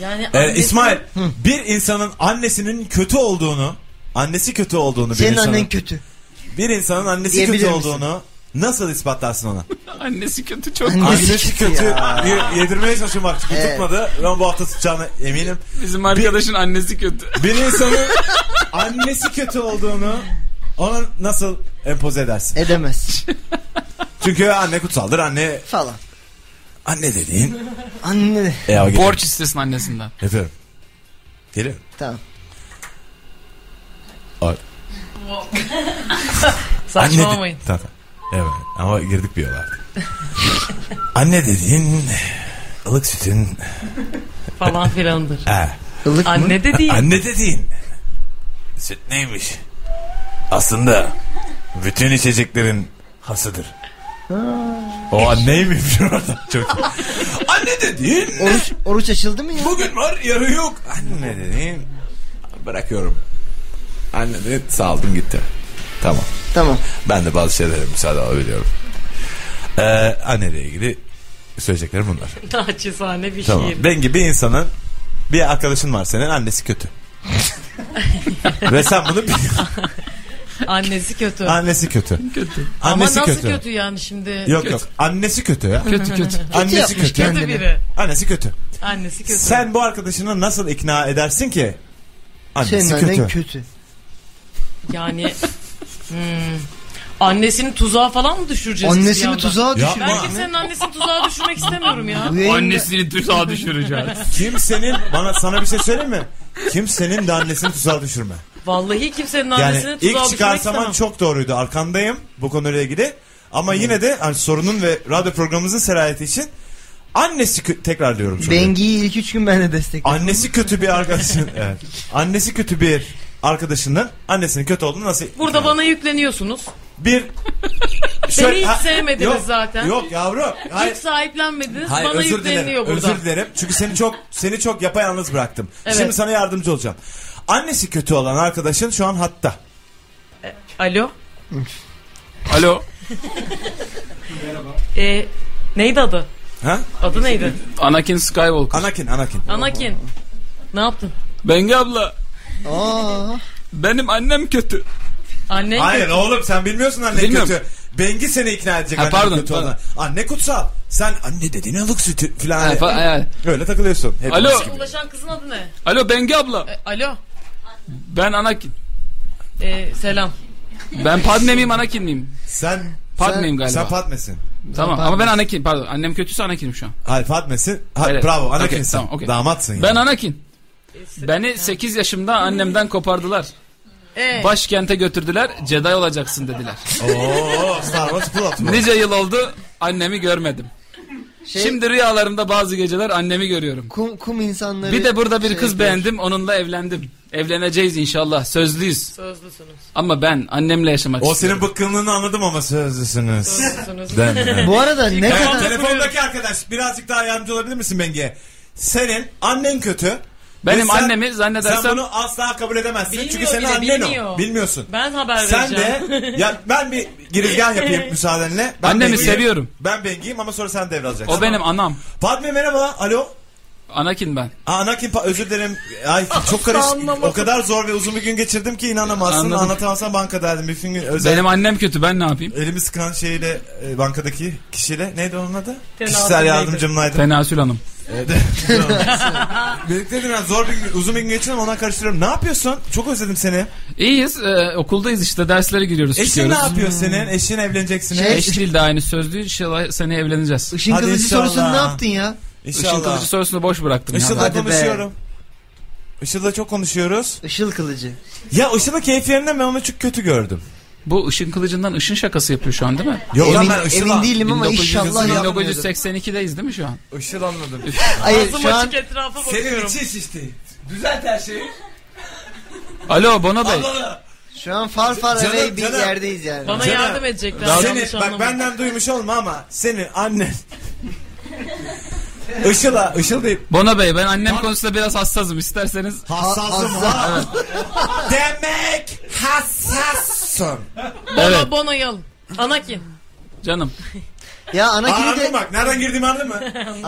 Speaker 5: Yani
Speaker 2: Ee,
Speaker 5: annesi-
Speaker 2: İsmail bir insanın annesinin kötü olduğunu annesi kötü olduğunu bir
Speaker 3: Senin
Speaker 2: insanın,
Speaker 3: annen kötü.
Speaker 2: bir insanın annesi
Speaker 3: Diyebilir
Speaker 2: kötü
Speaker 3: misin?
Speaker 2: olduğunu nasıl ispatlarsın ona?
Speaker 4: Annesi kötü çok.
Speaker 2: Annesi kötü
Speaker 3: ya.
Speaker 2: y- yedirmeye çalışıyorum bak
Speaker 3: Evet.
Speaker 2: tutmadı. Ben bu hafta tutacağına eminim.
Speaker 4: Bizim arkadaşın annesi kötü.
Speaker 2: Bir insanın annesi kötü olduğunu ona nasıl empoze edersin?
Speaker 3: Edemez.
Speaker 2: Çünkü anne kutsaldır. Anne
Speaker 3: Falan.
Speaker 2: anne dediğin.
Speaker 3: Anne.
Speaker 2: E, o geliyor.
Speaker 4: Borç istesin annesinden.
Speaker 2: Yapıyorum. Geliyor.
Speaker 3: Tamam.
Speaker 2: Anne
Speaker 5: Saçmalamayın.
Speaker 2: de- Tamam, tamam. Evet ama girdik bir yola artık. Anne dediğin ılık sütün.
Speaker 5: Falan filandır.
Speaker 2: He.
Speaker 3: Ilık mı?
Speaker 5: Anne de değil.
Speaker 2: Anne dediğin süt neymiş? Aslında bütün içeceklerin hasıdır. O anneymiş orada çok. Anne dediğin
Speaker 3: Oruç, oruç açıldı mı ya?
Speaker 2: bugün var yarın yok. Anne dediğin bırakıyorum. Anne de saldım gitti. Tamam.
Speaker 3: Tamam.
Speaker 2: Ben de bazı şeylere müsaade alabiliyorum. Ee, anneyle ilgili söyleyeceklerim bunlar.
Speaker 5: Naçizane bir
Speaker 2: Tamam.
Speaker 5: şiir.
Speaker 2: Ben gibi bir insanın bir arkadaşın var senin annesi kötü. Ve sen bunu bil-
Speaker 5: Annesi kötü.
Speaker 2: annesi kötü.
Speaker 4: Kötü.
Speaker 5: Ama
Speaker 2: Annesi
Speaker 5: nasıl kötü.
Speaker 2: kötü.
Speaker 5: yani şimdi?
Speaker 2: Yok yok. Annesi kötü ya.
Speaker 4: Kötü kötü.
Speaker 2: Annesi
Speaker 3: yapmış
Speaker 2: kötü.
Speaker 5: Kötü biri.
Speaker 2: Annesi kötü.
Speaker 5: Annesi kötü.
Speaker 2: Sen bu arkadaşını nasıl ikna edersin ki? Annesi
Speaker 3: Senin
Speaker 2: kötü.
Speaker 3: annen kötü.
Speaker 5: Yani hmm, annesini tuzağa falan mı düşüreceğiz? biz bir
Speaker 3: Annesini
Speaker 5: yandan?
Speaker 3: tuzağa
Speaker 2: Yapma.
Speaker 5: Ben
Speaker 3: düşürmüş.
Speaker 5: kimsenin annesini tuzağa düşürmek istemiyorum ya.
Speaker 3: Bu yayında-
Speaker 4: Annesini tuzağa düşüreceğiz.
Speaker 2: Kimsenin bana sana bir şey söyleyeyim mi? Kimsenin de annesini tuzağa düşürme.
Speaker 5: Vallahi kimsenin annesini
Speaker 2: Yani
Speaker 5: tuzağa
Speaker 2: ilk
Speaker 5: düşürmek
Speaker 2: çıkarsaman
Speaker 5: istemem.
Speaker 2: çok doğruydu. Arkandayım bu konuyla ilgili. Ama yine de hani sorunun ve radyo programımızın serayeti için annesi kö- tekrar diyorum. soruyu.
Speaker 3: Bengi'yi ilk üç gün ben de destekledim.
Speaker 2: Annesi kötü bir arkadaşın. evet. Annesi kötü bir arkadaşının annesinin kötü olduğunu nasıl?
Speaker 5: Burada bana yükleniyorsunuz.
Speaker 2: bir
Speaker 5: Beni hiç sevmediniz
Speaker 2: yok,
Speaker 5: zaten.
Speaker 2: Yok yavrum. Hayır.
Speaker 5: Hiç sahiplenmediniz.
Speaker 2: Hayır
Speaker 5: bana
Speaker 2: özür
Speaker 5: yükleniyor
Speaker 2: dilerim.
Speaker 5: burada.
Speaker 2: Özür dilerim. Çünkü seni çok seni çok yapayalnız bıraktım.
Speaker 5: Evet.
Speaker 2: Şimdi sana yardımcı olacağım. Annesi kötü olan arkadaşın şu an hatta.
Speaker 5: Alo.
Speaker 4: Alo.
Speaker 5: Ee, neydi adı?
Speaker 2: Ha?
Speaker 5: Adı neydi?
Speaker 4: Anakin Skywalker.
Speaker 2: Anakin, Anakin.
Speaker 5: Anakin. Ne yaptın?
Speaker 4: Bengi abla
Speaker 3: Aa,
Speaker 4: benim annem kötü.
Speaker 5: Annen
Speaker 2: Hayır oğlum sen bilmiyorsun anne
Speaker 4: Bilmiyorum.
Speaker 2: kötü. Bengi seni ikna edecek
Speaker 4: Ha,
Speaker 2: anne
Speaker 4: pardon,
Speaker 2: kötü
Speaker 4: pardon.
Speaker 2: olan. Anne kutsal. Sen anne dediğin alık sütü falan.
Speaker 4: Ha, fa- ha.
Speaker 2: Öyle takılıyorsun. Hepimiz
Speaker 4: Alo.
Speaker 2: gibi.
Speaker 5: Ulaşan kızın adı ne?
Speaker 4: Alo Bengi abla
Speaker 5: E, alo.
Speaker 4: ben Anakin.
Speaker 5: Ee, selam.
Speaker 4: Ben Padme miyim Anakin miyim?
Speaker 2: Sen
Speaker 4: Padme'yim galiba.
Speaker 2: Sen Fatme'sin.
Speaker 4: tamam ama ben Anakin pardon annem kötüyse Anakin'im şu an.
Speaker 2: Hayır Fatme'sin. Ha,
Speaker 4: Evet.
Speaker 2: Bravo
Speaker 4: Okey,
Speaker 2: Anakin'sin.
Speaker 4: tamam, okey.
Speaker 2: Damatsın yani.
Speaker 4: Ben Anakin. Beni 8 yaşımda annemden kopardılar.
Speaker 5: Ee,
Speaker 4: Başkente götürdüler Jedi olacaksın dediler.
Speaker 2: Oo, Star Wars Plot bu.
Speaker 4: Nice yıl oldu annemi görmedim.
Speaker 3: şey,
Speaker 4: Şimdi rüyalarımda bazı geceler annemi görüyorum.
Speaker 3: kum, kum insanları...
Speaker 4: Bir de burada bir
Speaker 3: şey
Speaker 4: kız
Speaker 3: yapıyor.
Speaker 4: beğendim onunla evlendim. Evleneceğiz inşallah sözlüyüz.
Speaker 5: sözlüsünüz.
Speaker 4: Ama ben annemle yaşamak
Speaker 2: O
Speaker 4: istiyorum.
Speaker 2: senin bıkkınlığını anladım ama sözlüsünüz.
Speaker 5: Sözlüsünüz.
Speaker 2: Değil mi?
Speaker 3: Bu arada ne
Speaker 2: Tamam,
Speaker 3: kadar...
Speaker 2: telefondaki arkadaş birazcık daha yardımcı olabilir misin Bengi'ye? Senin annen kötü.
Speaker 4: Benim
Speaker 2: Ve sen-
Speaker 4: annemi zannedersem-
Speaker 2: Sen bunu asla kabul edemezsin.
Speaker 5: Bilmiyor
Speaker 2: çünkü senin
Speaker 5: bile,
Speaker 2: annen o.
Speaker 5: bilmiyor.
Speaker 2: Bilmiyorsun.
Speaker 5: Ben haber
Speaker 2: Sen de
Speaker 5: vereceğim.
Speaker 2: ya ben bir girizgah yapayım müsaadenle. Ben
Speaker 4: Annemi
Speaker 2: Bengi'yim.
Speaker 4: seviyorum.
Speaker 2: Ben Bengi'yim ama sonra sen devralacaksın.
Speaker 4: O benim anam.
Speaker 2: Padme merhaba. Alo.
Speaker 4: Anakin ben.
Speaker 2: Aa, Anakin pa- özür dilerim. Ay çok karışık. o kadar zor ve uzun bir gün geçirdim ki inanamazsın.
Speaker 4: Anladım.
Speaker 2: Anlatamazsan bankadaydım. Bir gün özel
Speaker 4: Benim annem kötü ben ne yapayım?
Speaker 2: elimi sıkan şeyle e, bankadaki kişiyle neydi onun adı?
Speaker 5: Tenasül
Speaker 2: Kişisel
Speaker 5: neydi?
Speaker 2: yardımcımlaydı.
Speaker 4: Tenasül Hanım.
Speaker 2: Birlikte dedim ben zor bir gün, uzun bir gün geçirdim ona karıştırıyorum. Ne yapıyorsun? Çok özledim seni.
Speaker 4: İyiyiz e, okuldayız işte derslere giriyoruz
Speaker 2: Eşin E ne
Speaker 4: çıkıyoruz.
Speaker 2: yapıyor senin? Eşin evleneceksiniz.
Speaker 3: Hmm. Şey-
Speaker 4: Eş değil de aynı sözlü inşallah seneye evleneceğiz.
Speaker 3: Işın
Speaker 2: Hadi
Speaker 3: kılıcı
Speaker 2: inşallah.
Speaker 3: sorusunu ne yaptın ya?
Speaker 4: Işın
Speaker 2: İnşallah.
Speaker 4: kılıcı sorusunu boş bıraktım. ya.
Speaker 2: Işıl'la
Speaker 3: Hadi be.
Speaker 2: konuşuyorum. Işıl'la çok konuşuyoruz.
Speaker 3: Işıl kılıcı.
Speaker 2: Ya Işıl'ın keyfi yerinden ben onu çok kötü gördüm.
Speaker 4: Bu ışın kılıcından ışın şakası yapıyor şu an değil mi?
Speaker 2: Yok
Speaker 3: emin,
Speaker 2: lan ben Işıl
Speaker 3: emin
Speaker 2: an-
Speaker 3: değilim ama
Speaker 4: 1900
Speaker 3: inşallah yapmıyordur.
Speaker 4: 1982'deyiz değil mi şu an?
Speaker 2: Işıl anladım.
Speaker 3: Hayır
Speaker 5: Ağzım
Speaker 3: şu an
Speaker 5: açık etrafa
Speaker 2: Senin
Speaker 5: bakıyorum.
Speaker 2: içi şişti. Düzelt her şeyi.
Speaker 4: Alo Bono Bey.
Speaker 3: şu an far far
Speaker 2: Canım,
Speaker 3: away bir
Speaker 2: canım.
Speaker 3: yerdeyiz yani.
Speaker 5: Bana
Speaker 2: Canım,
Speaker 5: yardım edecekler.
Speaker 2: Seni,
Speaker 5: yanlış
Speaker 2: bak
Speaker 5: anlama.
Speaker 2: benden duymuş olma ama seni annen. Işıl'a, Işıl deyip
Speaker 4: Bono Bey ben annem konusunda biraz hassasım isterseniz.
Speaker 2: hassasım ha. Demek hassassın.
Speaker 4: Evet
Speaker 5: Bana Bono'yu alın. Anakin.
Speaker 4: canım.
Speaker 3: Ya Anakin'i
Speaker 2: Anladın
Speaker 3: de
Speaker 2: mı bak nereden girdiğimi anladın mı?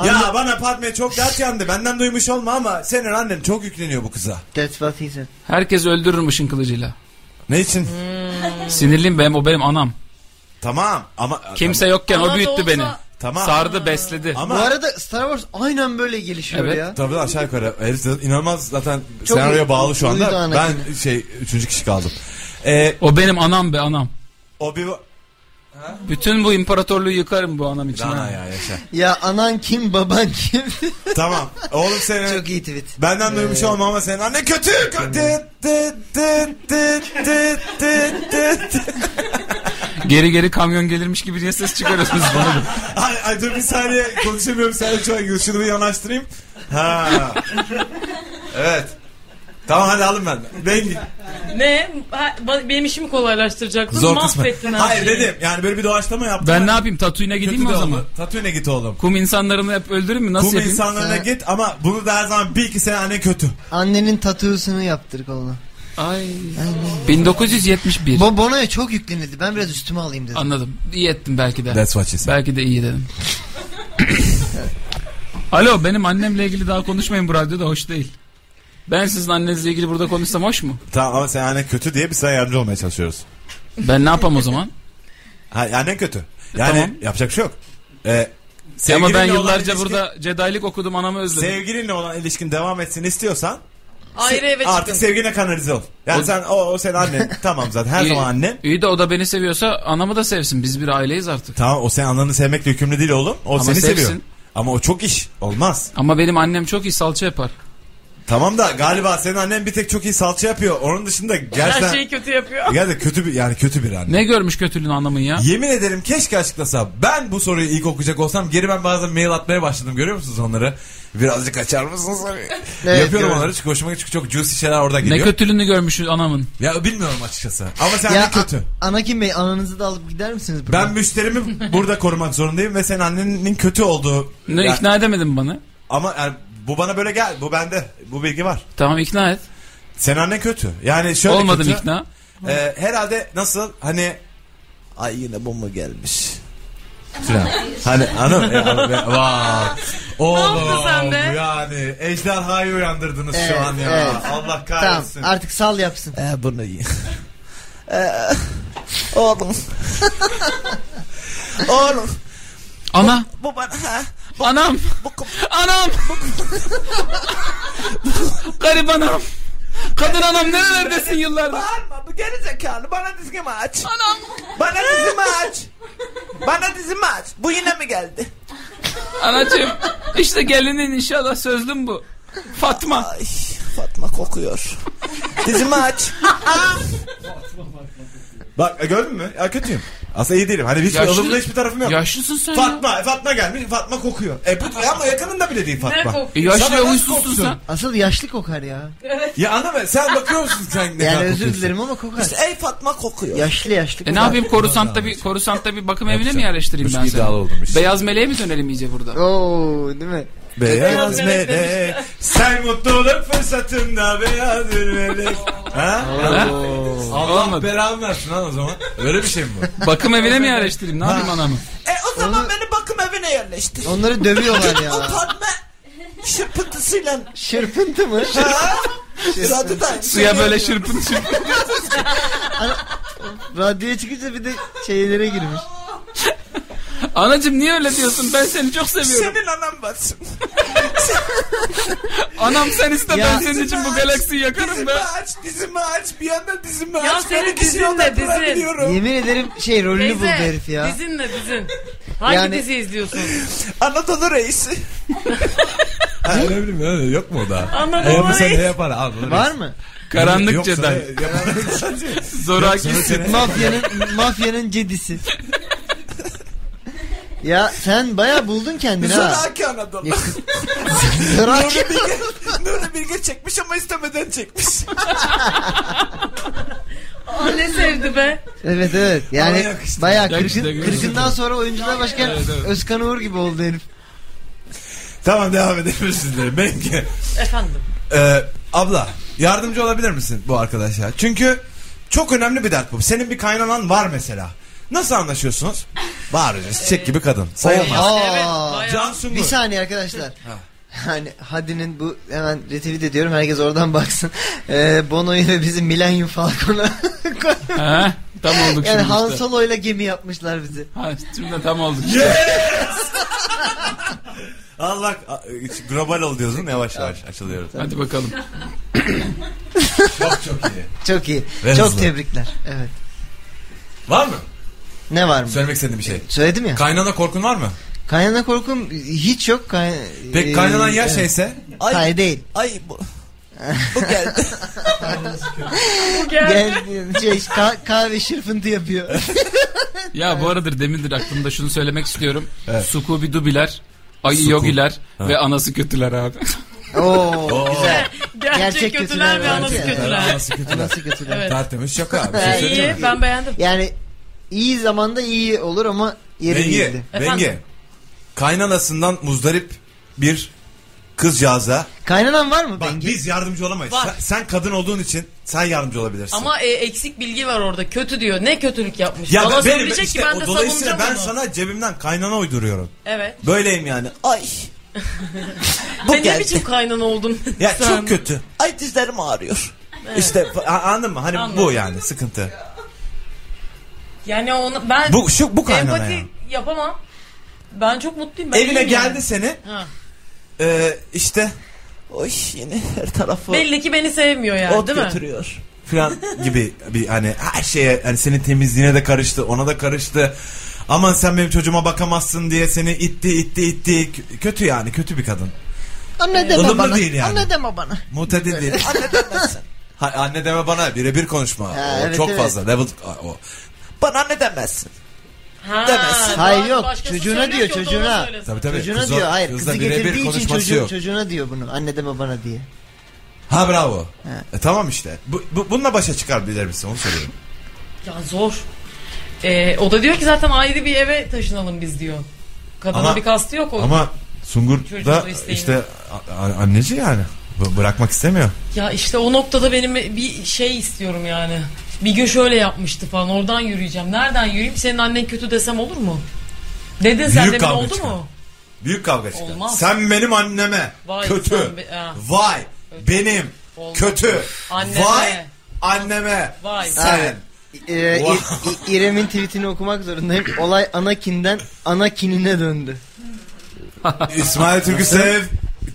Speaker 2: ya bana Fatma çok dert yandı benden duymuş olma ama senin annen çok yükleniyor bu kıza.
Speaker 3: That's what he said.
Speaker 4: Herkes öldürürüm ışın kılıcıyla.
Speaker 2: Ne için?
Speaker 3: Hmm.
Speaker 4: Sinirliyim benim o benim anam.
Speaker 2: Tamam ama
Speaker 4: Kimse yokken
Speaker 5: Ana da
Speaker 4: o büyüttü
Speaker 5: olsa-
Speaker 4: beni.
Speaker 2: Tamam.
Speaker 4: Sardı besledi.
Speaker 3: Bu
Speaker 2: ama
Speaker 3: arada Star Wars aynen böyle gelişiyor
Speaker 4: Evet.
Speaker 3: ya.
Speaker 2: Tabii aşağı yukarı. Herif zaten inanılmaz zaten
Speaker 3: Çok
Speaker 2: senaryoya
Speaker 3: uy-
Speaker 2: bağlı şu
Speaker 3: uydu
Speaker 2: anda.
Speaker 3: Anakin.
Speaker 2: Ben şey üçüncü kişi kaldım. Ee,
Speaker 4: O benim anam be anam.
Speaker 2: Obi
Speaker 4: Bütün bu imparatorluğu yıkarım bu anam için.
Speaker 2: Dana
Speaker 4: ha.
Speaker 2: ya yaşa.
Speaker 3: Ya anan kim baban kim?
Speaker 2: tamam. Oğlum senin
Speaker 3: Çok iyi tweet.
Speaker 2: Benden duymuş
Speaker 4: Ee,
Speaker 2: olma ama senin annen kötü. Kö- Dı- dı- dı- dı- dı- dı- dı- dı.
Speaker 4: Geri geri kamyon gelirmiş gibi niye ses çıkarıyorsunuz bana?
Speaker 2: ay, ay dur bir saniye konuşamıyorum sadece şu an şunu bir yanaştırayım. Ha. Evet. Tamam hadi alın ben. Ben
Speaker 5: Ne? Ha, ba- benim işimi kolaylaştıracaktın.
Speaker 2: Zor kısmı.
Speaker 5: Mahvettin her
Speaker 2: Hayır
Speaker 5: şeyi.
Speaker 2: dedim. Yani böyle bir doğaçlama yaptım. Hani
Speaker 4: Ben ne yapayım tatuine
Speaker 2: Kötü
Speaker 4: gideyim mi
Speaker 2: de
Speaker 4: o zaman?
Speaker 2: oldu. Tatüne git oğlum.
Speaker 4: Kum insanlarını hep öldüreyim mi? Nasıl
Speaker 2: Kum
Speaker 4: yapayım?
Speaker 2: insanlarına
Speaker 3: Ha.
Speaker 2: git ama bunu da her zaman bil ki senin annen kötü.
Speaker 3: Annenin tatusunu yaptır koluna.
Speaker 4: Ay. 1971.
Speaker 3: Bo Bono'ya çok yüklenildi. Ben biraz üstüme alayım dedim.
Speaker 4: Anladım. İyi ettim belki de.
Speaker 2: what she said.
Speaker 4: Belki de iyi dedim. Alo benim annemle ilgili daha konuşmayın bu radyoda hoş değil. Ben sizin annenizle ilgili burada konuşsam hoş mu?
Speaker 2: Tamam ama senin annen kötü diye biz sana yardımcı olmaya çalışıyoruz.
Speaker 4: Ben ne yapam o zaman?
Speaker 2: Ha, annen kötü. Yani
Speaker 4: Tamam.
Speaker 2: yapacak bir şey yok. Ee,
Speaker 4: Ama ben
Speaker 2: sevgilinle olan
Speaker 4: yıllarca
Speaker 2: ilişkin-
Speaker 4: burada cedaylık okudum anamı özledim.
Speaker 2: Sevgilinle olan ilişkin devam etsin istiyorsan
Speaker 5: Ayrı eve çıkın.
Speaker 2: artık sevgiline kanalize ol. Yani
Speaker 4: O-
Speaker 2: sen o, o senin annen. tamam zaten her
Speaker 4: İyi-
Speaker 2: zaman annen.
Speaker 4: İyi de o da beni seviyorsa anamı da sevsin. Biz bir aileyiz artık.
Speaker 2: Tamam o senin ananı sevmekle yükümlü değil oğlum. O
Speaker 4: Ama
Speaker 2: seni seviyor.
Speaker 4: sevsin.
Speaker 2: Ama o çok iş. Olmaz.
Speaker 4: Ama benim annem çok iyi salça yapar.
Speaker 2: Tamam da galiba senin annen bir tek çok iyi salça yapıyor. Onun dışında gerçekten...
Speaker 5: Her
Speaker 4: şey-
Speaker 5: şeyi kötü yapıyor.
Speaker 2: Gerçekten kötü bir yani kötü bir anne.
Speaker 4: Ne görmüş kötülüğün anamın ya?
Speaker 2: Yemin ederim keşke açıklasa. Ben bu soruyu ilk okuyacak olsam geri ben bazen mail atmaya başladım. Görüyor musunuz onları? Birazcık açar mısınız? Hani
Speaker 3: Evet,
Speaker 2: Yapıyorum
Speaker 3: gördüm.
Speaker 2: onları çünkü hoşuma çünkü çok juicy şeyler orada
Speaker 4: Ne
Speaker 2: geliyor.
Speaker 4: kötülüğünü görmüş anamın.
Speaker 2: Ya bilmiyorum açıkçası. Ama sen
Speaker 3: Ya
Speaker 2: ne kötü.
Speaker 3: A- Anakin Bey ananızı da alıp gider misiniz buradan?
Speaker 2: ben müşterimi burada korumak zorundayım ve senin annenin kötü olduğu.
Speaker 4: Ne
Speaker 2: Ya-
Speaker 4: ikna edemedin bana.
Speaker 2: Ama yani bu bana böyle gel. Bu bende. Bu bilgi var.
Speaker 4: Tamam ikna et.
Speaker 2: Senin annen kötü. Yani şöyle
Speaker 4: Olmadım
Speaker 2: kötü.
Speaker 4: ikna.
Speaker 2: Ee, herhalde nasıl hani ay yine bomba gelmiş. Falan. hani hanım e, hanım, e, vay.
Speaker 5: yaptın sen be?
Speaker 2: yani ejderhayı uyandırdınız
Speaker 3: Evet,
Speaker 2: şu an ya.
Speaker 3: evet.
Speaker 2: Allah
Speaker 3: Tamam
Speaker 2: kahretsin.
Speaker 3: artık sal yapsın.
Speaker 2: E bunu iyi. oğlum. oğlum
Speaker 4: Ana.
Speaker 2: bu bana ha,
Speaker 4: Anam. Anam. Garip anam. Kadın anam nerelerdesin yıllardır.
Speaker 2: bağırma bu geri zekalı bana dizimi aç. Bana dizimi aç. Bana dizimi aç. Bu yine mi geldi?
Speaker 4: Anacığım işte gelinin inşallah sözlüm bu. Fatma.
Speaker 2: Ay Fatma kokuyor. Dizimi aç. Bak e, gördün mü? Ya kötüyüm. Aslında iyi değilim. Hani hiç
Speaker 4: Yaşlı-
Speaker 2: alımda hiçbir tarafım yok.
Speaker 4: Yaşlısın sen ya.
Speaker 2: Fatma, Fatma gelmiş, Fatma kokuyor. E bu ama yakınında bile değil
Speaker 5: Ne
Speaker 2: Fatma.
Speaker 5: kokuyor?
Speaker 4: E, yaşlı
Speaker 2: Sana
Speaker 4: ve
Speaker 2: nasıl
Speaker 4: huysuzsun
Speaker 2: koksun?
Speaker 4: sen.
Speaker 3: Asıl yaşlı kokar ya.
Speaker 2: Ya anlama sen bakıyor musun sen ne
Speaker 3: Yani
Speaker 2: kadar
Speaker 3: özür
Speaker 2: kokuyorsun?
Speaker 3: dilerim ama kokar.
Speaker 2: Ey Fatma kokuyor.
Speaker 3: Yaşlı yaşlı kokar.
Speaker 4: E ne yapayım korusantta bir korusantta bir bakım evine mi yerleştireyim ben
Speaker 2: Üç iddialı
Speaker 4: seni?
Speaker 2: oldum işte.
Speaker 4: Beyaz meleğe mi dönelim iyice burada?
Speaker 3: Oo değil mi?
Speaker 2: Beyaz
Speaker 5: Beyaz melek
Speaker 2: melek. Sen mutluluk fırsatında beyaz bir melek. ha?
Speaker 4: Ha?
Speaker 2: Allah
Speaker 4: Olmadı.
Speaker 2: belanı versin lan o zaman. Öyle bir şey mi bu?
Speaker 4: Bakım evine mi yerleştireyim? Ne yapayım anamı?
Speaker 9: E o zaman beni bakım evine yerleştir.
Speaker 3: Onları dövüyorlar ya.
Speaker 9: Fatma şırpıntısıyla
Speaker 3: Şırpıntı mı?
Speaker 9: zaten da
Speaker 4: Suya böyle şırpın şırpın.
Speaker 3: Radyoya çıkınca bir de şeylere girmiş.
Speaker 4: Anacım niye öyle diyorsun? Ben seni çok seviyorum.
Speaker 9: senin anan batsın.
Speaker 4: Anam sen iste
Speaker 3: Ya-
Speaker 4: ben senin için bu galaksiyi yakarım
Speaker 9: Dizimi
Speaker 4: be.
Speaker 9: aç, dizimi aç. Bir yandan dizimi aç.
Speaker 5: Ya
Speaker 9: Ben şey
Speaker 5: senin
Speaker 9: ikisini
Speaker 5: dizin ne, dizin?
Speaker 9: odaklanabiliyorum.
Speaker 3: Yemin ederim şey rolünü buldu herif ya.
Speaker 5: dizinle dizin. Hangi
Speaker 3: Yani-
Speaker 5: dizi izliyorsun?
Speaker 9: Anadolu reisi.
Speaker 2: Ha, ne bileyim öyle yok mu o da?
Speaker 5: Anladım
Speaker 2: Eğer bu
Speaker 5: orayı.
Speaker 2: sene ne yapar? Al, bunu
Speaker 3: Var
Speaker 2: reis.
Speaker 3: mı?
Speaker 4: Karanlık
Speaker 2: Yok,
Speaker 4: Jedi.
Speaker 2: sana yapar-
Speaker 4: Zoraki
Speaker 2: sana sene-
Speaker 3: Mafyanın mafyanın cedisi. ya sen baya buldun kendini ha.
Speaker 9: Zoraki Anadolu.
Speaker 3: Zorak.
Speaker 9: Nuri Bilge çekmiş ama istemeden çekmiş.
Speaker 5: Aa, ne sevdi be.
Speaker 3: evet evet. Yani
Speaker 9: Ama yakıştı.
Speaker 3: baya
Speaker 4: Yakıştı,
Speaker 3: kırkın,
Speaker 4: yakıştı.
Speaker 3: kırkından sonra oyuncular başka
Speaker 4: Evet, evet.
Speaker 3: Özkan Uğur gibi oldu herif.
Speaker 2: tamam devam edebilirsiniz. derim. Benimki.
Speaker 5: Efendim.
Speaker 2: Ee, abla yardımcı olabilir misin bu arkadaşa? Çünkü çok önemli bir dert bu. Senin bir kaynanan var mesela. Nasıl anlaşıyorsunuz? Bağırıyoruz. Çiçek gibi kadın. Sayılmaz.
Speaker 3: Aa.
Speaker 5: Evet, bayağı.
Speaker 2: Can Sungur.
Speaker 3: Ee, Bir saniye arkadaşlar. Hani Hadi'nin bu hemen retweet ediyorum herkes oradan baksın. Ee, Bono'yu ve bizim Milenyum Falcon'u.
Speaker 4: Ha, tam olduk
Speaker 3: yani
Speaker 4: şimdi
Speaker 3: Han
Speaker 4: işte.
Speaker 3: Solo'yla gemi yapmışlar bizi.
Speaker 4: Ha, şimdi tam olduk.
Speaker 2: Allah global ol diyorsun yavaş yavaş açılıyoruz.
Speaker 4: Hadi bakalım.
Speaker 2: çok çok iyi.
Speaker 3: Çok iyi.
Speaker 2: Ve
Speaker 3: Çok
Speaker 2: hızlı.
Speaker 3: tebrikler. Evet.
Speaker 2: Var mı?
Speaker 3: Ne var mı?
Speaker 2: Söylemek istediğin bir şey.
Speaker 3: Söyledim ya.
Speaker 2: Kaynana korkun var mı?
Speaker 3: Kaynana korkum hiç yok. Kay...
Speaker 2: Pek
Speaker 3: Ee,
Speaker 2: kaynanan yer şey-
Speaker 3: evet.
Speaker 2: şeyse.
Speaker 3: Kay değil.
Speaker 2: Ay bu.
Speaker 5: Gel.
Speaker 3: Gel, şey, ka- kahve şırfıntı yapıyor.
Speaker 4: Ya bu aradır demindir aklımda şunu söylemek istiyorum. Sukubi dubiler, ayı yogiler ve anası kötüler abi.
Speaker 3: Oo, güzel.
Speaker 5: Gerçek,
Speaker 3: Gerçek
Speaker 5: kötüler,
Speaker 3: kötüler
Speaker 5: ve
Speaker 3: var.
Speaker 5: anası
Speaker 3: Evet.
Speaker 5: kötüler.
Speaker 2: Nasıl kötüler?
Speaker 3: Nasıl kötüler?
Speaker 5: Evet. Ee,
Speaker 2: Tertemiz şaka. Bir
Speaker 5: Ben
Speaker 2: şey söyleyeceğim.
Speaker 5: iyi, ben beğendim.
Speaker 3: Yani iyi zamanda iyi olur ama yeri
Speaker 2: Bengi,
Speaker 3: değildi.
Speaker 2: Bengi.
Speaker 5: Efendim?
Speaker 2: Kaynanasından muzdarip bir kızcağıza.
Speaker 3: Kaynanan var mı
Speaker 2: Bak
Speaker 3: Bengi?
Speaker 2: biz yardımcı olamayız.
Speaker 5: Var.
Speaker 2: Sen, sen kadın olduğun için sen yardımcı olabilirsin.
Speaker 5: Ama e, eksik bilgi var orada. Kötü diyor. Ne kötülük yapmış?
Speaker 2: ya
Speaker 5: Bana
Speaker 2: ben, benim,
Speaker 5: söyleyecek
Speaker 2: işte
Speaker 5: ki ben
Speaker 2: o
Speaker 5: de
Speaker 2: dolayısıyla
Speaker 5: savunacağım
Speaker 2: ben
Speaker 5: onu.
Speaker 2: sana cebimden kaynana uyduruyorum.
Speaker 5: Evet.
Speaker 2: Böyleyim yani.
Speaker 9: Ay.
Speaker 5: Sen ne
Speaker 9: geldi.
Speaker 5: biçim kaynan oldun?
Speaker 2: Ya
Speaker 5: sen?
Speaker 2: çok kötü.
Speaker 9: Ay dizlerim ağrıyor.
Speaker 2: İşte a- anladın mı? Hani bu
Speaker 5: Anladım.
Speaker 2: yani sıkıntı.
Speaker 5: Yani onu ben
Speaker 2: Bu şu bu kaynana
Speaker 5: empati
Speaker 2: ya.
Speaker 5: yapamam. Ben çok mutluyum. Ben
Speaker 2: Evine
Speaker 5: iyiyim yani.
Speaker 2: geldi seni.
Speaker 5: Ha.
Speaker 2: Ee, işte
Speaker 9: Oy yine her tarafı
Speaker 5: Belli ki beni sevmiyor yani
Speaker 9: ot
Speaker 5: değil mi?
Speaker 9: götürüyor.
Speaker 2: falan gibi bir hani her şeye hani senin temizliğine de karıştı ona da karıştı. Aman sen benim çocuğuma bakamazsın diye seni itti itti itti. Kö- Kötü yani kötü bir kadın.
Speaker 9: Anne
Speaker 2: Ilımlı değil yani.
Speaker 9: Anne deme bana.
Speaker 2: Mutedir değil.
Speaker 9: Anne demezsin.
Speaker 2: Ha, anne deme bana birebir konuşma.
Speaker 3: Ha,
Speaker 2: o
Speaker 3: evet,
Speaker 2: çok
Speaker 3: evet.
Speaker 2: fazla level o.
Speaker 9: Bana anne demezsin.
Speaker 5: Ha,
Speaker 9: Demez.
Speaker 5: daha
Speaker 3: Hayır, yok.
Speaker 5: başkası
Speaker 3: Çocuğuna
Speaker 5: söylüyor
Speaker 3: diyor,
Speaker 5: ki o da
Speaker 3: çocuğuna.
Speaker 5: ona söylesin.
Speaker 2: Tabii tabii.
Speaker 3: Çocuğuna
Speaker 2: Kız o-
Speaker 3: diyor hayır.
Speaker 2: kızla
Speaker 3: Kızı
Speaker 2: birebir
Speaker 3: getirdiği için
Speaker 2: konuşması
Speaker 3: çocuğu,
Speaker 2: yok.
Speaker 3: çocuğuna diyor bunu. Anne deme bana diye.
Speaker 2: Ha bravo. E, tamam işte. Bu, bu- bununla başa çıkar bilir misin onu soruyorum.
Speaker 5: Ya zor. Ee, o da diyor ki zaten ayrı bir eve taşınalım biz diyor. Kadına
Speaker 2: Ama-
Speaker 5: bir kastı yok o.
Speaker 2: Ama Sungur
Speaker 5: Çocuğun
Speaker 2: da
Speaker 5: da isteğini.
Speaker 2: işte a- a- anneci yani. B- bırakmak istemiyor.
Speaker 5: Ya işte o noktada benim bir şey istiyorum yani. Bir gün şöyle yapmıştı falan oradan yürüyeceğim. Nereden yürüyeyim senin annen kötü desem olur mu? Dedin sen
Speaker 2: Büyük
Speaker 5: demin
Speaker 2: kavga
Speaker 5: oldu
Speaker 2: çıkar.
Speaker 5: mu?
Speaker 2: Büyük kavga çıkar.
Speaker 5: Olmaz.
Speaker 2: Sen benim anneme
Speaker 5: Vay,
Speaker 2: kötü.
Speaker 5: sen be- ha.
Speaker 2: Vay benim
Speaker 5: Olmaz.
Speaker 2: kötü.
Speaker 5: Anneme.
Speaker 2: Vay anneme.
Speaker 5: Vay.
Speaker 2: Sen.
Speaker 3: Ee,
Speaker 2: Wow.
Speaker 3: İ- İ- İrem'in tweetini okumak zorundayım. Olay Anakin'den Anakin'ine döndü.
Speaker 2: İsmail Türk'ü sev.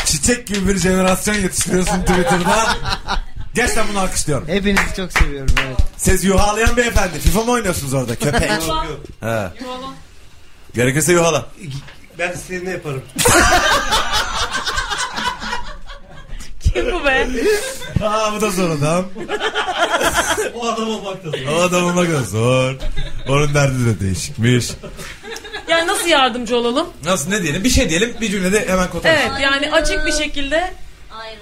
Speaker 2: Çiçek gibi bir jenerasyon yetiştiriyorsun Twitter'da. Gerçekten bunu alkışlıyorum.
Speaker 3: Hepinizi çok seviyorum. Evet.
Speaker 2: Siz yuhalayan beyefendi. FIFA mı oynuyorsunuz orada köpek? He.
Speaker 5: Yuvala.
Speaker 2: Gerekirse yuhala.
Speaker 8: Ben istediğini yaparım.
Speaker 5: Kim bu be?
Speaker 2: Aa bu da zor adam.
Speaker 8: O adam olmak da zor.
Speaker 2: O adam olmak da zor. Onun derdi de değişikmiş.
Speaker 5: Yani nasıl yardımcı olalım?
Speaker 2: Nasıl ne diyelim? Bir şey diyelim bir cümlede hemen
Speaker 3: şey
Speaker 2: kotarız.
Speaker 5: Evet yani açık bir şekilde
Speaker 6: Ayrıl.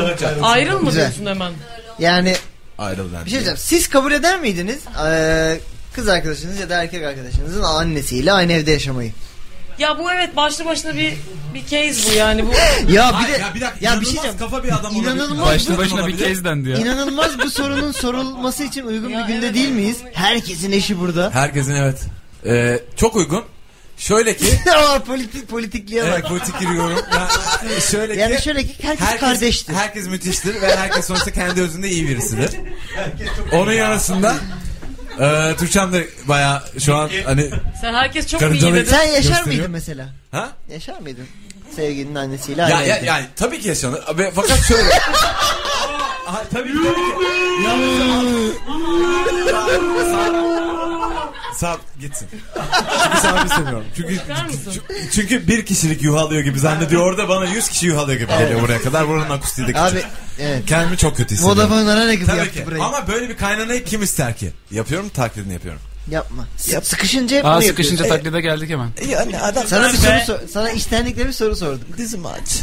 Speaker 5: ayrıl.
Speaker 2: Ayrıl.
Speaker 5: Ayrıl mı
Speaker 3: Güzel.
Speaker 5: diyorsun hemen?
Speaker 3: Yani
Speaker 2: Ayrıl
Speaker 3: bir şey diyeceğim. Siz kabul eder miydiniz? Ee, kız arkadaşınız ya da erkek arkadaşınızın annesiyle aynı evde yaşamayı.
Speaker 5: Ya bu evet başlı başına bir bir case bu yani bu.
Speaker 3: Ya bir de
Speaker 2: ya bir dakika.
Speaker 3: ya bir
Speaker 2: inanılmaz
Speaker 3: şey diyeceğim.
Speaker 2: kafa bir adam olabilir.
Speaker 3: İnanılmaz
Speaker 4: Başlı
Speaker 3: bu-
Speaker 4: başına bir
Speaker 2: Olabilir.
Speaker 4: kez dendi ya.
Speaker 3: İnanılmaz bu sorunun sorulması için uygun
Speaker 5: Ya
Speaker 3: bir günde
Speaker 5: evet,
Speaker 3: değil
Speaker 5: evet.
Speaker 3: miyiz? Herkesin eşi burada.
Speaker 2: Herkesin evet. Ee, çok uygun. Şöyle ki.
Speaker 3: Aa, politik politikliğe bak.
Speaker 2: evet politik giriyorum. Ya, şöyle ki.
Speaker 3: Yani şöyle ki herkes, kardeştir.
Speaker 2: Herkes müthiştir ve herkes sonuçta kendi özünde iyi birisidir. Onun yanısında e, Türkçem de baya şu an hani
Speaker 5: Sen herkes çok mu iyi
Speaker 2: Karıncalı-
Speaker 5: dedin?
Speaker 3: Sen yaşar
Speaker 2: gösteriyor.
Speaker 3: mıydın mesela?
Speaker 2: ha?
Speaker 3: Yaşar mıydın? Sevgilinin annesiyle
Speaker 2: Ya,
Speaker 3: aynı
Speaker 2: ya,
Speaker 3: evde.
Speaker 2: yani tabii ki yaşanır. Ve, fakat şöyle. Aha, tabii ki. Tabii ki. Ya, sa- Sağ gitsin. Çünkü sana istemiyorum. Çünkü,
Speaker 5: Çıkar mısın?
Speaker 2: çünkü bir kişilik yuhalıyor gibi zannediyor. Orada bana 100 kişi yuhalıyor gibi geliyor buraya kadar. Buranın akustiği de
Speaker 3: Abi
Speaker 2: küçük.
Speaker 3: evet.
Speaker 2: Kendimi çok kötü hissediyorum.
Speaker 3: Vodafone'dan ne gibi
Speaker 2: Tabii ki.
Speaker 3: yaptı burayı?
Speaker 2: Ama böyle bir kaynanayı kim ister ki? Yapıyorum taklidini yapıyorum.
Speaker 3: Yapma. Yap. Sıkışınca hep
Speaker 4: Aa
Speaker 3: bunu
Speaker 4: sıkışınca
Speaker 3: yapıyorsun.
Speaker 4: taklide geldik hemen.
Speaker 9: Yani adam
Speaker 3: Sana bir
Speaker 9: Ben-
Speaker 3: soru sor- sana içtenlikle bir soru sorduk.
Speaker 9: Dizimi aç.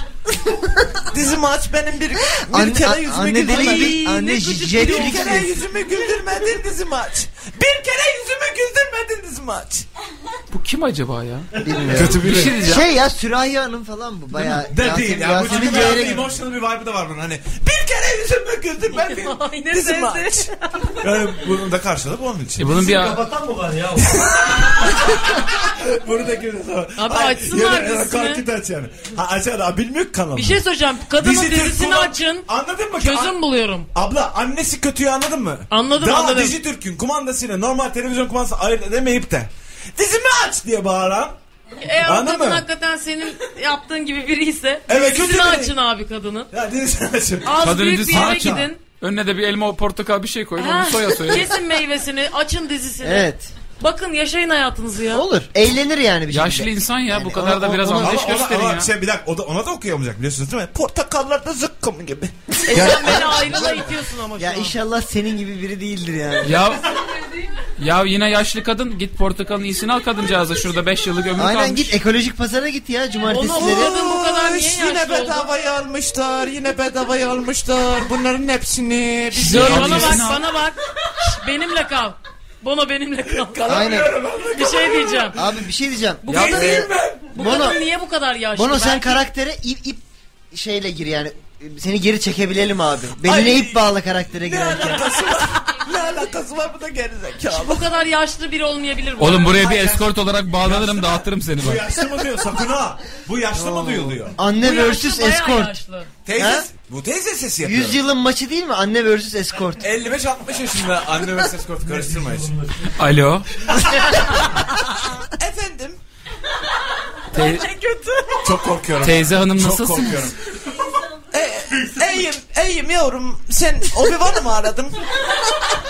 Speaker 9: Dizimi aç benim bir, bir
Speaker 3: Anne-
Speaker 9: kere
Speaker 3: a-
Speaker 9: yüzümü
Speaker 3: anne
Speaker 9: güldürmedin.
Speaker 3: deli gibi- anne
Speaker 9: Bir
Speaker 3: j-
Speaker 9: kere-
Speaker 3: jetlik
Speaker 9: Bir kere
Speaker 3: gibi.
Speaker 9: yüzümü güldürmedin dizimi aç. Bir kere yüzümü güldürmedin dizimi aç.
Speaker 4: Bu kim acaba ya?
Speaker 3: Bilmiyorum.
Speaker 4: Bir şey diyeceğim.
Speaker 3: Şey ya Süreyya Hanım falan bu bayağı.
Speaker 2: De değil ya. Bu
Speaker 3: Yasemin
Speaker 2: çünkü
Speaker 3: Ceyre
Speaker 2: biraz da
Speaker 3: gibi.
Speaker 2: emotional bir vibe'ı da var bunun. Hani
Speaker 9: Bir kere yüzümü güldürmedin
Speaker 5: Ay ne
Speaker 9: dizimi
Speaker 5: sesi.
Speaker 9: aç.
Speaker 2: yani bunun da karşılığı bu onun için.
Speaker 4: E bunun bir
Speaker 8: Kapatan mı var ya?
Speaker 2: Buradaki de sonra.
Speaker 5: Abi
Speaker 2: Ay,
Speaker 5: açsınlar
Speaker 2: ya da- ya da
Speaker 5: dizisini.
Speaker 2: Korkut aç yani. Ha açar abi bilmiyor ki kanalı.
Speaker 5: Bir şey soracağım. Kadının
Speaker 2: Dizi Türk
Speaker 5: dizisini
Speaker 2: falan-
Speaker 5: açın.
Speaker 2: Anladın mı?
Speaker 5: Çözüm
Speaker 2: An-
Speaker 5: buluyorum.
Speaker 2: Abla annesi kötüyü anladın mı?
Speaker 5: Anladım,
Speaker 2: Daha
Speaker 5: anladım.
Speaker 2: Dijitürk'ün kumandasıyla normal televizyon kumandası ayırt edemeyip de dizimi aç diye bağıran
Speaker 5: Eğer o
Speaker 2: Anladın
Speaker 5: E, kadın
Speaker 2: mı?
Speaker 5: hakikaten senin yaptığın gibi biri ise
Speaker 2: Evet,
Speaker 5: dizisini
Speaker 2: kötü biri.
Speaker 5: açın abi kadının.
Speaker 2: ya dizimi açın.
Speaker 5: Az
Speaker 4: Kadının
Speaker 5: büyük bir
Speaker 4: dizisini
Speaker 5: yere
Speaker 4: açın.
Speaker 5: gidin.
Speaker 4: önüne de bir elma portakal bir şey koyun
Speaker 5: Ha,
Speaker 4: onu soya soya.
Speaker 5: Kesin meyvesini, açın dizisini.
Speaker 3: Evet.
Speaker 5: Bakın yaşayın hayatınızı ya.
Speaker 3: Olur. Eğlenir yani bir şekilde.
Speaker 4: Yaşlı insan ya bu
Speaker 3: Yani
Speaker 4: kadar
Speaker 3: ona-
Speaker 4: da biraz
Speaker 3: ona-
Speaker 4: anlayış
Speaker 2: Ama,
Speaker 4: gösterin
Speaker 2: ama,
Speaker 4: ya.
Speaker 2: ama şey bir dakika o da, ona da okuyamayacak biliyorsunuz değil mi?
Speaker 9: Portakallarda zıkkım gibi.
Speaker 5: E sen beni ayrılığa itiyorsun ama şu
Speaker 3: Ya
Speaker 5: an.
Speaker 3: inşallah senin gibi biri değildir yani.
Speaker 4: Ya ya yine yaşlı kadın git portakalın iyisini al kadıncağıza şurada 5 yıllık ömür
Speaker 3: Aynen
Speaker 4: kalmış.
Speaker 3: git ekolojik pazara git ya
Speaker 5: Onu o
Speaker 3: cumartesileri.
Speaker 5: kadın bu kadar niye
Speaker 9: Oy, Yine
Speaker 5: yaşlı oldu?
Speaker 9: bedavaya almışlar. Yine bedavaya almışlar. Bunların hepsini. biz
Speaker 4: Dur,
Speaker 5: Dur
Speaker 9: yiyelim.
Speaker 5: bana bak
Speaker 4: Abisini al.
Speaker 5: bana bak. Şş, Benimle kal. Bono benimle kal.
Speaker 3: Aynen.
Speaker 5: Bir şey diyeceğim.
Speaker 3: Abi bir şey diyeceğim.
Speaker 5: Bu kadın, bu kadın
Speaker 3: Bono-
Speaker 5: niye bu kadar yaşlı?
Speaker 3: Bono sen
Speaker 5: Belki-
Speaker 3: karaktere ip ip şeyle gir yani. Seni geri çekebilelim abi. Beline
Speaker 9: Ay.
Speaker 3: ip bağla karaktere
Speaker 9: Ne
Speaker 3: girerken.
Speaker 9: alakası var? ne alakası var bu da gerizekalı.
Speaker 5: Bu kadar yaşlı biri olmayabilir bu.
Speaker 4: Oğlum buraya bir eskort olarak bağlanırım dağıtırım seni
Speaker 2: Bu
Speaker 4: bak.
Speaker 2: yaşlı mı diyor sakın ha. Bu yaşlı mı duyuluyor?
Speaker 5: Bu
Speaker 3: Anne
Speaker 5: yaşlı
Speaker 3: versus
Speaker 5: bayağı
Speaker 3: escort.
Speaker 5: yaşlı.
Speaker 2: Teyze,
Speaker 3: Ha?
Speaker 2: bu teyze sesi yapıyor.
Speaker 3: Yüzyılın maçı değil mi? Anne versus escort.
Speaker 2: 55-60 yaşında anne ve ses kortu karıştırma hiç.
Speaker 4: Alo.
Speaker 9: Efendim?
Speaker 4: Te-
Speaker 2: Çok korkuyorum.
Speaker 4: teyze hanım
Speaker 2: Çok
Speaker 4: nasılsın?
Speaker 2: korkuyorum.
Speaker 9: Eyim, eyim yavrum. Sen Obi-Wan'ı mı aradın?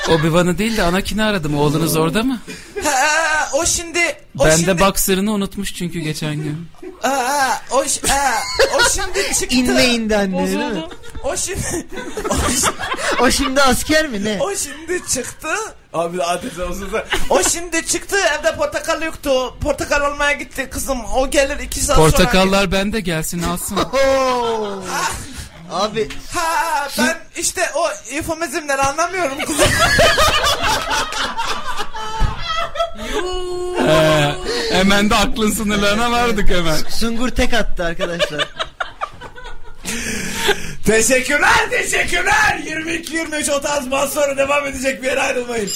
Speaker 4: Obi-Wan'ı değil de Anakin'i aradım. Oğlunuz orada mı?
Speaker 9: Ha, o şimdi... O
Speaker 4: ben
Speaker 9: şimdi,
Speaker 4: de boxer'ını unutmuş çünkü geçen gün.
Speaker 9: Ha, o, şi- ha, o şimdi çıktı.
Speaker 3: İnme indi anne değil mi?
Speaker 5: Bozuldu.
Speaker 9: O şimdi... O, şi-
Speaker 3: O şimdi asker mi ne?
Speaker 9: o şimdi çıktı.
Speaker 2: Abi adeta olsun da.
Speaker 9: O şimdi çıktı evde portakal yoktu. Portakal almaya gitti kızım. O gelir iki saat sonra.
Speaker 4: Portakallar bende gelsin alsın.
Speaker 3: Oo. Oh! Abi
Speaker 9: Ha ben işte o eufemizmleri anlamıyorum kızım.
Speaker 4: He, hemen de aklın sınırlarına vardık hemen.
Speaker 3: Sungur tek attı arkadaşlar.
Speaker 2: Teşekkürler, teşekkürler. 22-23 o tarz bas sonra devam edecek bir yere ayrılmayın.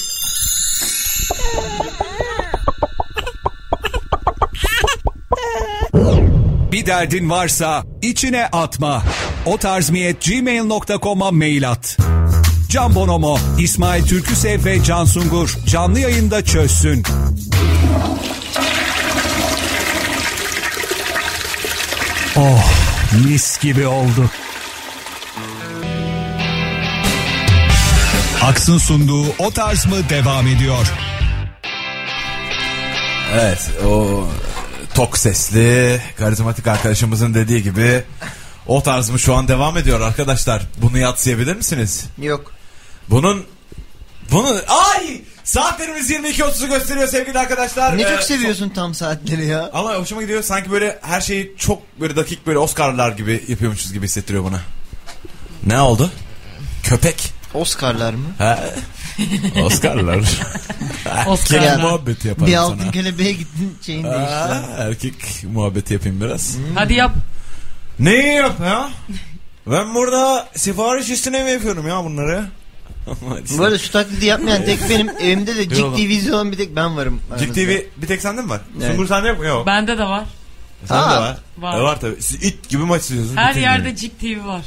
Speaker 1: Bir derdin varsa içine atma. O gmail.com'a mail at. Can Bonomo, İsmail Türküsev ve Can Sungur canlı yayında çözsün. Oh mis gibi oldu. Aks'ın sunduğu o tarz mı devam ediyor.
Speaker 2: Evet o tok sesli karizmatik arkadaşımızın dediği gibi o tarz mı şu an devam ediyor arkadaşlar. Bunu yatsıyabilir misiniz?
Speaker 3: Yok.
Speaker 2: Bunun bunu ay saatlerimiz 22.30'u gösteriyor sevgili arkadaşlar.
Speaker 3: Ne
Speaker 2: Ee,
Speaker 3: çok seviyorsun tam saatleri ya.
Speaker 2: Ama hoşuma gidiyor sanki böyle her şeyi çok böyle dakik böyle Oscar'lar gibi yapıyormuşuz gibi hissettiriyor bana. Ne oldu? Köpek.
Speaker 3: Oscar'lar mı?
Speaker 2: Ha? Oscar'lar.
Speaker 5: Oscar'lar.
Speaker 2: Erkek muhabbeti yaparım
Speaker 3: Bir
Speaker 2: sana.
Speaker 3: altın kelebeğe gittin şeyin değişti.
Speaker 2: Ha, erkek muhabbeti yapayım biraz.
Speaker 5: Hadi yap.
Speaker 2: Neyi yap ya? Ben burada sipariş üstüne mi yapıyorum ya bunları?
Speaker 3: Bu arada şu taklidi yapmayan tek benim. Evimde de Cik
Speaker 2: Yok.
Speaker 3: TV olan bir tek ben varım.
Speaker 2: Cik
Speaker 3: aranızda.
Speaker 2: TV bir tek sende mi var?
Speaker 3: Evet.
Speaker 2: Sungur sende yok mu? Yok.
Speaker 5: Bende de var.
Speaker 2: Sende var.
Speaker 3: Aa,
Speaker 5: var.
Speaker 2: Var. E, var tabii. Siz it gibi maç izliyorsunuz.
Speaker 5: Her
Speaker 2: bütün gün.
Speaker 5: yerde Cik TV var.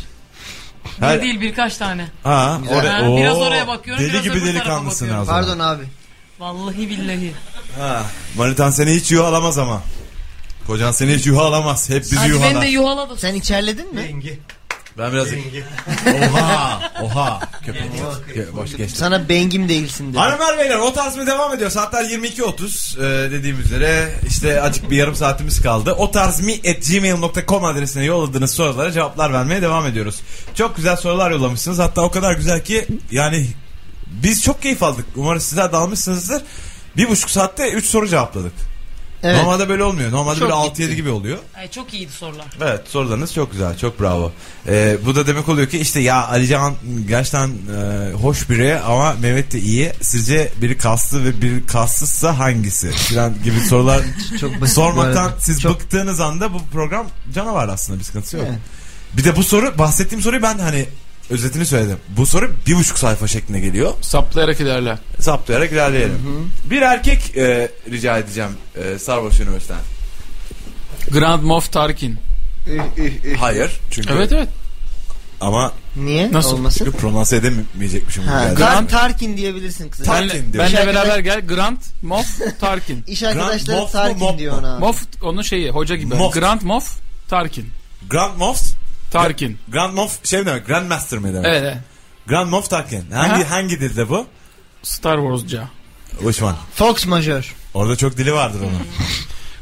Speaker 2: Her-
Speaker 5: Bir değil birkaç tane.
Speaker 2: Ha,
Speaker 3: Güzel.
Speaker 2: oraya,
Speaker 5: Ha, biraz
Speaker 2: Oo,
Speaker 5: oraya bakıyorum,
Speaker 2: Deli
Speaker 5: biraz öbür
Speaker 2: gibi
Speaker 5: tarafa
Speaker 2: delikanlısın
Speaker 5: bakıyorum.
Speaker 2: az.
Speaker 3: Pardon abi.
Speaker 5: Vallahi billahi.
Speaker 2: Ha. Manitan seni hiç yuha alamaz ama. Kocan seni hiç yuha alamaz. Hep bizi
Speaker 5: Hadi beni
Speaker 2: yuhalar.
Speaker 5: de yuhala da.
Speaker 3: Sen içerledin mi?
Speaker 8: Yengi.
Speaker 2: Ben biraz... oha! Oha! Köpek. Boş geçti.
Speaker 3: Sana bengim değilsin dedi.
Speaker 2: Hanımlar beyler o tarz mı devam ediyor? Saatler 22.30 e, dediğim üzere işte acık bir yarım saatimiz kaldı. O tarz mi at gmail.com adresine yolladığınız sorulara cevaplar vermeye devam ediyoruz. Çok güzel sorular yollamışsınız. Hatta o kadar güzel ki yani biz çok keyif aldık. Umarım sizler de almışsınızdır. Bir buçuk saatte 3 soru cevapladık.
Speaker 3: Evet.
Speaker 2: Normalde böyle olmuyor. Normalde
Speaker 5: Çok
Speaker 2: böyle
Speaker 5: gitti.
Speaker 2: 6-7 gibi oluyor.
Speaker 5: Ay, çok iyiydi sorular.
Speaker 2: Evet sorularınız çok güzel çok bravo. Ee, bu da demek oluyor ki işte ya Alican gerçekten e, hoş biri ama Mehmet de iyi. Sizce biri kaslı ve biri kassızsa hangisi? Filan gibi sorular
Speaker 3: Çok basit bu
Speaker 2: sormaktan
Speaker 3: arada.
Speaker 2: siz
Speaker 3: Çok-
Speaker 2: bıktığınız anda bu program canavar aslında bir sıkıntısı yok.
Speaker 3: Evet.
Speaker 2: Bir de bu soru bahsettiğim soruyu ben hani özetini söyledim. Bu soru bir buçuk sayfa şeklinde geliyor.
Speaker 4: Saplayarak ilerle.
Speaker 2: Saptayarak ilerleyelim. Bir erkek e, rica edeceğim e, Sarboş Üniversitesi'nden.
Speaker 4: Grand Moff Tarkin.
Speaker 2: Hayır çünkü
Speaker 4: Evet evet.
Speaker 2: ama
Speaker 3: Niye?
Speaker 4: Nasıl?
Speaker 3: Olmasın.
Speaker 2: çünkü pronanse edemeyecekmişim.
Speaker 3: Ha,
Speaker 2: Yani.
Speaker 3: Grand Tarkin diyebilirsin kıza.
Speaker 2: Tarkin
Speaker 4: Benle,
Speaker 2: diyor.
Speaker 4: benle
Speaker 3: Şarkıda-
Speaker 4: beraber gel Grand Moff Tarkin.
Speaker 3: İş
Speaker 2: Grand
Speaker 3: arkadaşları
Speaker 2: Moff mu,
Speaker 3: Tarkin
Speaker 2: Moff
Speaker 3: diyor
Speaker 2: mu?
Speaker 3: ona. abi.
Speaker 4: Moff onun şeyi hoca gibi.
Speaker 2: Moff.
Speaker 4: Grand Moff Tarkin.
Speaker 2: Grand Moff
Speaker 4: Tarkin.
Speaker 2: Grand Moff şey mi demek? Grand Master mi demek?
Speaker 4: Evet. evet.
Speaker 2: Grand Moff Tarkin. Hangi
Speaker 4: Aha.
Speaker 2: hangi dilde bu?
Speaker 4: Star Wars'ca.
Speaker 2: Uçman.
Speaker 3: Fox Major.
Speaker 2: Orada çok dili vardır onun.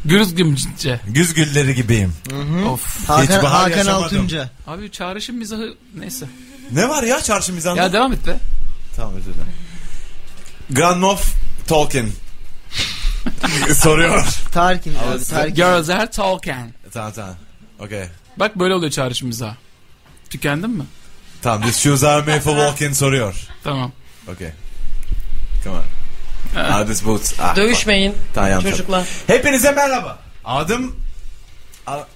Speaker 4: Gürüzgümce.
Speaker 2: Güz gülleri gibiyim.
Speaker 4: Of.
Speaker 3: Hakan,
Speaker 2: bahar
Speaker 3: Hakan
Speaker 2: yaşamadım.
Speaker 3: Altunca.
Speaker 4: Abi çağrışım mizahı neyse.
Speaker 2: Ne var ya çarşı mizanda?
Speaker 4: Ya devam et be.
Speaker 2: Tamam özür dilerim. Grand Moff Tolkien. Soruyor.
Speaker 3: Tarkin abi Tarkin.
Speaker 4: Girls are talking.
Speaker 2: tamam tamam. Okey.
Speaker 4: Bak böyle oluyor çağrışım mizahı. Tükendin mi?
Speaker 2: Tamam this shoes are made for walking soruyor.
Speaker 4: Tamam.
Speaker 2: Okey. Come on. Ah, this boots. Ah,
Speaker 5: Dövüşmeyin
Speaker 2: Tamam, yanlış.
Speaker 5: çocuklar.
Speaker 2: Hepinize merhaba. Adım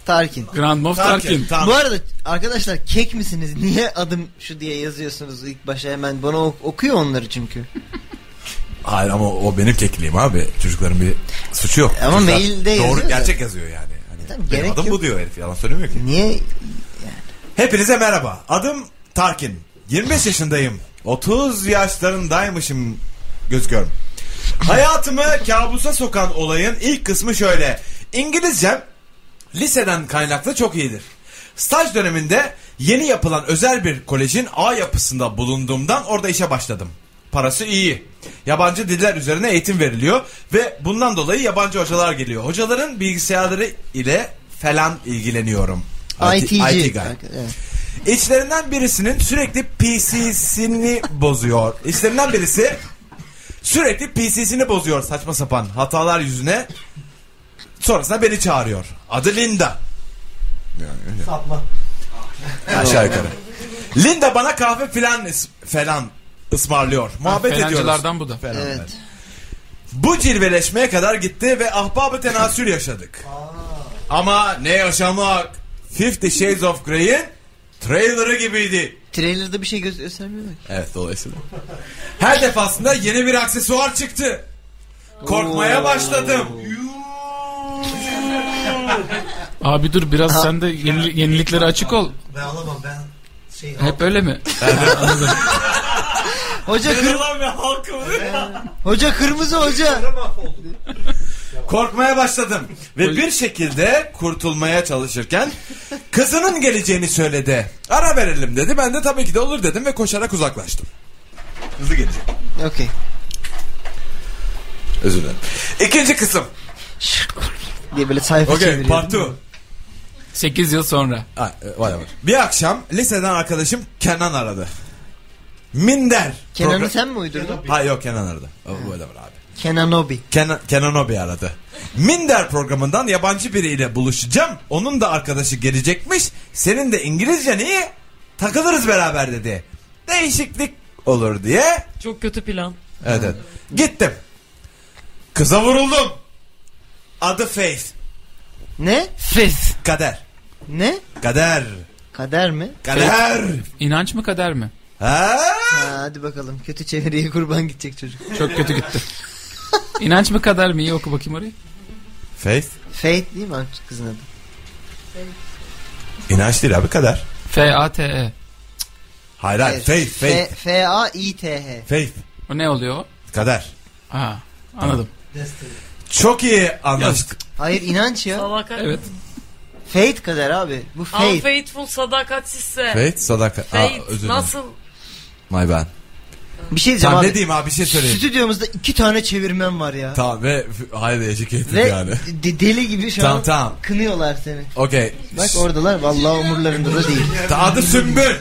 Speaker 3: Tarkin.
Speaker 4: Grand Moff Tarkin.
Speaker 2: Tarkin. Tamam.
Speaker 3: Bu arada arkadaşlar kek misiniz? Niye adım şu diye yazıyorsunuz ilk başa hemen? Bana ok- okuyor onları çünkü.
Speaker 2: Hayır ama o benim kekliğim abi. Çocukların bir suçu yok.
Speaker 3: Ama
Speaker 2: Çocuklar
Speaker 3: mailde
Speaker 2: Doğru
Speaker 3: yazıyor E
Speaker 2: gerçek yazıyor yani. Hani
Speaker 3: Tabii,
Speaker 2: benim
Speaker 3: gerek
Speaker 2: adım
Speaker 3: yok.
Speaker 2: bu diyor herif yalan söylemiyor ki.
Speaker 3: Niye?
Speaker 2: Hepinize merhaba. Adım Tarkin. 25 yaşındayım. 30 yaşlarındaymışım gözüküyorum. Hayatımı kabusa sokan olayın ilk kısmı şöyle. İngilizcem liseden kaynaklı çok iyidir. Staj döneminde yeni yapılan özel bir kolejin A yapısında bulunduğumdan orada işe başladım. Parası iyi. Yabancı diller üzerine eğitim veriliyor ve bundan dolayı yabancı hocalar geliyor. Hocaların bilgisayarları ile falan ilgileniyorum.
Speaker 3: ITG.
Speaker 2: IT guy.
Speaker 3: Evet.
Speaker 2: İçlerinden birisinin sürekli PC'sini bozuyor. İçlerinden birisi sürekli PC'sini bozuyor saçma sapan hatalar yüzüne. Sonrasında beni çağırıyor. Adı Linda. Satma. Aşağı yukarı. Linda bana kahve filan is- falan ısmarlıyor. Muhabbet ediyoruz.
Speaker 4: Felancılardan bu da.
Speaker 3: Evet.
Speaker 2: Bu cilveleşmeye kadar gitti ve ahbabı tenasül yaşadık. Ama ne yaşamak? Fifty Shades of Grey'in trailerı gibiydi.
Speaker 3: Trailer'da bir şey göz göstermiyor bak.
Speaker 2: Evet dolayısıyla. Her defasında yeni bir aksesuar çıktı. Korkmaya başladım.
Speaker 4: Abi dur biraz sen de yenili- yeniliklere açık ol.
Speaker 8: Ben alamam ben şey
Speaker 4: Hep öyle mi?
Speaker 3: Hoca, kır-
Speaker 2: Kırılan bir halkım.
Speaker 3: hoca kırmızı hoca.
Speaker 8: Yarım mahvoldu.
Speaker 2: Korkmaya başladım. Ve bir şekilde kurtulmaya çalışırken kızının geleceğini söyledi. Ara verelim dedi. Ben de tabii ki de olur dedim ve koşarak uzaklaştım. Hızlı gelecek.
Speaker 3: Okey.
Speaker 2: Özür dilerim. İkinci kısım.
Speaker 3: Diye böyle sayfa
Speaker 2: Okey
Speaker 3: çeviriyor.
Speaker 2: part two.
Speaker 4: 8 yıl sonra.
Speaker 2: şey Ha, e, vay vay. Bir akşam liseden arkadaşım Kenan aradı. Minder.
Speaker 3: Kenan'ı
Speaker 2: program-
Speaker 3: sen mi uydurdun?
Speaker 2: Ha yok Kenan aradı. O, böyle var abi.
Speaker 3: Kenanobi.
Speaker 2: Kenan, Kenan Obi aradı. Minder programından yabancı biriyle buluşacağım. Onun da arkadaşı gelecekmiş. Senin de İngilizcen iyi. Takılırız beraber dedi. Değişiklik olur diye.
Speaker 5: Çok kötü plan.
Speaker 2: Evet, evet. Gittim. Kıza vuruldum. Adı Faith.
Speaker 3: Ne?
Speaker 4: Fifth.
Speaker 2: Kader.
Speaker 3: Ne?
Speaker 2: Kader.
Speaker 3: Kader mi?
Speaker 2: Kader.
Speaker 4: İnanç mı kader mi?
Speaker 2: Ha?
Speaker 3: Ha, hadi bakalım. Kötü çeviriye kurban gidecek çocuk.
Speaker 4: Çok kötü gitti. İnanç mı kader mi? İyi oku bakayım orayı.
Speaker 2: Faith.
Speaker 3: Faith değil mi abi kızın adı?
Speaker 2: İnanç değil abi kader.
Speaker 4: F-A-T-E.
Speaker 2: Hayır hayır. Faith. Faith.
Speaker 3: F- F-A-I-T-H.
Speaker 2: Faith.
Speaker 4: O ne oluyor o?
Speaker 2: Kader.
Speaker 4: Ha, anladım.
Speaker 2: Çok iyi anlaştık.
Speaker 3: Hayır inanç ya.
Speaker 5: Allah kahretsin.
Speaker 4: Evet.
Speaker 3: Fate kadar abi. Bu fate.
Speaker 5: Unfaithful sadakatsizse.
Speaker 2: Faith sadaka.
Speaker 5: Fate
Speaker 2: Aa, özür dilerim.
Speaker 5: nasıl?
Speaker 2: My bad.
Speaker 3: Bir şey diyeceğim
Speaker 2: Tamam ne
Speaker 3: abi.
Speaker 2: diyeyim abi bir şey söyleyeyim.
Speaker 3: Stüdyomuzda iki tane çevirmen var ya.
Speaker 2: Tamam ve f- hayır educated
Speaker 3: Ve
Speaker 2: yani.
Speaker 3: de- deli gibi şu
Speaker 2: Tamam,
Speaker 3: an
Speaker 2: tamam.
Speaker 3: kınıyorlar seni.
Speaker 2: Okey.
Speaker 3: Bak oradalar vallahi umurlarında da değil.
Speaker 2: Adı Sümbül.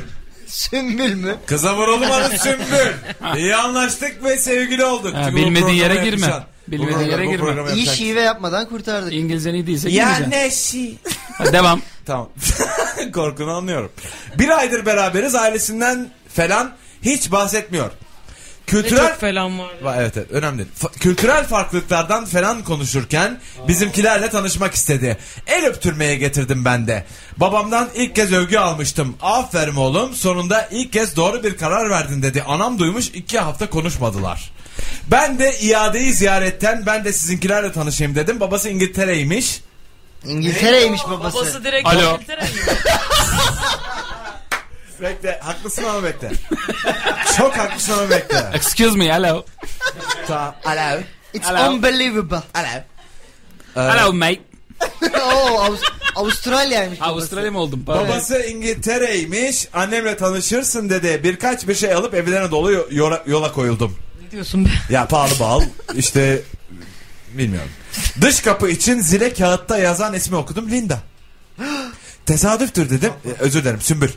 Speaker 3: Sümbül mü?
Speaker 2: Kıza vuralım adı Sümbül. İyi anlaştık ve sevgili olduk.
Speaker 4: Ha,
Speaker 2: Çünkü bu
Speaker 4: bilmediğin
Speaker 2: programı
Speaker 4: yere
Speaker 2: yapacağım.
Speaker 4: girme.
Speaker 2: Bu
Speaker 4: Bilmediğin
Speaker 2: programı-
Speaker 4: yere
Speaker 2: bu
Speaker 4: girme.
Speaker 2: programı
Speaker 3: İyi şey-
Speaker 2: yapacağım.
Speaker 3: şive yapmadan kurtardık.
Speaker 4: İngilizcen iyi değilse
Speaker 9: Ya
Speaker 4: girmeyeceksin.
Speaker 9: ne şey.
Speaker 4: Ha, Devam.
Speaker 2: Tamam. Korkunu anlıyorum. Bir aydır beraberiz ailesinden falan hiç bahsetmiyor.
Speaker 5: Ne
Speaker 2: Kültürel
Speaker 5: çok falan var.
Speaker 2: Va- Evet evet önemli. değil. Fa- kültürel farklılıklardan falan konuşurken bizimkilerle tanışmak istedi. El öptürmeye getirdim ben de. Babamdan ilk kez övgü almıştım. Aferin oğlum sonunda ilk kez doğru bir karar verdin dedi. Anam duymuş iki hafta konuşmadılar. Ben de iadeyi ziyaretten ben de sizinkilerle tanışayım dedim. Babası İngiltere'ymiş.
Speaker 3: İngiltere'ymiş babası.
Speaker 5: Babası direkt
Speaker 4: Alo.
Speaker 5: İngiltere mi?
Speaker 2: Bekle haklısın ama bekle. Çok haklısın ama bekle.
Speaker 4: Excuse me hello.
Speaker 2: Tamam. Alo.
Speaker 3: It's
Speaker 4: Hello.
Speaker 3: unbelievable.
Speaker 2: Alo.
Speaker 4: Hello mate.
Speaker 3: Oo, Avust- Avustralya'ymış babası.
Speaker 4: Avustralya mı oldun? Pardon.
Speaker 2: Babası İngiltere'ymiş. Annemle tanışırsın dedi. Birkaç bir şey alıp evlerine dolu yo- yola, yola koyuldum.
Speaker 5: Ne diyorsun be?
Speaker 2: Ya pahalı bal. işte bilmiyorum. Dış kapı için zile kağıtta yazan ismi okudum. Linda. Tesadüftür dedim. Ee, özür dilerim. Sümbül.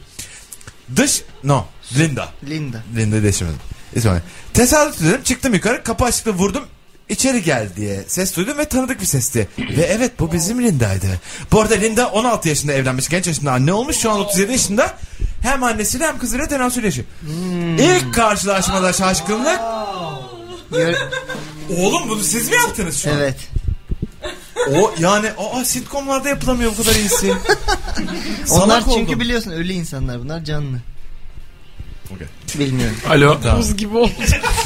Speaker 2: Dış no. Linda.
Speaker 3: Linda.
Speaker 2: Linda değiştirmedim. İsmail. Tesadüf dedim. Çıktım yukarı. Kapı açtı vurdum. İçeri gel diye ses duydum ve tanıdık bir sesti. Ve evet bu bizim Linda'ydı. Bu arada Linda 16 yaşında evlenmiş. Genç yaşında anne olmuş. Şu an 37 yaşında. Hem annesiyle hem kızıyla tenasül yaşıyor. İlk karşılaşmada şaşkınlık.
Speaker 3: Gör-
Speaker 2: Oğlum bunu siz mi yaptınız şu an?
Speaker 3: evet.
Speaker 2: O yani aa sitcomlarda yapılamıyor bu kadar iyisi.
Speaker 3: Onlar
Speaker 2: Salak
Speaker 3: çünkü
Speaker 2: oldum.
Speaker 3: biliyorsun ölü insanlar bunlar canlı.
Speaker 2: Okey.
Speaker 3: Bilmiyorum.
Speaker 4: Alo.
Speaker 5: Buz gibi oldu.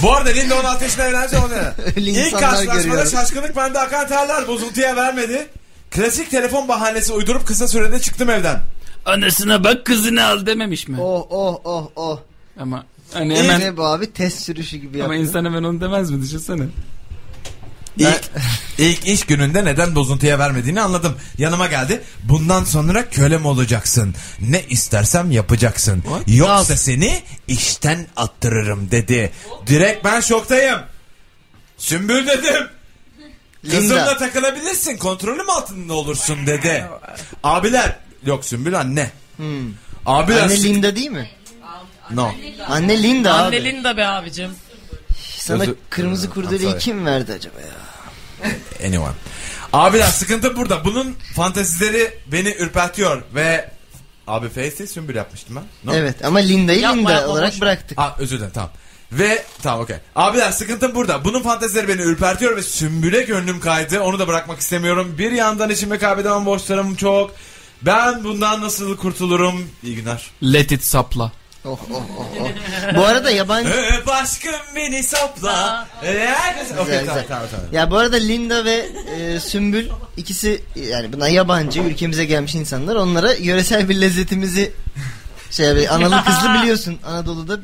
Speaker 2: Bu arada Linda 16 yaşında evlenecek ona.
Speaker 3: Öyle
Speaker 2: İlk
Speaker 3: insanlar
Speaker 2: karşılaşmada
Speaker 3: görüyorum.
Speaker 2: şaşkınlık bende akan terler bozuntuya vermedi. Klasik telefon bahanesi uydurup kısa sürede çıktım evden.
Speaker 4: Anasına bak kızını al dememiş mi?
Speaker 3: Oh oh oh oh.
Speaker 4: Ama hani
Speaker 3: Hemen...
Speaker 4: hemen
Speaker 3: Ne bu abi test sürüşü gibi
Speaker 4: ama
Speaker 3: yaptı.
Speaker 4: insan hemen onu demez mi düşünsene.
Speaker 2: İlk, ilk iş gününde neden bozuntuya vermediğini anladım. Yanıma geldi. Bundan sonra kölem olacaksın. Ne istersem yapacaksın. Yoksa seni işten attırırım dedi. Direkt ben şoktayım. Sümbül dedim. Kızımla
Speaker 3: Linda.
Speaker 2: takılabilirsin. Kontrolüm altında olursun dedi. Abiler. Yok Sümbül anne. Abiler.
Speaker 3: Hmm. Anne Linda değil mi?
Speaker 2: No.
Speaker 3: Anne Linda
Speaker 5: Anne
Speaker 3: abi.
Speaker 5: Linda be abicim.
Speaker 3: Sana
Speaker 2: Özür-
Speaker 3: kırmızı kurdeleyi
Speaker 2: sorry.
Speaker 3: kim verdi acaba ya?
Speaker 2: Anyone. Abiler sıkıntı burada. Bunun fantezileri beni ürpertiyor ve abi Face'i Sümbül yapmıştım ben. No?
Speaker 3: Evet ama Linda'yı
Speaker 5: Yapma,
Speaker 3: Linda
Speaker 5: yapma,
Speaker 3: olarak
Speaker 5: boş ver.
Speaker 3: bıraktık.
Speaker 2: Ha, özür dilerim tamam. Ve tamam okey. Abiler sıkıntım burada. Bunun fantezileri beni ürpertiyor ve sümbüle gönlüm kaydı. Onu da bırakmak istemiyorum. Bir yandan içime kaybedemem borçlarım çok. Ben bundan nasıl kurtulurum? İyi günler.
Speaker 4: Let it sapla.
Speaker 3: Oh oh oh oh. bu arada yabancı...
Speaker 2: Ee, başkım beni sapla. Ee, herkes... Okey
Speaker 3: Güzel,
Speaker 2: tamam
Speaker 3: güzel.
Speaker 2: tamam tamam.
Speaker 3: Ya bu arada Linda ve e, Sümbül ikisi yani buna yabancı ülkemize gelmiş insanlar. Onlara yöresel bir lezzetimizi şey bir analı kızlı biliyorsun Anadolu'da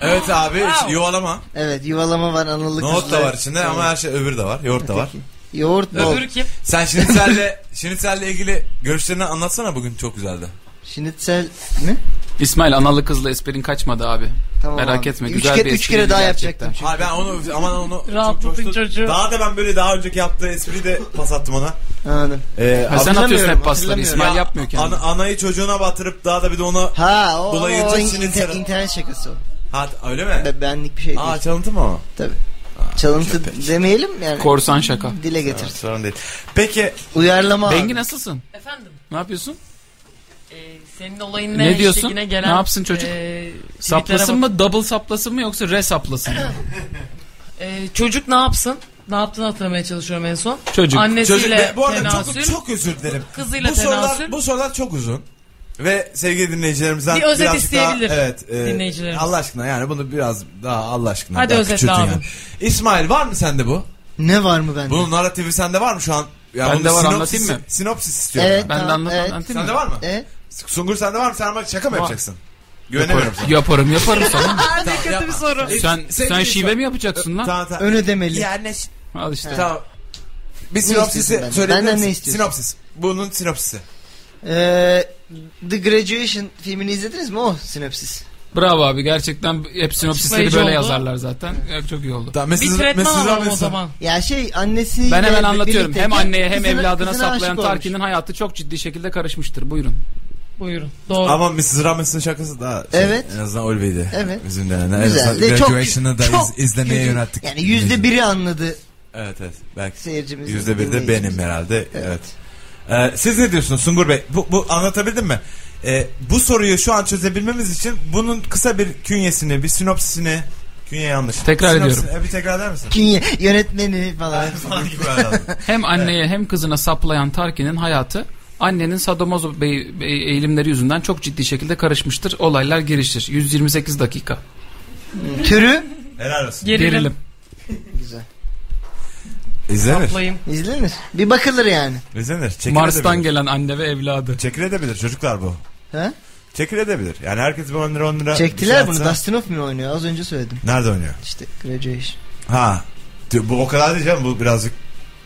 Speaker 2: Evet abi hiç
Speaker 5: Wow.
Speaker 2: yuvalama.
Speaker 3: evet yuvalama var analı kızlı.
Speaker 2: Nohut da var içinde ama
Speaker 3: Evet.
Speaker 2: her şey öbür de var. Yoğurt da var.
Speaker 3: Yoğurt bol.
Speaker 5: Öbürü kim?
Speaker 2: Sen Şinitzel'le Şinitzel'le ilgili görüşlerini anlatsana bugün çok güzeldi.
Speaker 3: Şinitsel mi?
Speaker 4: İsmail analı kızla esprin kaçmadı abi.
Speaker 3: Tamam
Speaker 4: Merak
Speaker 3: abi.
Speaker 4: etme,
Speaker 3: üç
Speaker 4: güzel
Speaker 3: kere,
Speaker 4: bir
Speaker 3: Üç kere
Speaker 4: espriydi
Speaker 3: daha
Speaker 4: gerçekten.
Speaker 3: yapacaktım çünkü.
Speaker 2: Abi ben onu aman onu
Speaker 5: Rahatlatın
Speaker 2: coştum.
Speaker 5: çocuğu.
Speaker 2: Daha da ben böyle daha önceki yaptığı espriyi de pas attım ona.
Speaker 3: Anladım.
Speaker 2: Ee,
Speaker 4: Ha, sen atıyorsun hep pasları
Speaker 3: hatırlamıyorum.
Speaker 4: İsmail yapmıyor kendini.
Speaker 2: ana- anayı çocuğuna batırıp daha da bir de onu
Speaker 3: Ha o, o,
Speaker 2: Dolayıcı
Speaker 3: o in-
Speaker 2: Şinitsel-
Speaker 3: inter- internet şakası o.
Speaker 2: ha, öyle mi?
Speaker 3: Be- benlik bir şey değil.
Speaker 2: Aa çalıntı mı o?
Speaker 3: Tabii. Çalıntı demeyelim yani.
Speaker 4: Korsan şaka.
Speaker 3: dile getir.
Speaker 2: Sorun değil. Peki
Speaker 3: Uyarlama. abi.
Speaker 4: Bengi nasılsın?
Speaker 5: Efendim.
Speaker 4: Ne yapıyorsun?
Speaker 5: e, senin olayın
Speaker 4: Ne
Speaker 5: ne? işte
Speaker 4: diyorsun?
Speaker 5: yine gelen,
Speaker 4: Ne yapsın çocuk?
Speaker 5: e, tweetlere
Speaker 4: Saplasın
Speaker 5: bak-
Speaker 4: mı, double saplasın mı yoksa re saplasın mı?
Speaker 5: E, çocuk ne yapsın? Ne yaptığını hatırlamaya çalışıyorum en son.
Speaker 4: Çocuk.
Speaker 2: çocuk
Speaker 5: Annesiyle
Speaker 2: bu arada
Speaker 5: tenasül.
Speaker 2: çok, çok özür dilerim.
Speaker 5: Kızıyla
Speaker 2: bu sorular,
Speaker 5: tenasül.
Speaker 2: bu sorular çok uzun. Ve sevgili dinleyicilerimizden
Speaker 5: Bir özet
Speaker 2: birazcık
Speaker 5: isteyebilir
Speaker 2: Daha, evet, e,
Speaker 5: dinleyicilerimiz.
Speaker 2: Allah aşkına yani bunu biraz daha Allah aşkına.
Speaker 5: Hadi
Speaker 2: daha
Speaker 5: özetle
Speaker 2: küçültün
Speaker 5: abi.
Speaker 2: yani. İsmail var mı sende bu?
Speaker 3: Ne var mı bende?
Speaker 2: Bunun narratifi sende var mı şu an? Ya
Speaker 4: Bende
Speaker 2: bunun
Speaker 4: var,
Speaker 2: sinopsis-
Speaker 4: anlatayım mı?
Speaker 2: Sinopsis istiyorum.
Speaker 3: Evet.
Speaker 4: Ben de
Speaker 3: Tamam,
Speaker 4: anlatayım.
Speaker 3: evet.
Speaker 4: anlatayım mı?
Speaker 2: Sende var mı?
Speaker 3: E?
Speaker 2: Sungur sende var mı? Sen bak şaka mı
Speaker 4: Var.
Speaker 2: yapacaksın? Güvenemiyorum sana.
Speaker 4: Yaparım yaparım sana.
Speaker 2: ne kötü bir soru.
Speaker 4: sen sen şive mi yapacaksın lan?
Speaker 2: Tamam tamam.
Speaker 3: Ön ödemeli.
Speaker 9: Yani ş-
Speaker 4: Al işte.
Speaker 2: Tamam. Bir
Speaker 3: istiyorsun
Speaker 2: sinopsisi
Speaker 3: benden?
Speaker 2: söyleyebilir
Speaker 3: Benden
Speaker 2: misin?
Speaker 3: ne istiyorsun?
Speaker 2: Sinopsis. Bunun sinopsisi.
Speaker 3: Ee, The Graduation filmini izlediniz mi o sinopsis?
Speaker 4: Bravo abi gerçekten hep sinopsisleri
Speaker 5: Açıklayıcı
Speaker 4: böyle
Speaker 5: oldu.
Speaker 4: yazarlar zaten. Ya, Çok iyi oldu.
Speaker 2: Tamam,
Speaker 5: Bir
Speaker 2: Mesut-
Speaker 5: tretman
Speaker 2: Mesut
Speaker 5: alalım o
Speaker 2: Robinson.
Speaker 5: zaman.
Speaker 3: Ya şey annesiyle
Speaker 4: Ben hemen anlatıyorum.
Speaker 3: birlikteyken
Speaker 4: Hem anneye hem
Speaker 3: kızına-
Speaker 4: evladına
Speaker 3: kızına aşık
Speaker 4: saplayan
Speaker 3: olmuş.
Speaker 4: Tarkin'in hayatı çok ciddi şekilde karışmıştır. Buyurun.
Speaker 5: Buyurun. Doğru.
Speaker 2: Ama Mrs. Robinson'ın şakası daha şey,
Speaker 3: Evet.
Speaker 2: en azından öyleydi.
Speaker 3: Evet.
Speaker 2: Bizim de yani. En
Speaker 3: Güzel.
Speaker 2: azından
Speaker 3: De çok,
Speaker 2: Graduation'ı da iz-
Speaker 3: çok
Speaker 2: izlemeye
Speaker 3: kötü.
Speaker 2: yönelttik.
Speaker 3: Yani yüzde biri anladı
Speaker 2: Evet evet. Belki
Speaker 3: seyircimiz.
Speaker 2: yüzde bir de benim
Speaker 3: dinleyicimiz.
Speaker 2: herhalde. Evet. Ee, siz ne diyorsunuz Sungur Bey? Bu, bu anlatabildim mi? Ee, bu soruyu şu an çözebilmemiz için bunun kısa bir künyesini, bir sinopsisini Künye yanlış.
Speaker 4: Tekrar
Speaker 2: Sinopsisini- e, bir tekrar eder misin?
Speaker 3: Künye yönetmeni falan.
Speaker 2: Falan gibi herhalde.
Speaker 4: Hem anneye hem kızına saplayan Tarkin'in hayatı annenin sadomazo bey- bey- eğilimleri yüzünden çok ciddi şekilde karışmıştır. Olaylar gelişir. 128 dakika.
Speaker 3: Türü
Speaker 2: Helal olsun.
Speaker 5: Gerilim.
Speaker 4: Gerilim.
Speaker 3: güzel.
Speaker 2: İzlenir.
Speaker 5: Saplayayım.
Speaker 3: İzlenir. Bir bakılır yani.
Speaker 2: İzlenir. Çekil
Speaker 4: Mars'tan
Speaker 2: edebilir.
Speaker 4: gelen anne ve evladı.
Speaker 2: Çekil edebilir çocuklar bu.
Speaker 3: Ha?
Speaker 2: Çekil edebilir. Yani herkes bir 10 lira 10 lira. bir
Speaker 3: Çektiler
Speaker 2: şey
Speaker 3: bunu.
Speaker 2: atsa-
Speaker 3: Dustin Hoffman oynuyor. Az önce söyledim.
Speaker 2: Nerede oynuyor?
Speaker 3: İşte Graduation.
Speaker 2: Ha. Tü- Bu o kadar değil canım. Bu birazcık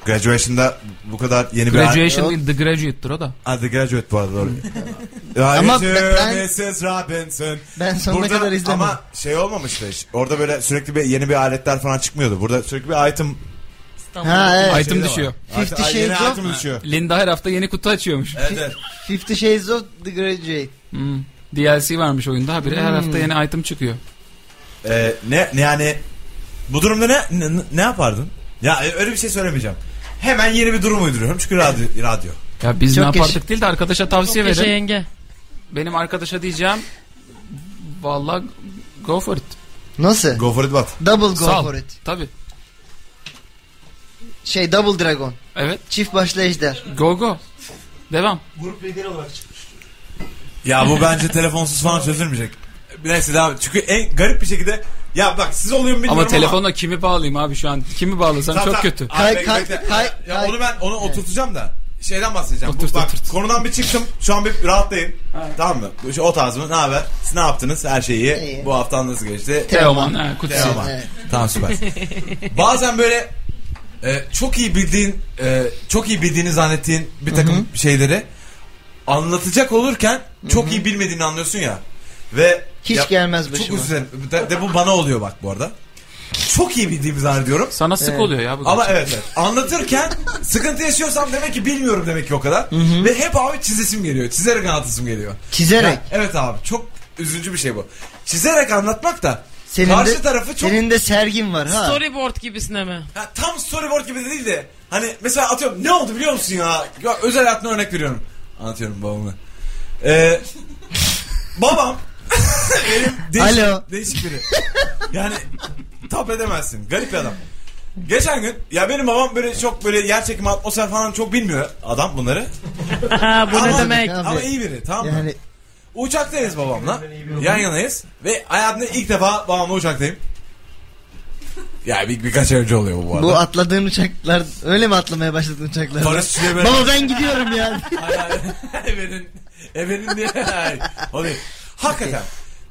Speaker 2: graduation'da bu kadar yeni bir...
Speaker 4: Graduation değil The Graduate'tir o da.
Speaker 2: Hadi graduate bu arada doğru. Ama
Speaker 3: Ama ben-
Speaker 2: Mrs. Robinson.
Speaker 3: Ben sonuna
Speaker 2: Burada
Speaker 3: kadar izlemedim.
Speaker 2: ama şey olmamıştı hiç. Orada böyle sürekli bir yeni bir aletler falan çıkmıyordu. Burada sürekli bir item
Speaker 5: İstanbul.
Speaker 3: Ha evet.
Speaker 4: Item
Speaker 2: şey de
Speaker 4: düşüyor.
Speaker 2: var.
Speaker 3: Fifty
Speaker 2: Ay- yeni
Speaker 3: Shades of-
Speaker 2: item düşüyor.
Speaker 4: Linda her hafta yeni kutu açıyormuş.
Speaker 2: Evet, evet.
Speaker 3: Fifty Shades of the Graduate.
Speaker 4: Hmm. DLC varmış oyunda. Habire her
Speaker 3: Hmm.
Speaker 4: hafta yeni item çıkıyor.
Speaker 2: Ee, ne, ne yani bu durumda ne, ne ne yapardın? Ya e, öyle bir şey söylemeyeceğim. Hemen yeni bir durum uyduruyorum çünkü radyo radyo.
Speaker 4: Ya biz
Speaker 3: Çok
Speaker 4: ne yapardık
Speaker 3: yaşa-
Speaker 4: değil de arkadaşa tavsiye
Speaker 5: Çok yaşa
Speaker 4: verin.
Speaker 5: yenge.
Speaker 4: Benim arkadaşa diyeceğim valla go for it.
Speaker 3: Nasıl?
Speaker 2: Go for it what?
Speaker 3: Double go
Speaker 4: Sal.
Speaker 3: for it.
Speaker 4: Tabii.
Speaker 3: Şey Double Dragon.
Speaker 4: Evet.
Speaker 3: Çift başlı ejder.
Speaker 4: Go go. Devam.
Speaker 8: Grup lideri olarak çıkmış.
Speaker 2: Ya bu bence telefonsuz falan çözülmeyecek. Neyse devam. Çünkü en garip bir şekilde ya bak siz oluyor mu bilmiyorum
Speaker 4: Ama telefonla kimi bağlayayım abi şu an? Kimi bağlasam
Speaker 2: Tamam,
Speaker 4: çok
Speaker 2: tamam.
Speaker 4: kötü.
Speaker 2: Abi,
Speaker 3: Kay-
Speaker 2: bekle,
Speaker 3: kay-
Speaker 2: bekle.
Speaker 3: kay-
Speaker 2: Ya
Speaker 3: kay-
Speaker 2: onu ben onu oturtacağım da şeyden bahsedeceğim.
Speaker 4: Oturt,
Speaker 2: Bu- bak
Speaker 4: oturt.
Speaker 2: konudan bir çıktım. Şu an bir rahatlayayım. Tamam mı? Şu, o tarz mı? Ne haber? Siz ne yaptınız? Her şey iyi.
Speaker 3: İyi.
Speaker 2: Bu haftan nasıl geçti?
Speaker 4: Teoman. ha, Kutsi.
Speaker 2: Teoman.
Speaker 3: Evet.
Speaker 2: Tamam süper. Bazen böyle e, çok iyi bildiğin, e, çok iyi bildiğini zannettiğin bir takım şeyleri anlatacak olurken çok iyi bilmediğini anlıyorsun ya. Ve
Speaker 3: Hiç
Speaker 2: ya,
Speaker 3: gelmez
Speaker 2: Çok
Speaker 3: başıma.
Speaker 2: üzülen. De, de bu bana oluyor bak bu arada. Çok iyi bildiğimi zannediyorum.
Speaker 4: Sana sık
Speaker 3: Evet.
Speaker 4: oluyor ya bu.
Speaker 2: Ama
Speaker 4: gerçi.
Speaker 2: evet, evet. Anlatırken sıkıntı yaşıyorsam demek ki bilmiyorum demek ki o kadar. Ve hep abi çizesim geliyor. Çizerek anlatasım geliyor.
Speaker 3: Çizerek.
Speaker 2: Ya, evet abi çok üzücü bir şey bu. Çizerek anlatmak da
Speaker 3: Senin
Speaker 2: karşı
Speaker 3: de,
Speaker 2: tarafı çok
Speaker 3: Senin de sergin var ha.
Speaker 5: Storyboard gibisine mi?
Speaker 2: ya tam storyboard gibi de değil de hani mesela atıyorum ne oldu biliyor musun ya? ya özel hayatına örnek veriyorum. Anlatıyorum babamı. Ee, babam benim değişik,
Speaker 3: Alo.
Speaker 2: değişik biri. Yani tap edemezsin. Garip bir adam. Geçen gün ya benim babam böyle çok böyle yer çekimi atmosfer falan çok bilmiyor adam bunları.
Speaker 5: Ha, bu ne
Speaker 2: Ama-
Speaker 5: demek?
Speaker 3: Abi.
Speaker 2: Ama iyi biri tamam mı?
Speaker 3: Yani
Speaker 2: Uçaktayız babamla. Yan yanayız. Ve hayatımda ilk defa babamla uçaktayım. Ya bir, birkaç ay önce oluyor bu, bu arada.
Speaker 3: bu atladığın uçaklar öyle mi atlamaya başladın uçaklara?
Speaker 2: Barışçı'ya böyle...
Speaker 3: Baba ben gidiyorum ya.
Speaker 2: Ebenin, ebenin diye. Ay, o değil. Hakikaten.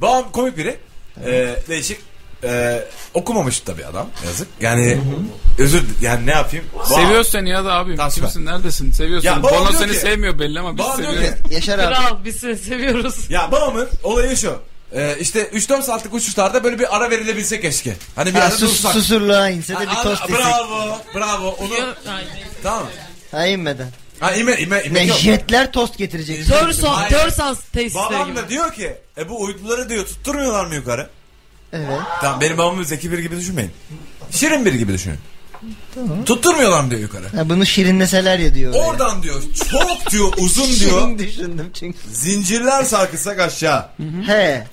Speaker 2: Babam komik biri. Ee, değişik. Ee, okumamış tabii adam yazık. Yani özür dil- yani ne yapayım? Babam-
Speaker 4: Seviyor seni ya da abim.
Speaker 2: Tamam, süper.
Speaker 4: Kimsin? Neredesin? Seviyor
Speaker 2: Ya
Speaker 4: seni.
Speaker 2: babam
Speaker 4: Bono
Speaker 2: diyor
Speaker 4: seni
Speaker 2: ki-
Speaker 4: sevmiyor belli ama biz
Speaker 2: Babam diyor
Speaker 4: seviyoruz.
Speaker 2: ki
Speaker 3: Yaşar abi.
Speaker 5: Kral biz seni seviyoruz.
Speaker 2: ya babamın olayı şu. Ee, işte 3-4 saatlik uçuşlarda böyle bir ara verilebilse keşke. Hani bir
Speaker 3: Ha,
Speaker 2: ara
Speaker 3: sus,
Speaker 2: dursak.
Speaker 3: susurluğa inse de bir
Speaker 2: Aa,
Speaker 3: tost yesek.
Speaker 2: bravo, bravo. Onu
Speaker 5: Ay,
Speaker 2: tamam.
Speaker 3: Ha inmeden.
Speaker 2: Ha ime ime ime.
Speaker 3: Ne
Speaker 2: yok.
Speaker 3: jetler tost getirecek.
Speaker 5: Törsan,
Speaker 2: Hayır.
Speaker 5: Törsan tesisleri
Speaker 2: Babam
Speaker 5: gibi.
Speaker 2: da diyor ki, e bu uyduları diyor tutturmuyorlar mı yukarı?
Speaker 3: Evet.
Speaker 2: Tamam benim babamı zeki biri gibi düşünmeyin. Şirin biri gibi düşünün. Tutturmuyorlar mı diyor yukarı.
Speaker 3: Ha, bunu şirinleseler ya diyor. oraya.
Speaker 2: Oradan diyor çok diyor uzun
Speaker 3: Şirin
Speaker 2: diyor
Speaker 3: düşündüm çünkü.
Speaker 2: zincirler sarkısak aşağı.
Speaker 3: He.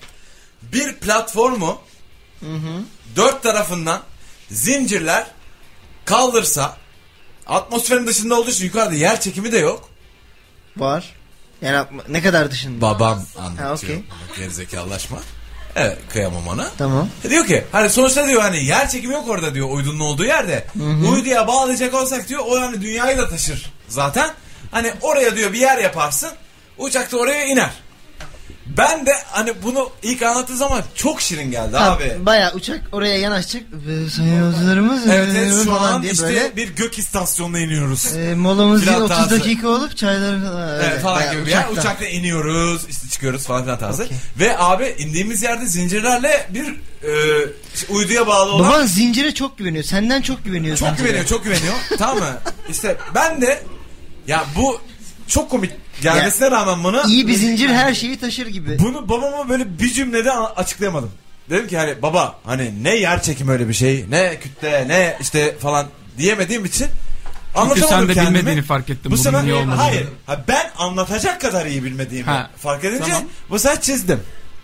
Speaker 2: Bir platformu dört tarafından zincirler kaldırsa atmosferin dışında olduğu için yukarıda yer çekimi de yok.
Speaker 3: Var. Yani atma- ne kadar dışında?
Speaker 2: Babam anlatıyor.
Speaker 3: Ha, okey.
Speaker 2: Gerizekalılaşma. Evet kıyamam ona.
Speaker 3: Tamam.
Speaker 2: Diyor ki hani sonuçta diyor hani yer çekimi yok orada diyor uydunun olduğu yerde. Uyduya bağlayacak olsak diyor o hani dünyayı da taşır zaten. Hani oraya diyor bir yer yaparsın uçak da oraya iner. Ben de hani bunu ilk anlattığı zaman çok şirin geldi abi.
Speaker 3: Baya uçak oraya yanaşacak. Ee, Sayın yolcularımız
Speaker 2: Evet, evet,
Speaker 3: ee,
Speaker 2: şu
Speaker 3: falan
Speaker 2: an
Speaker 3: diye
Speaker 2: işte
Speaker 3: böyle.
Speaker 2: bir gök istasyonuna iniyoruz.
Speaker 3: ee, molamız
Speaker 2: Fiyat
Speaker 3: diye 30
Speaker 2: tarzı.
Speaker 3: dakika olup çayları falan.
Speaker 2: Evet,
Speaker 3: öyle,
Speaker 2: falan
Speaker 3: bayağı
Speaker 2: gibi bir yer.
Speaker 3: uçakta.
Speaker 2: Uçakla iniyoruz, işte çıkıyoruz falan filan tarzı. Ve abi indiğimiz yerde zincirlerle bir e, uyduya bağlı olan
Speaker 3: Baban zincire çok güveniyor. Senden çok güveniyor.
Speaker 2: Çok
Speaker 3: zincire.
Speaker 2: güveniyor, çok güveniyor. tamam mı? İşte ben de ya bu çok komik gelmesine rağmen bana
Speaker 3: İyi bir zincir her şeyi taşır gibi.
Speaker 2: bunu babama böyle bir cümlede a- açıklayamadım. Dedim ki hani baba hani ne yer çekimi öyle bir şey, ne kütle, ne işte falan diyemediğim için
Speaker 4: Çünkü
Speaker 2: anlatamadım
Speaker 4: sen de
Speaker 2: kendimi.
Speaker 4: bilmediğini fark ettim.
Speaker 2: Bu
Speaker 4: bunun
Speaker 2: sefer
Speaker 4: iyi olmadığını.
Speaker 2: hayır. Ha, ben anlatacak kadar iyi bilmediğimi
Speaker 4: Ha,
Speaker 2: fark edince
Speaker 4: tamam.
Speaker 2: bu sefer çizdim.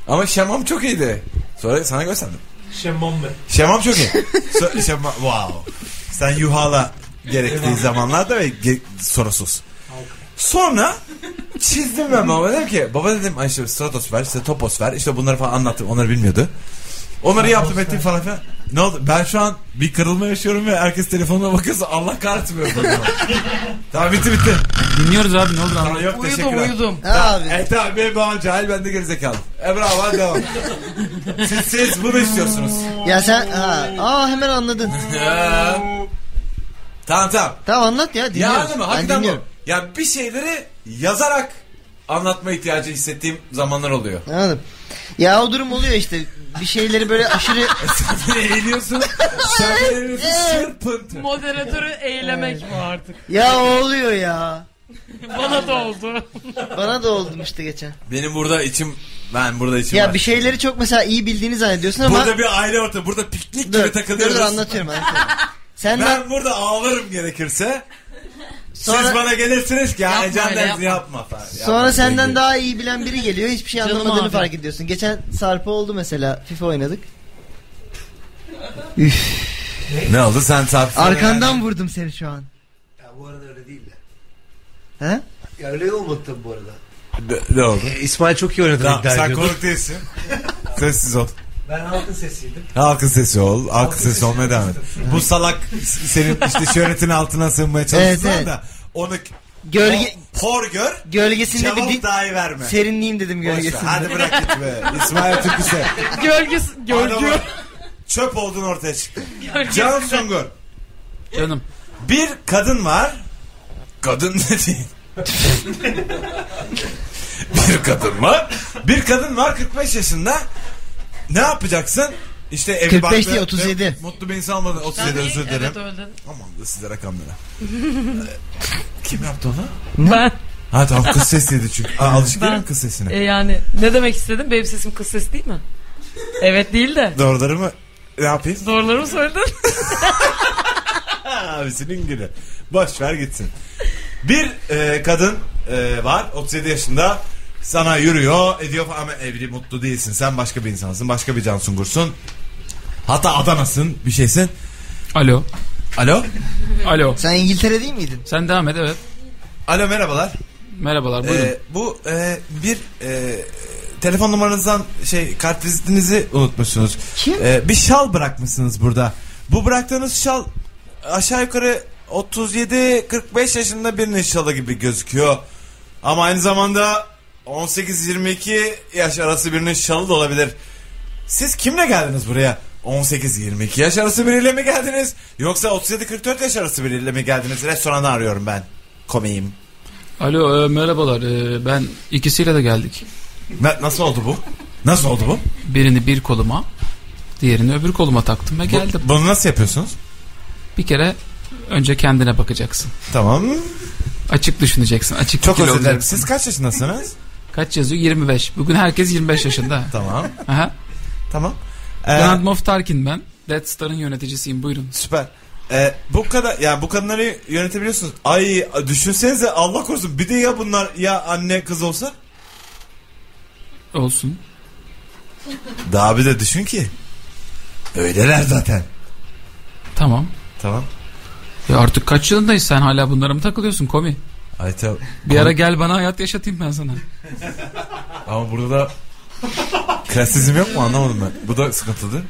Speaker 2: Ama şemam çok iyiydi. Sonra sana gösterdim.
Speaker 8: Şemmam be.
Speaker 2: Şemam çok iyi. So- şema- wow. Sen yuhala gerektiği zamanlarda ve ge- sorusuz. Sonra çizdim ben baba dedim ki baba dedim ay işte stratosfer işte toposfer işte bunları falan anlattım onları bilmiyordu. Onları yaptım ettim falan filan. Ne oldu? Ben şu an bir kırılma yaşıyorum ve herkes telefonuna bakıyorsa Allah kahretmiyor. tamam bitti bitti.
Speaker 4: Dinliyoruz abi ne olur anlat.
Speaker 2: Tamam, yok
Speaker 5: Uyudum
Speaker 2: teşekkürler.
Speaker 5: uyudum.
Speaker 3: Abi.
Speaker 2: E tamam benim babam cahil ben de gerizekalı. E bravo hadi devam. siz, siz bunu istiyorsunuz.
Speaker 3: Ya sen ha, aa hemen anladın.
Speaker 2: Ya. tamam tamam.
Speaker 3: Tamam anlat ya
Speaker 2: Ya
Speaker 3: dinliyoruz.
Speaker 2: anladın mı?
Speaker 3: ben
Speaker 2: Hakikaten bu.
Speaker 3: dinliyorum.
Speaker 2: Ya bir şeyleri yazarak anlatma ihtiyacı hissettiğim zamanlar oluyor.
Speaker 3: Anladım. Ya o durum oluyor işte. Bir şeyleri böyle aşırı
Speaker 2: sen eğiliyorsun. Sen eğiliyorsun. Sırpıntı.
Speaker 5: Moderatörü eylemek bu artık.
Speaker 3: ya o oluyor ya.
Speaker 5: Bana da oldu.
Speaker 3: Bana da oldum işte geçen.
Speaker 2: Benim burada içim ben burada içim
Speaker 3: Ya
Speaker 2: var.
Speaker 3: bir şey şeyleri çok mesela iyi bildiğini zannediyorsun ama
Speaker 2: Burada bir aile ortamı. Burada piknik gibi
Speaker 3: dur, dur,
Speaker 2: takılıyoruz.
Speaker 3: dur, anlatıyorum. anlatıyorum. Senden
Speaker 2: Ben burada ağlarım gerekirse. Siz
Speaker 3: Sonra-
Speaker 2: bana gelirsiniz ki ya
Speaker 5: Yapma
Speaker 2: Can
Speaker 5: öyle,
Speaker 2: dersin
Speaker 5: yapma.
Speaker 2: yapma falan.
Speaker 3: sonra
Speaker 2: Yapma,
Speaker 3: senden
Speaker 2: sevgili.
Speaker 3: daha iyi bilen biri geliyor. Hiçbir şey
Speaker 5: Canım
Speaker 3: anlamadığını
Speaker 5: abi.
Speaker 3: fark ediyorsun. Geçen Sarp'a oldu mesela. FIFA oynadık. Üf.
Speaker 2: Ne oldu sen tarif
Speaker 3: Arkandan vurdum seni şu an.
Speaker 8: Ya bu arada öyle değil de.
Speaker 3: He?
Speaker 8: Ya öyle olmadı tabii bu arada.
Speaker 2: Ne, ne oldu?
Speaker 8: E, İsmail çok iyi oynadı
Speaker 2: Tamam, sen konuk değilsin. Sessiz ol.
Speaker 8: Ben halkın sesiydim.
Speaker 2: Halkın sesi ol. Halkın sesi olmaya devam et. Bu salak senin işte şöhretin altına sığınmaya çalıştılar
Speaker 3: Evet, evet.
Speaker 2: da onu
Speaker 3: Gölge
Speaker 2: hor gör
Speaker 3: gölgesinde bir Şey,
Speaker 2: cevap
Speaker 3: din-
Speaker 2: dahi verme.
Speaker 3: serinleyeyim dedim
Speaker 2: Boş ver,
Speaker 3: gölgesinde.
Speaker 2: Hadi bırak git be. İsmail Türküse.
Speaker 5: Gölgesi,
Speaker 2: Adamı
Speaker 5: gölgü.
Speaker 2: çöp oldun ortaya çıktı.
Speaker 5: Gölgesi.
Speaker 2: Can Sungur.
Speaker 4: Canım.
Speaker 2: Bir kadın var. Kadın ne diyeyim? bir kadın var. Bir kadın var 45 yaşında. Ne yapacaksın? İşte evi
Speaker 3: 45
Speaker 2: barklı-
Speaker 3: değil, 37.
Speaker 2: Mutlu bir insan olmadı. 37 özür dilerim.
Speaker 5: Evet öyle.
Speaker 2: Aman da size rakamlara. Kim yaptı onu?
Speaker 5: Ben
Speaker 2: Ha tamam kız sesiydi çünkü. Aa, alışık
Speaker 5: Ben-
Speaker 2: değil mi kız sesine?
Speaker 5: e, yani ne demek istedim? Benim sesim kız sesi değil mi? Evet değil de.
Speaker 2: Doğruları mı? Ne yapayım?
Speaker 5: Doğruları mı söyledin?
Speaker 2: Abisinin günü. Boş ver gitsin. Bir e, kadın e, var 37 yaşında sana yürüyor ediyor falan. ama evli mutlu değilsin. Sen başka bir insansın. Başka bir can sungursun. Hatta Adana'sın bir şeysin.
Speaker 4: Alo.
Speaker 2: Alo.
Speaker 4: Alo.
Speaker 3: Sen İngiltere değil miydin?
Speaker 4: Sen devam et evet.
Speaker 2: Alo merhabalar.
Speaker 4: Merhabalar buyurun.
Speaker 2: Ee, bu e, bir e, telefon numaranızdan şey kart vizitinizi unutmuşsunuz.
Speaker 3: Kim?
Speaker 2: Ee, bir şal bırakmışsınız burada. Bu bıraktığınız şal aşağı yukarı 37-45 yaşında birinin şalı gibi gözüküyor. Ama aynı zamanda 18-22 yaş arası birinin şalı da olabilir. Siz kimle geldiniz buraya? 18-22 yaş arası biriyle mi geldiniz? Yoksa 37-44 yaş arası biriyle mi geldiniz? Restoranı arıyorum ben. Komiyim.
Speaker 4: Alo e, merhabalar. E, ben ikisiyle de geldik.
Speaker 2: Na- Nasıl oldu bu? Nasıl oldu bu?
Speaker 4: Birini bir koluma, diğerini öbür koluma taktım ve geldim.
Speaker 2: Bu- Bunu nasıl yapıyorsunuz?
Speaker 4: Bir kere önce kendine bakacaksın.
Speaker 2: Tamam.
Speaker 4: Açık düşüneceksin. Açık
Speaker 2: Çok
Speaker 4: fikirli
Speaker 2: özür dilerim.
Speaker 4: olacaksın.
Speaker 2: Siz kaç yaşındasınız?
Speaker 4: Kaç yazıyor? 25. Bugün herkes 25 yaşında.
Speaker 2: tamam.
Speaker 4: Aha.
Speaker 2: Tamam. Ee,
Speaker 4: Grant Moff Tarkin ben. Death Star'ın yöneticisiyim buyurun.
Speaker 2: süper. Ee, bu kadar yani bu kadınları yönetebiliyorsunuz. Ay düşünsenize Allah korusun. Bir de ya bunlar ya anne kız olsa?
Speaker 4: Olsun.
Speaker 2: Daha bir de düşün ki. Öyleler zaten.
Speaker 4: Tamam.
Speaker 2: Tamam.
Speaker 4: Ya artık kaç yılındayız sen hala bunlara mı takılıyorsun komi?
Speaker 2: Ay tamam.
Speaker 4: Bir ara gel bana hayat yaşatayım ben sana.
Speaker 2: Ama burada da klasizm yok mu anlamadım ben. Bu da sıkıntılı.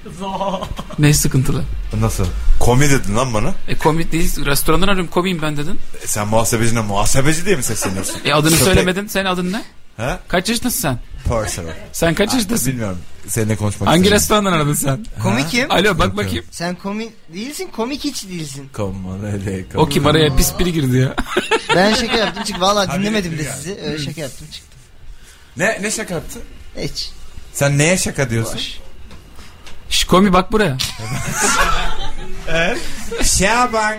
Speaker 4: Ne sıkıntılı?
Speaker 2: Nasıl? Komi dedin lan bana.
Speaker 4: E komik değil. Restorandan arıyorum komiyim ben dedin.
Speaker 2: E, sen muhasebecine muhasebeci diye mi sesleniyorsun?
Speaker 4: E adını
Speaker 2: Köpek.
Speaker 4: söylemedin. Senin adın ne?
Speaker 2: Ha?
Speaker 4: Kaç yaşındasın sen?
Speaker 2: Personal.
Speaker 4: Sen kaç yaşındasın?
Speaker 2: Bilmiyorum. Seninle konuşmak
Speaker 4: Hangi
Speaker 2: istedim.
Speaker 4: restorandan aradın sen?
Speaker 3: Komik kim?
Speaker 4: Alo bak bakayım.
Speaker 3: Sen komik değilsin komik hiç değilsin.
Speaker 2: Come on, hele, come
Speaker 4: O kim araya pis biri girdi ya.
Speaker 3: Ben şaka yaptım çık. Valla dinlemedim de
Speaker 2: yani.
Speaker 3: sizi. Öyle şaka yaptım çık.
Speaker 2: Ne, ne şaka yaptı?
Speaker 3: Hiç.
Speaker 2: Sen neye şaka diyorsun?
Speaker 3: Boş.
Speaker 4: Şş komi bak buraya.
Speaker 2: Şaban.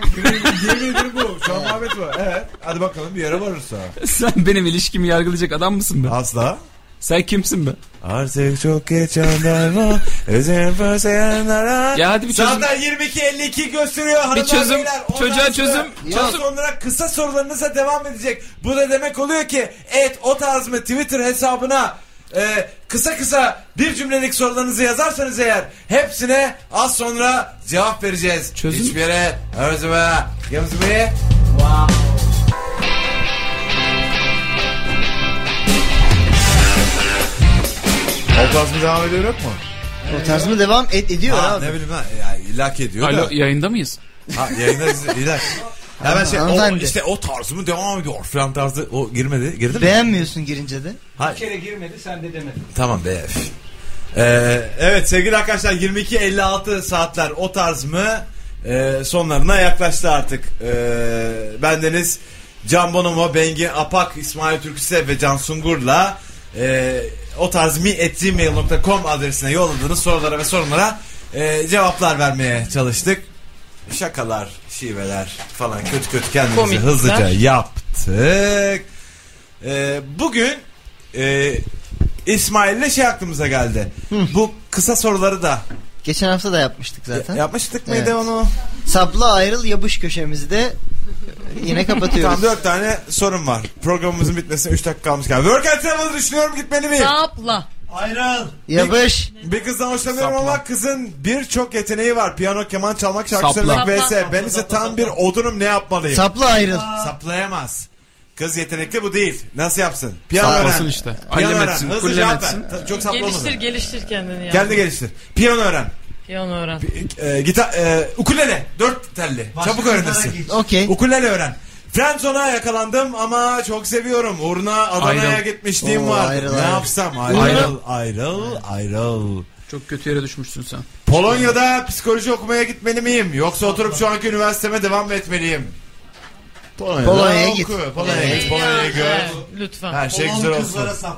Speaker 2: Yemeğidir bu. Şu an muhabbet bu. Evet. Hadi bakalım bir yere varırsa.
Speaker 4: Sen benim ilişkimi yargılayacak adam mısın be?
Speaker 2: Asla.
Speaker 4: Sen kimsin be?
Speaker 2: Artık çok geç anlarma. Özüm fırsayanlara.
Speaker 4: Ya hadi bir çözüm.
Speaker 2: Saatler 22.52 gösteriyor hanımlar
Speaker 4: Bir çözüm.
Speaker 2: beyler. Ondan
Speaker 4: Çocuğa
Speaker 2: sonra-
Speaker 4: çözüm.
Speaker 2: Daha
Speaker 4: Çözüm.
Speaker 2: sonra kısa sorularınıza devam edecek. Bu da demek oluyor ki et o tarz mı Twitter hesabına e, kısa kısa bir cümlelik sorularınızı yazarsanız eğer hepsine az sonra cevap vereceğiz.
Speaker 4: Çözüm.
Speaker 2: Hiçbir yere özüme gözüme. Wow. O tarz mı devam ediyor yok mu?
Speaker 3: O tarz mı devam ed- ediyor
Speaker 2: Ha,
Speaker 3: abi.
Speaker 2: ne bileyim ha ya, illaki ediyor
Speaker 4: Alo
Speaker 2: da.
Speaker 4: yayında mıyız?
Speaker 2: Ha yayında illaki. Hemen şey o,
Speaker 3: hanımefendi.
Speaker 2: işte o tarzı mı devam ediyor falan tarzı o girmedi girdi mi?
Speaker 3: Beğenmiyorsun girince de.
Speaker 2: Ha,
Speaker 8: Bir kere girmedi sen de demedin.
Speaker 2: tamam be. üf. Ee, evet sevgili arkadaşlar 22.56 saatler o tarz mı Ee, sonlarına yaklaştı artık. Ee, bendeniz Can Bonomo, Bengi Apak, İsmail Türküse ve Can Sungur'la e, o tarz mi at gmail.com adresine yolladığınız sorulara ve sorunlara e, cevaplar vermeye çalıştık. Şakalar, şiveler falan kötü kötü kendimizi
Speaker 5: Komikler.
Speaker 2: hızlıca yaptık. Ee, bugün e, İsmail'le şey aklımıza geldi. Bu kısa soruları da
Speaker 3: Geçen hafta da yapmıştık zaten.
Speaker 2: yapmıştık mıydı
Speaker 3: Evet.
Speaker 2: onu?
Speaker 3: Sapla ayrıl yapış köşemizde yine kapatıyoruz.
Speaker 2: Tam dört tane sorum var. Programımızın bitmesine 3 dakika kalmış galiba. Work and travel düşünüyorum gitmeli miyim?
Speaker 5: Sapla.
Speaker 2: Aynen.
Speaker 3: Yapış.
Speaker 2: Bir kızdan hoşlanıyorum
Speaker 4: Sapla.
Speaker 2: ama kızın birçok yeteneği var. Piyano, keman çalmak, şarkı
Speaker 4: Sapla.
Speaker 2: söylemek
Speaker 5: Sapla.
Speaker 2: vs. Ben ise tam bir odunum ne yapmalıyım?
Speaker 3: Sapla ayrıl.
Speaker 2: Saplayamaz. Kız yetenekli bu değil. Nasıl yapsın? Piyano
Speaker 4: Saplasın
Speaker 2: öğren.
Speaker 4: işte.
Speaker 2: Piyano
Speaker 4: Hallem
Speaker 2: öğren.
Speaker 4: etsin,
Speaker 2: Hızlı
Speaker 4: kullem
Speaker 2: cevap ver.
Speaker 4: etsin.
Speaker 2: Ta- Çok saplı olmasın.
Speaker 5: Geliştir geliştir kendini ya.
Speaker 2: Kendi geliştir. Piyano öğren.
Speaker 5: Piyano öğren.
Speaker 2: e, gitar, e, ukulele dört telli. Çabuk öğrenirsin.
Speaker 3: Okey.
Speaker 2: Ukulele öğren. Frenzon'a yakalandım ama çok seviyorum. Uğruna Adana'ya
Speaker 4: Ayrıl.
Speaker 2: gitmişliğim
Speaker 3: Oo,
Speaker 2: var.
Speaker 3: ayrıl,
Speaker 2: ne
Speaker 3: ayrıl.
Speaker 2: yapsam? Ayrıl, ayrıl, ayrıl.
Speaker 4: Çok kötü yere düşmüşsün sen.
Speaker 2: Polonya'da psikoloji okumaya gitmeli miyim? Yoksa oturup şu anki üniversiteme devam mı etmeliyim? Polonya'da
Speaker 3: Polonya'ya
Speaker 2: oku,
Speaker 3: git.
Speaker 2: Polonya'ya git, Polonya'ya gör.
Speaker 5: Evet, Lütfen.
Speaker 2: Her şey güzel olsun.
Speaker 8: sapla.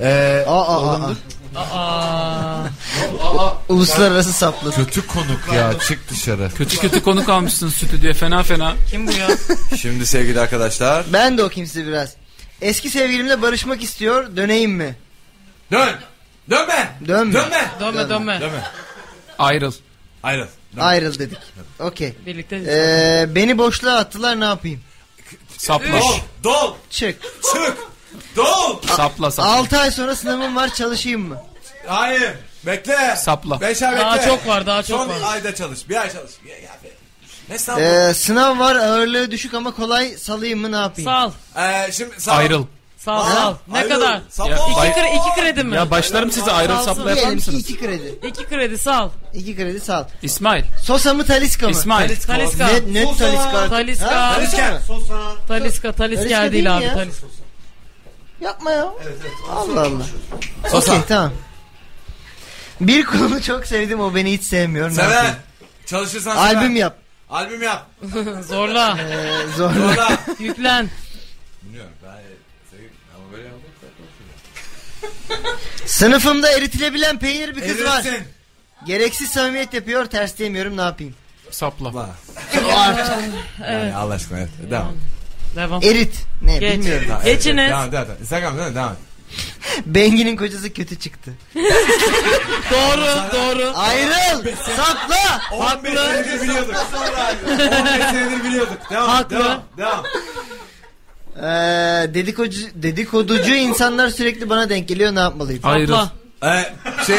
Speaker 2: Ee,
Speaker 3: Aa, aa, aa.
Speaker 2: şey.
Speaker 5: Aa.
Speaker 3: Uluslararası sapla.
Speaker 2: kötü konuk ya çık dışarı.
Speaker 4: Kötü kötü konuk almışsın stüdyoya fena fena.
Speaker 5: Kim bu ya?
Speaker 2: Şimdi sevgili arkadaşlar.
Speaker 3: Ben de okuyayım size biraz. Eski sevgilimle barışmak istiyor. Döneyim mi?
Speaker 2: Dön! Dönme!
Speaker 3: Dönme.
Speaker 2: Dönme!
Speaker 5: Dönme dönme.
Speaker 2: Dönme.
Speaker 4: Ayrıl.
Speaker 2: Ayrıl. Dön.
Speaker 3: Ayrıl dedik. Okey.
Speaker 5: Birlikte.
Speaker 3: Ee, beni boşluğa attılar ne yapayım?
Speaker 4: Sapla.
Speaker 2: Dol, dol,
Speaker 3: Çık.
Speaker 2: çık, dol.
Speaker 4: Sapla sapla.
Speaker 3: 6 ay sonra sınavım var çalışayım mı?
Speaker 2: Hayır, bekle.
Speaker 4: Sapla.
Speaker 2: Beş ay bekle.
Speaker 5: Daha çok var, daha çok
Speaker 2: Son
Speaker 5: var.
Speaker 2: ayda çalış, bir ay çalış. Ya, ya be. Ne sandın? Ee,
Speaker 3: Ee, sınav var ağırlığı düşük ama kolay salayım mı ne yapayım?
Speaker 5: Sal.
Speaker 2: Ee, şimdi sağ
Speaker 4: Ayrıl.
Speaker 5: Sal
Speaker 2: Aa,
Speaker 5: sal. Ne
Speaker 2: ayrıl.
Speaker 5: kadar?
Speaker 2: Sapla.
Speaker 4: Ya,
Speaker 2: olsun.
Speaker 4: bay-
Speaker 5: İki, kre, iki kredi mi?
Speaker 4: Ya başlarım size ayrıl sapla yapar
Speaker 3: Diyelim ki
Speaker 4: mısınız?
Speaker 3: iki kredi.
Speaker 5: İki kredi sal.
Speaker 3: İki kredi sal.
Speaker 4: İsmail.
Speaker 3: Sosa mı taliska mı?
Speaker 4: İsmail.
Speaker 2: Taliska.
Speaker 5: Taliska.
Speaker 3: Net, net
Speaker 8: Sosa.
Speaker 3: taliska.
Speaker 5: Taliska.
Speaker 3: Ha,
Speaker 2: Taliska.
Speaker 3: mı?
Speaker 8: Sosa.
Speaker 5: Taliska. Taliska
Speaker 3: Taliska
Speaker 5: değil
Speaker 3: değil
Speaker 5: abi.
Speaker 3: ya.
Speaker 5: Taliska.
Speaker 3: Yapma ya. Allah Allah.
Speaker 2: Sosa.
Speaker 3: Okey tamam. Bir konu çok sevdim o beni hiç sevmiyor. ne
Speaker 2: Sever.
Speaker 3: yapayım?
Speaker 2: Çalışırsan sever.
Speaker 3: Albüm yap.
Speaker 2: Albüm yap.
Speaker 5: Zorla.
Speaker 3: Ee, zorla.
Speaker 2: Orada.
Speaker 5: Yüklen.
Speaker 2: Bilmiyorum ben sevgili ama böyle yapmak
Speaker 3: Sınıfımda eritilebilen peynir bir kız var.
Speaker 2: Erirsin.
Speaker 3: Gereksiz samimiyet yapıyor ters diyemiyorum ne yapayım.
Speaker 4: Sapla.
Speaker 2: Yani Allah aşkına evet. Devam.
Speaker 5: Devam.
Speaker 3: Erit. Ne
Speaker 5: Geç.
Speaker 3: bilmiyorum.
Speaker 2: Devam, evet,
Speaker 5: Geçiniz.
Speaker 2: evet, Devam, devam, devam. Instagram değil mi? Devam.
Speaker 3: Bengi'nin kocası kötü çıktı.
Speaker 5: Doğru doğru.
Speaker 3: Ayrıl. Sapla.
Speaker 2: 15 senedir biliyorduk. 15 senedir biliyorduk. Devam,
Speaker 5: Haklı.
Speaker 2: devam, devam.
Speaker 3: Ee, dedikoducu, dedikoducu insanlar sürekli bana denk geliyor ne yapmalıyım?
Speaker 4: Ayrıl.
Speaker 5: Sapla.
Speaker 2: Ee, şey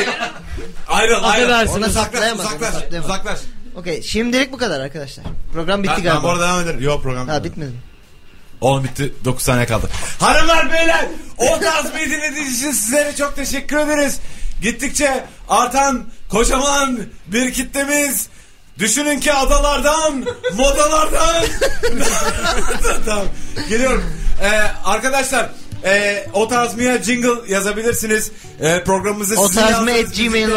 Speaker 2: ayrıl ayrıl.
Speaker 5: Affedersiniz.
Speaker 2: Ona saklaş
Speaker 3: Saklayamadım,
Speaker 2: uzaklaş
Speaker 3: saklayamadım.
Speaker 2: uzaklaş.
Speaker 3: Okey şimdilik bu kadar arkadaşlar. Program bitti
Speaker 2: Ben, ben
Speaker 3: galiba.
Speaker 2: bu arada devam ederim. Yok program
Speaker 3: Ha
Speaker 2: bitmedi.
Speaker 3: bitmedi mi?
Speaker 2: Oğlum bitti 9 saniye kaldı. Hanımlar beyler o tarz bir dinlediğiniz için sizlere çok teşekkür ederiz. Gittikçe artan kocaman bir kitlemiz. Düşünün ki adalardan, modalardan. tamam, geliyorum. Ee, arkadaşlar Ee, o tarzmıya jingle yazabilirsiniz. Ee, programımızı
Speaker 3: O
Speaker 2: sizin
Speaker 3: tarzmı
Speaker 2: yazdığınız
Speaker 3: at gmail.com'a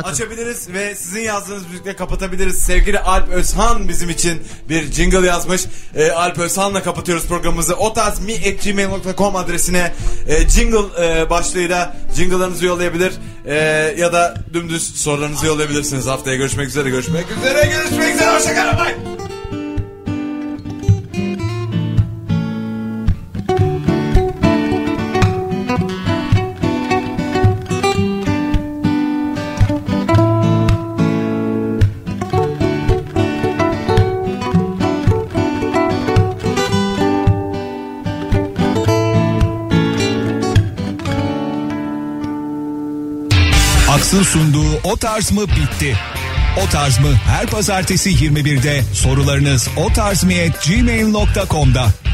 Speaker 2: müzikle
Speaker 3: atın.
Speaker 2: Açabiliriz ve sizin yazdığınız müzikle kapatabiliriz. Sevgili Alp Özhan bizim için bir jingle yazmış. Ee, Alp Özhan'la kapatıyoruz programımızı. O tarz mi at gmail.com adresine e, jingle e, başlığıyla jingle'larınızı yollayabilir. E, ya da dümdüz sorularınızı yollayabilirsiniz. Haftaya görüşmek üzere. Görüşmek üzere. Görüşmek üzere. Hoşçakalın. Bye.
Speaker 1: Aks'ın sunduğu O Tarz mı bitti. O Tarz mı her pazartesi 21'de sorularınız otarzmi@gmail.com'da.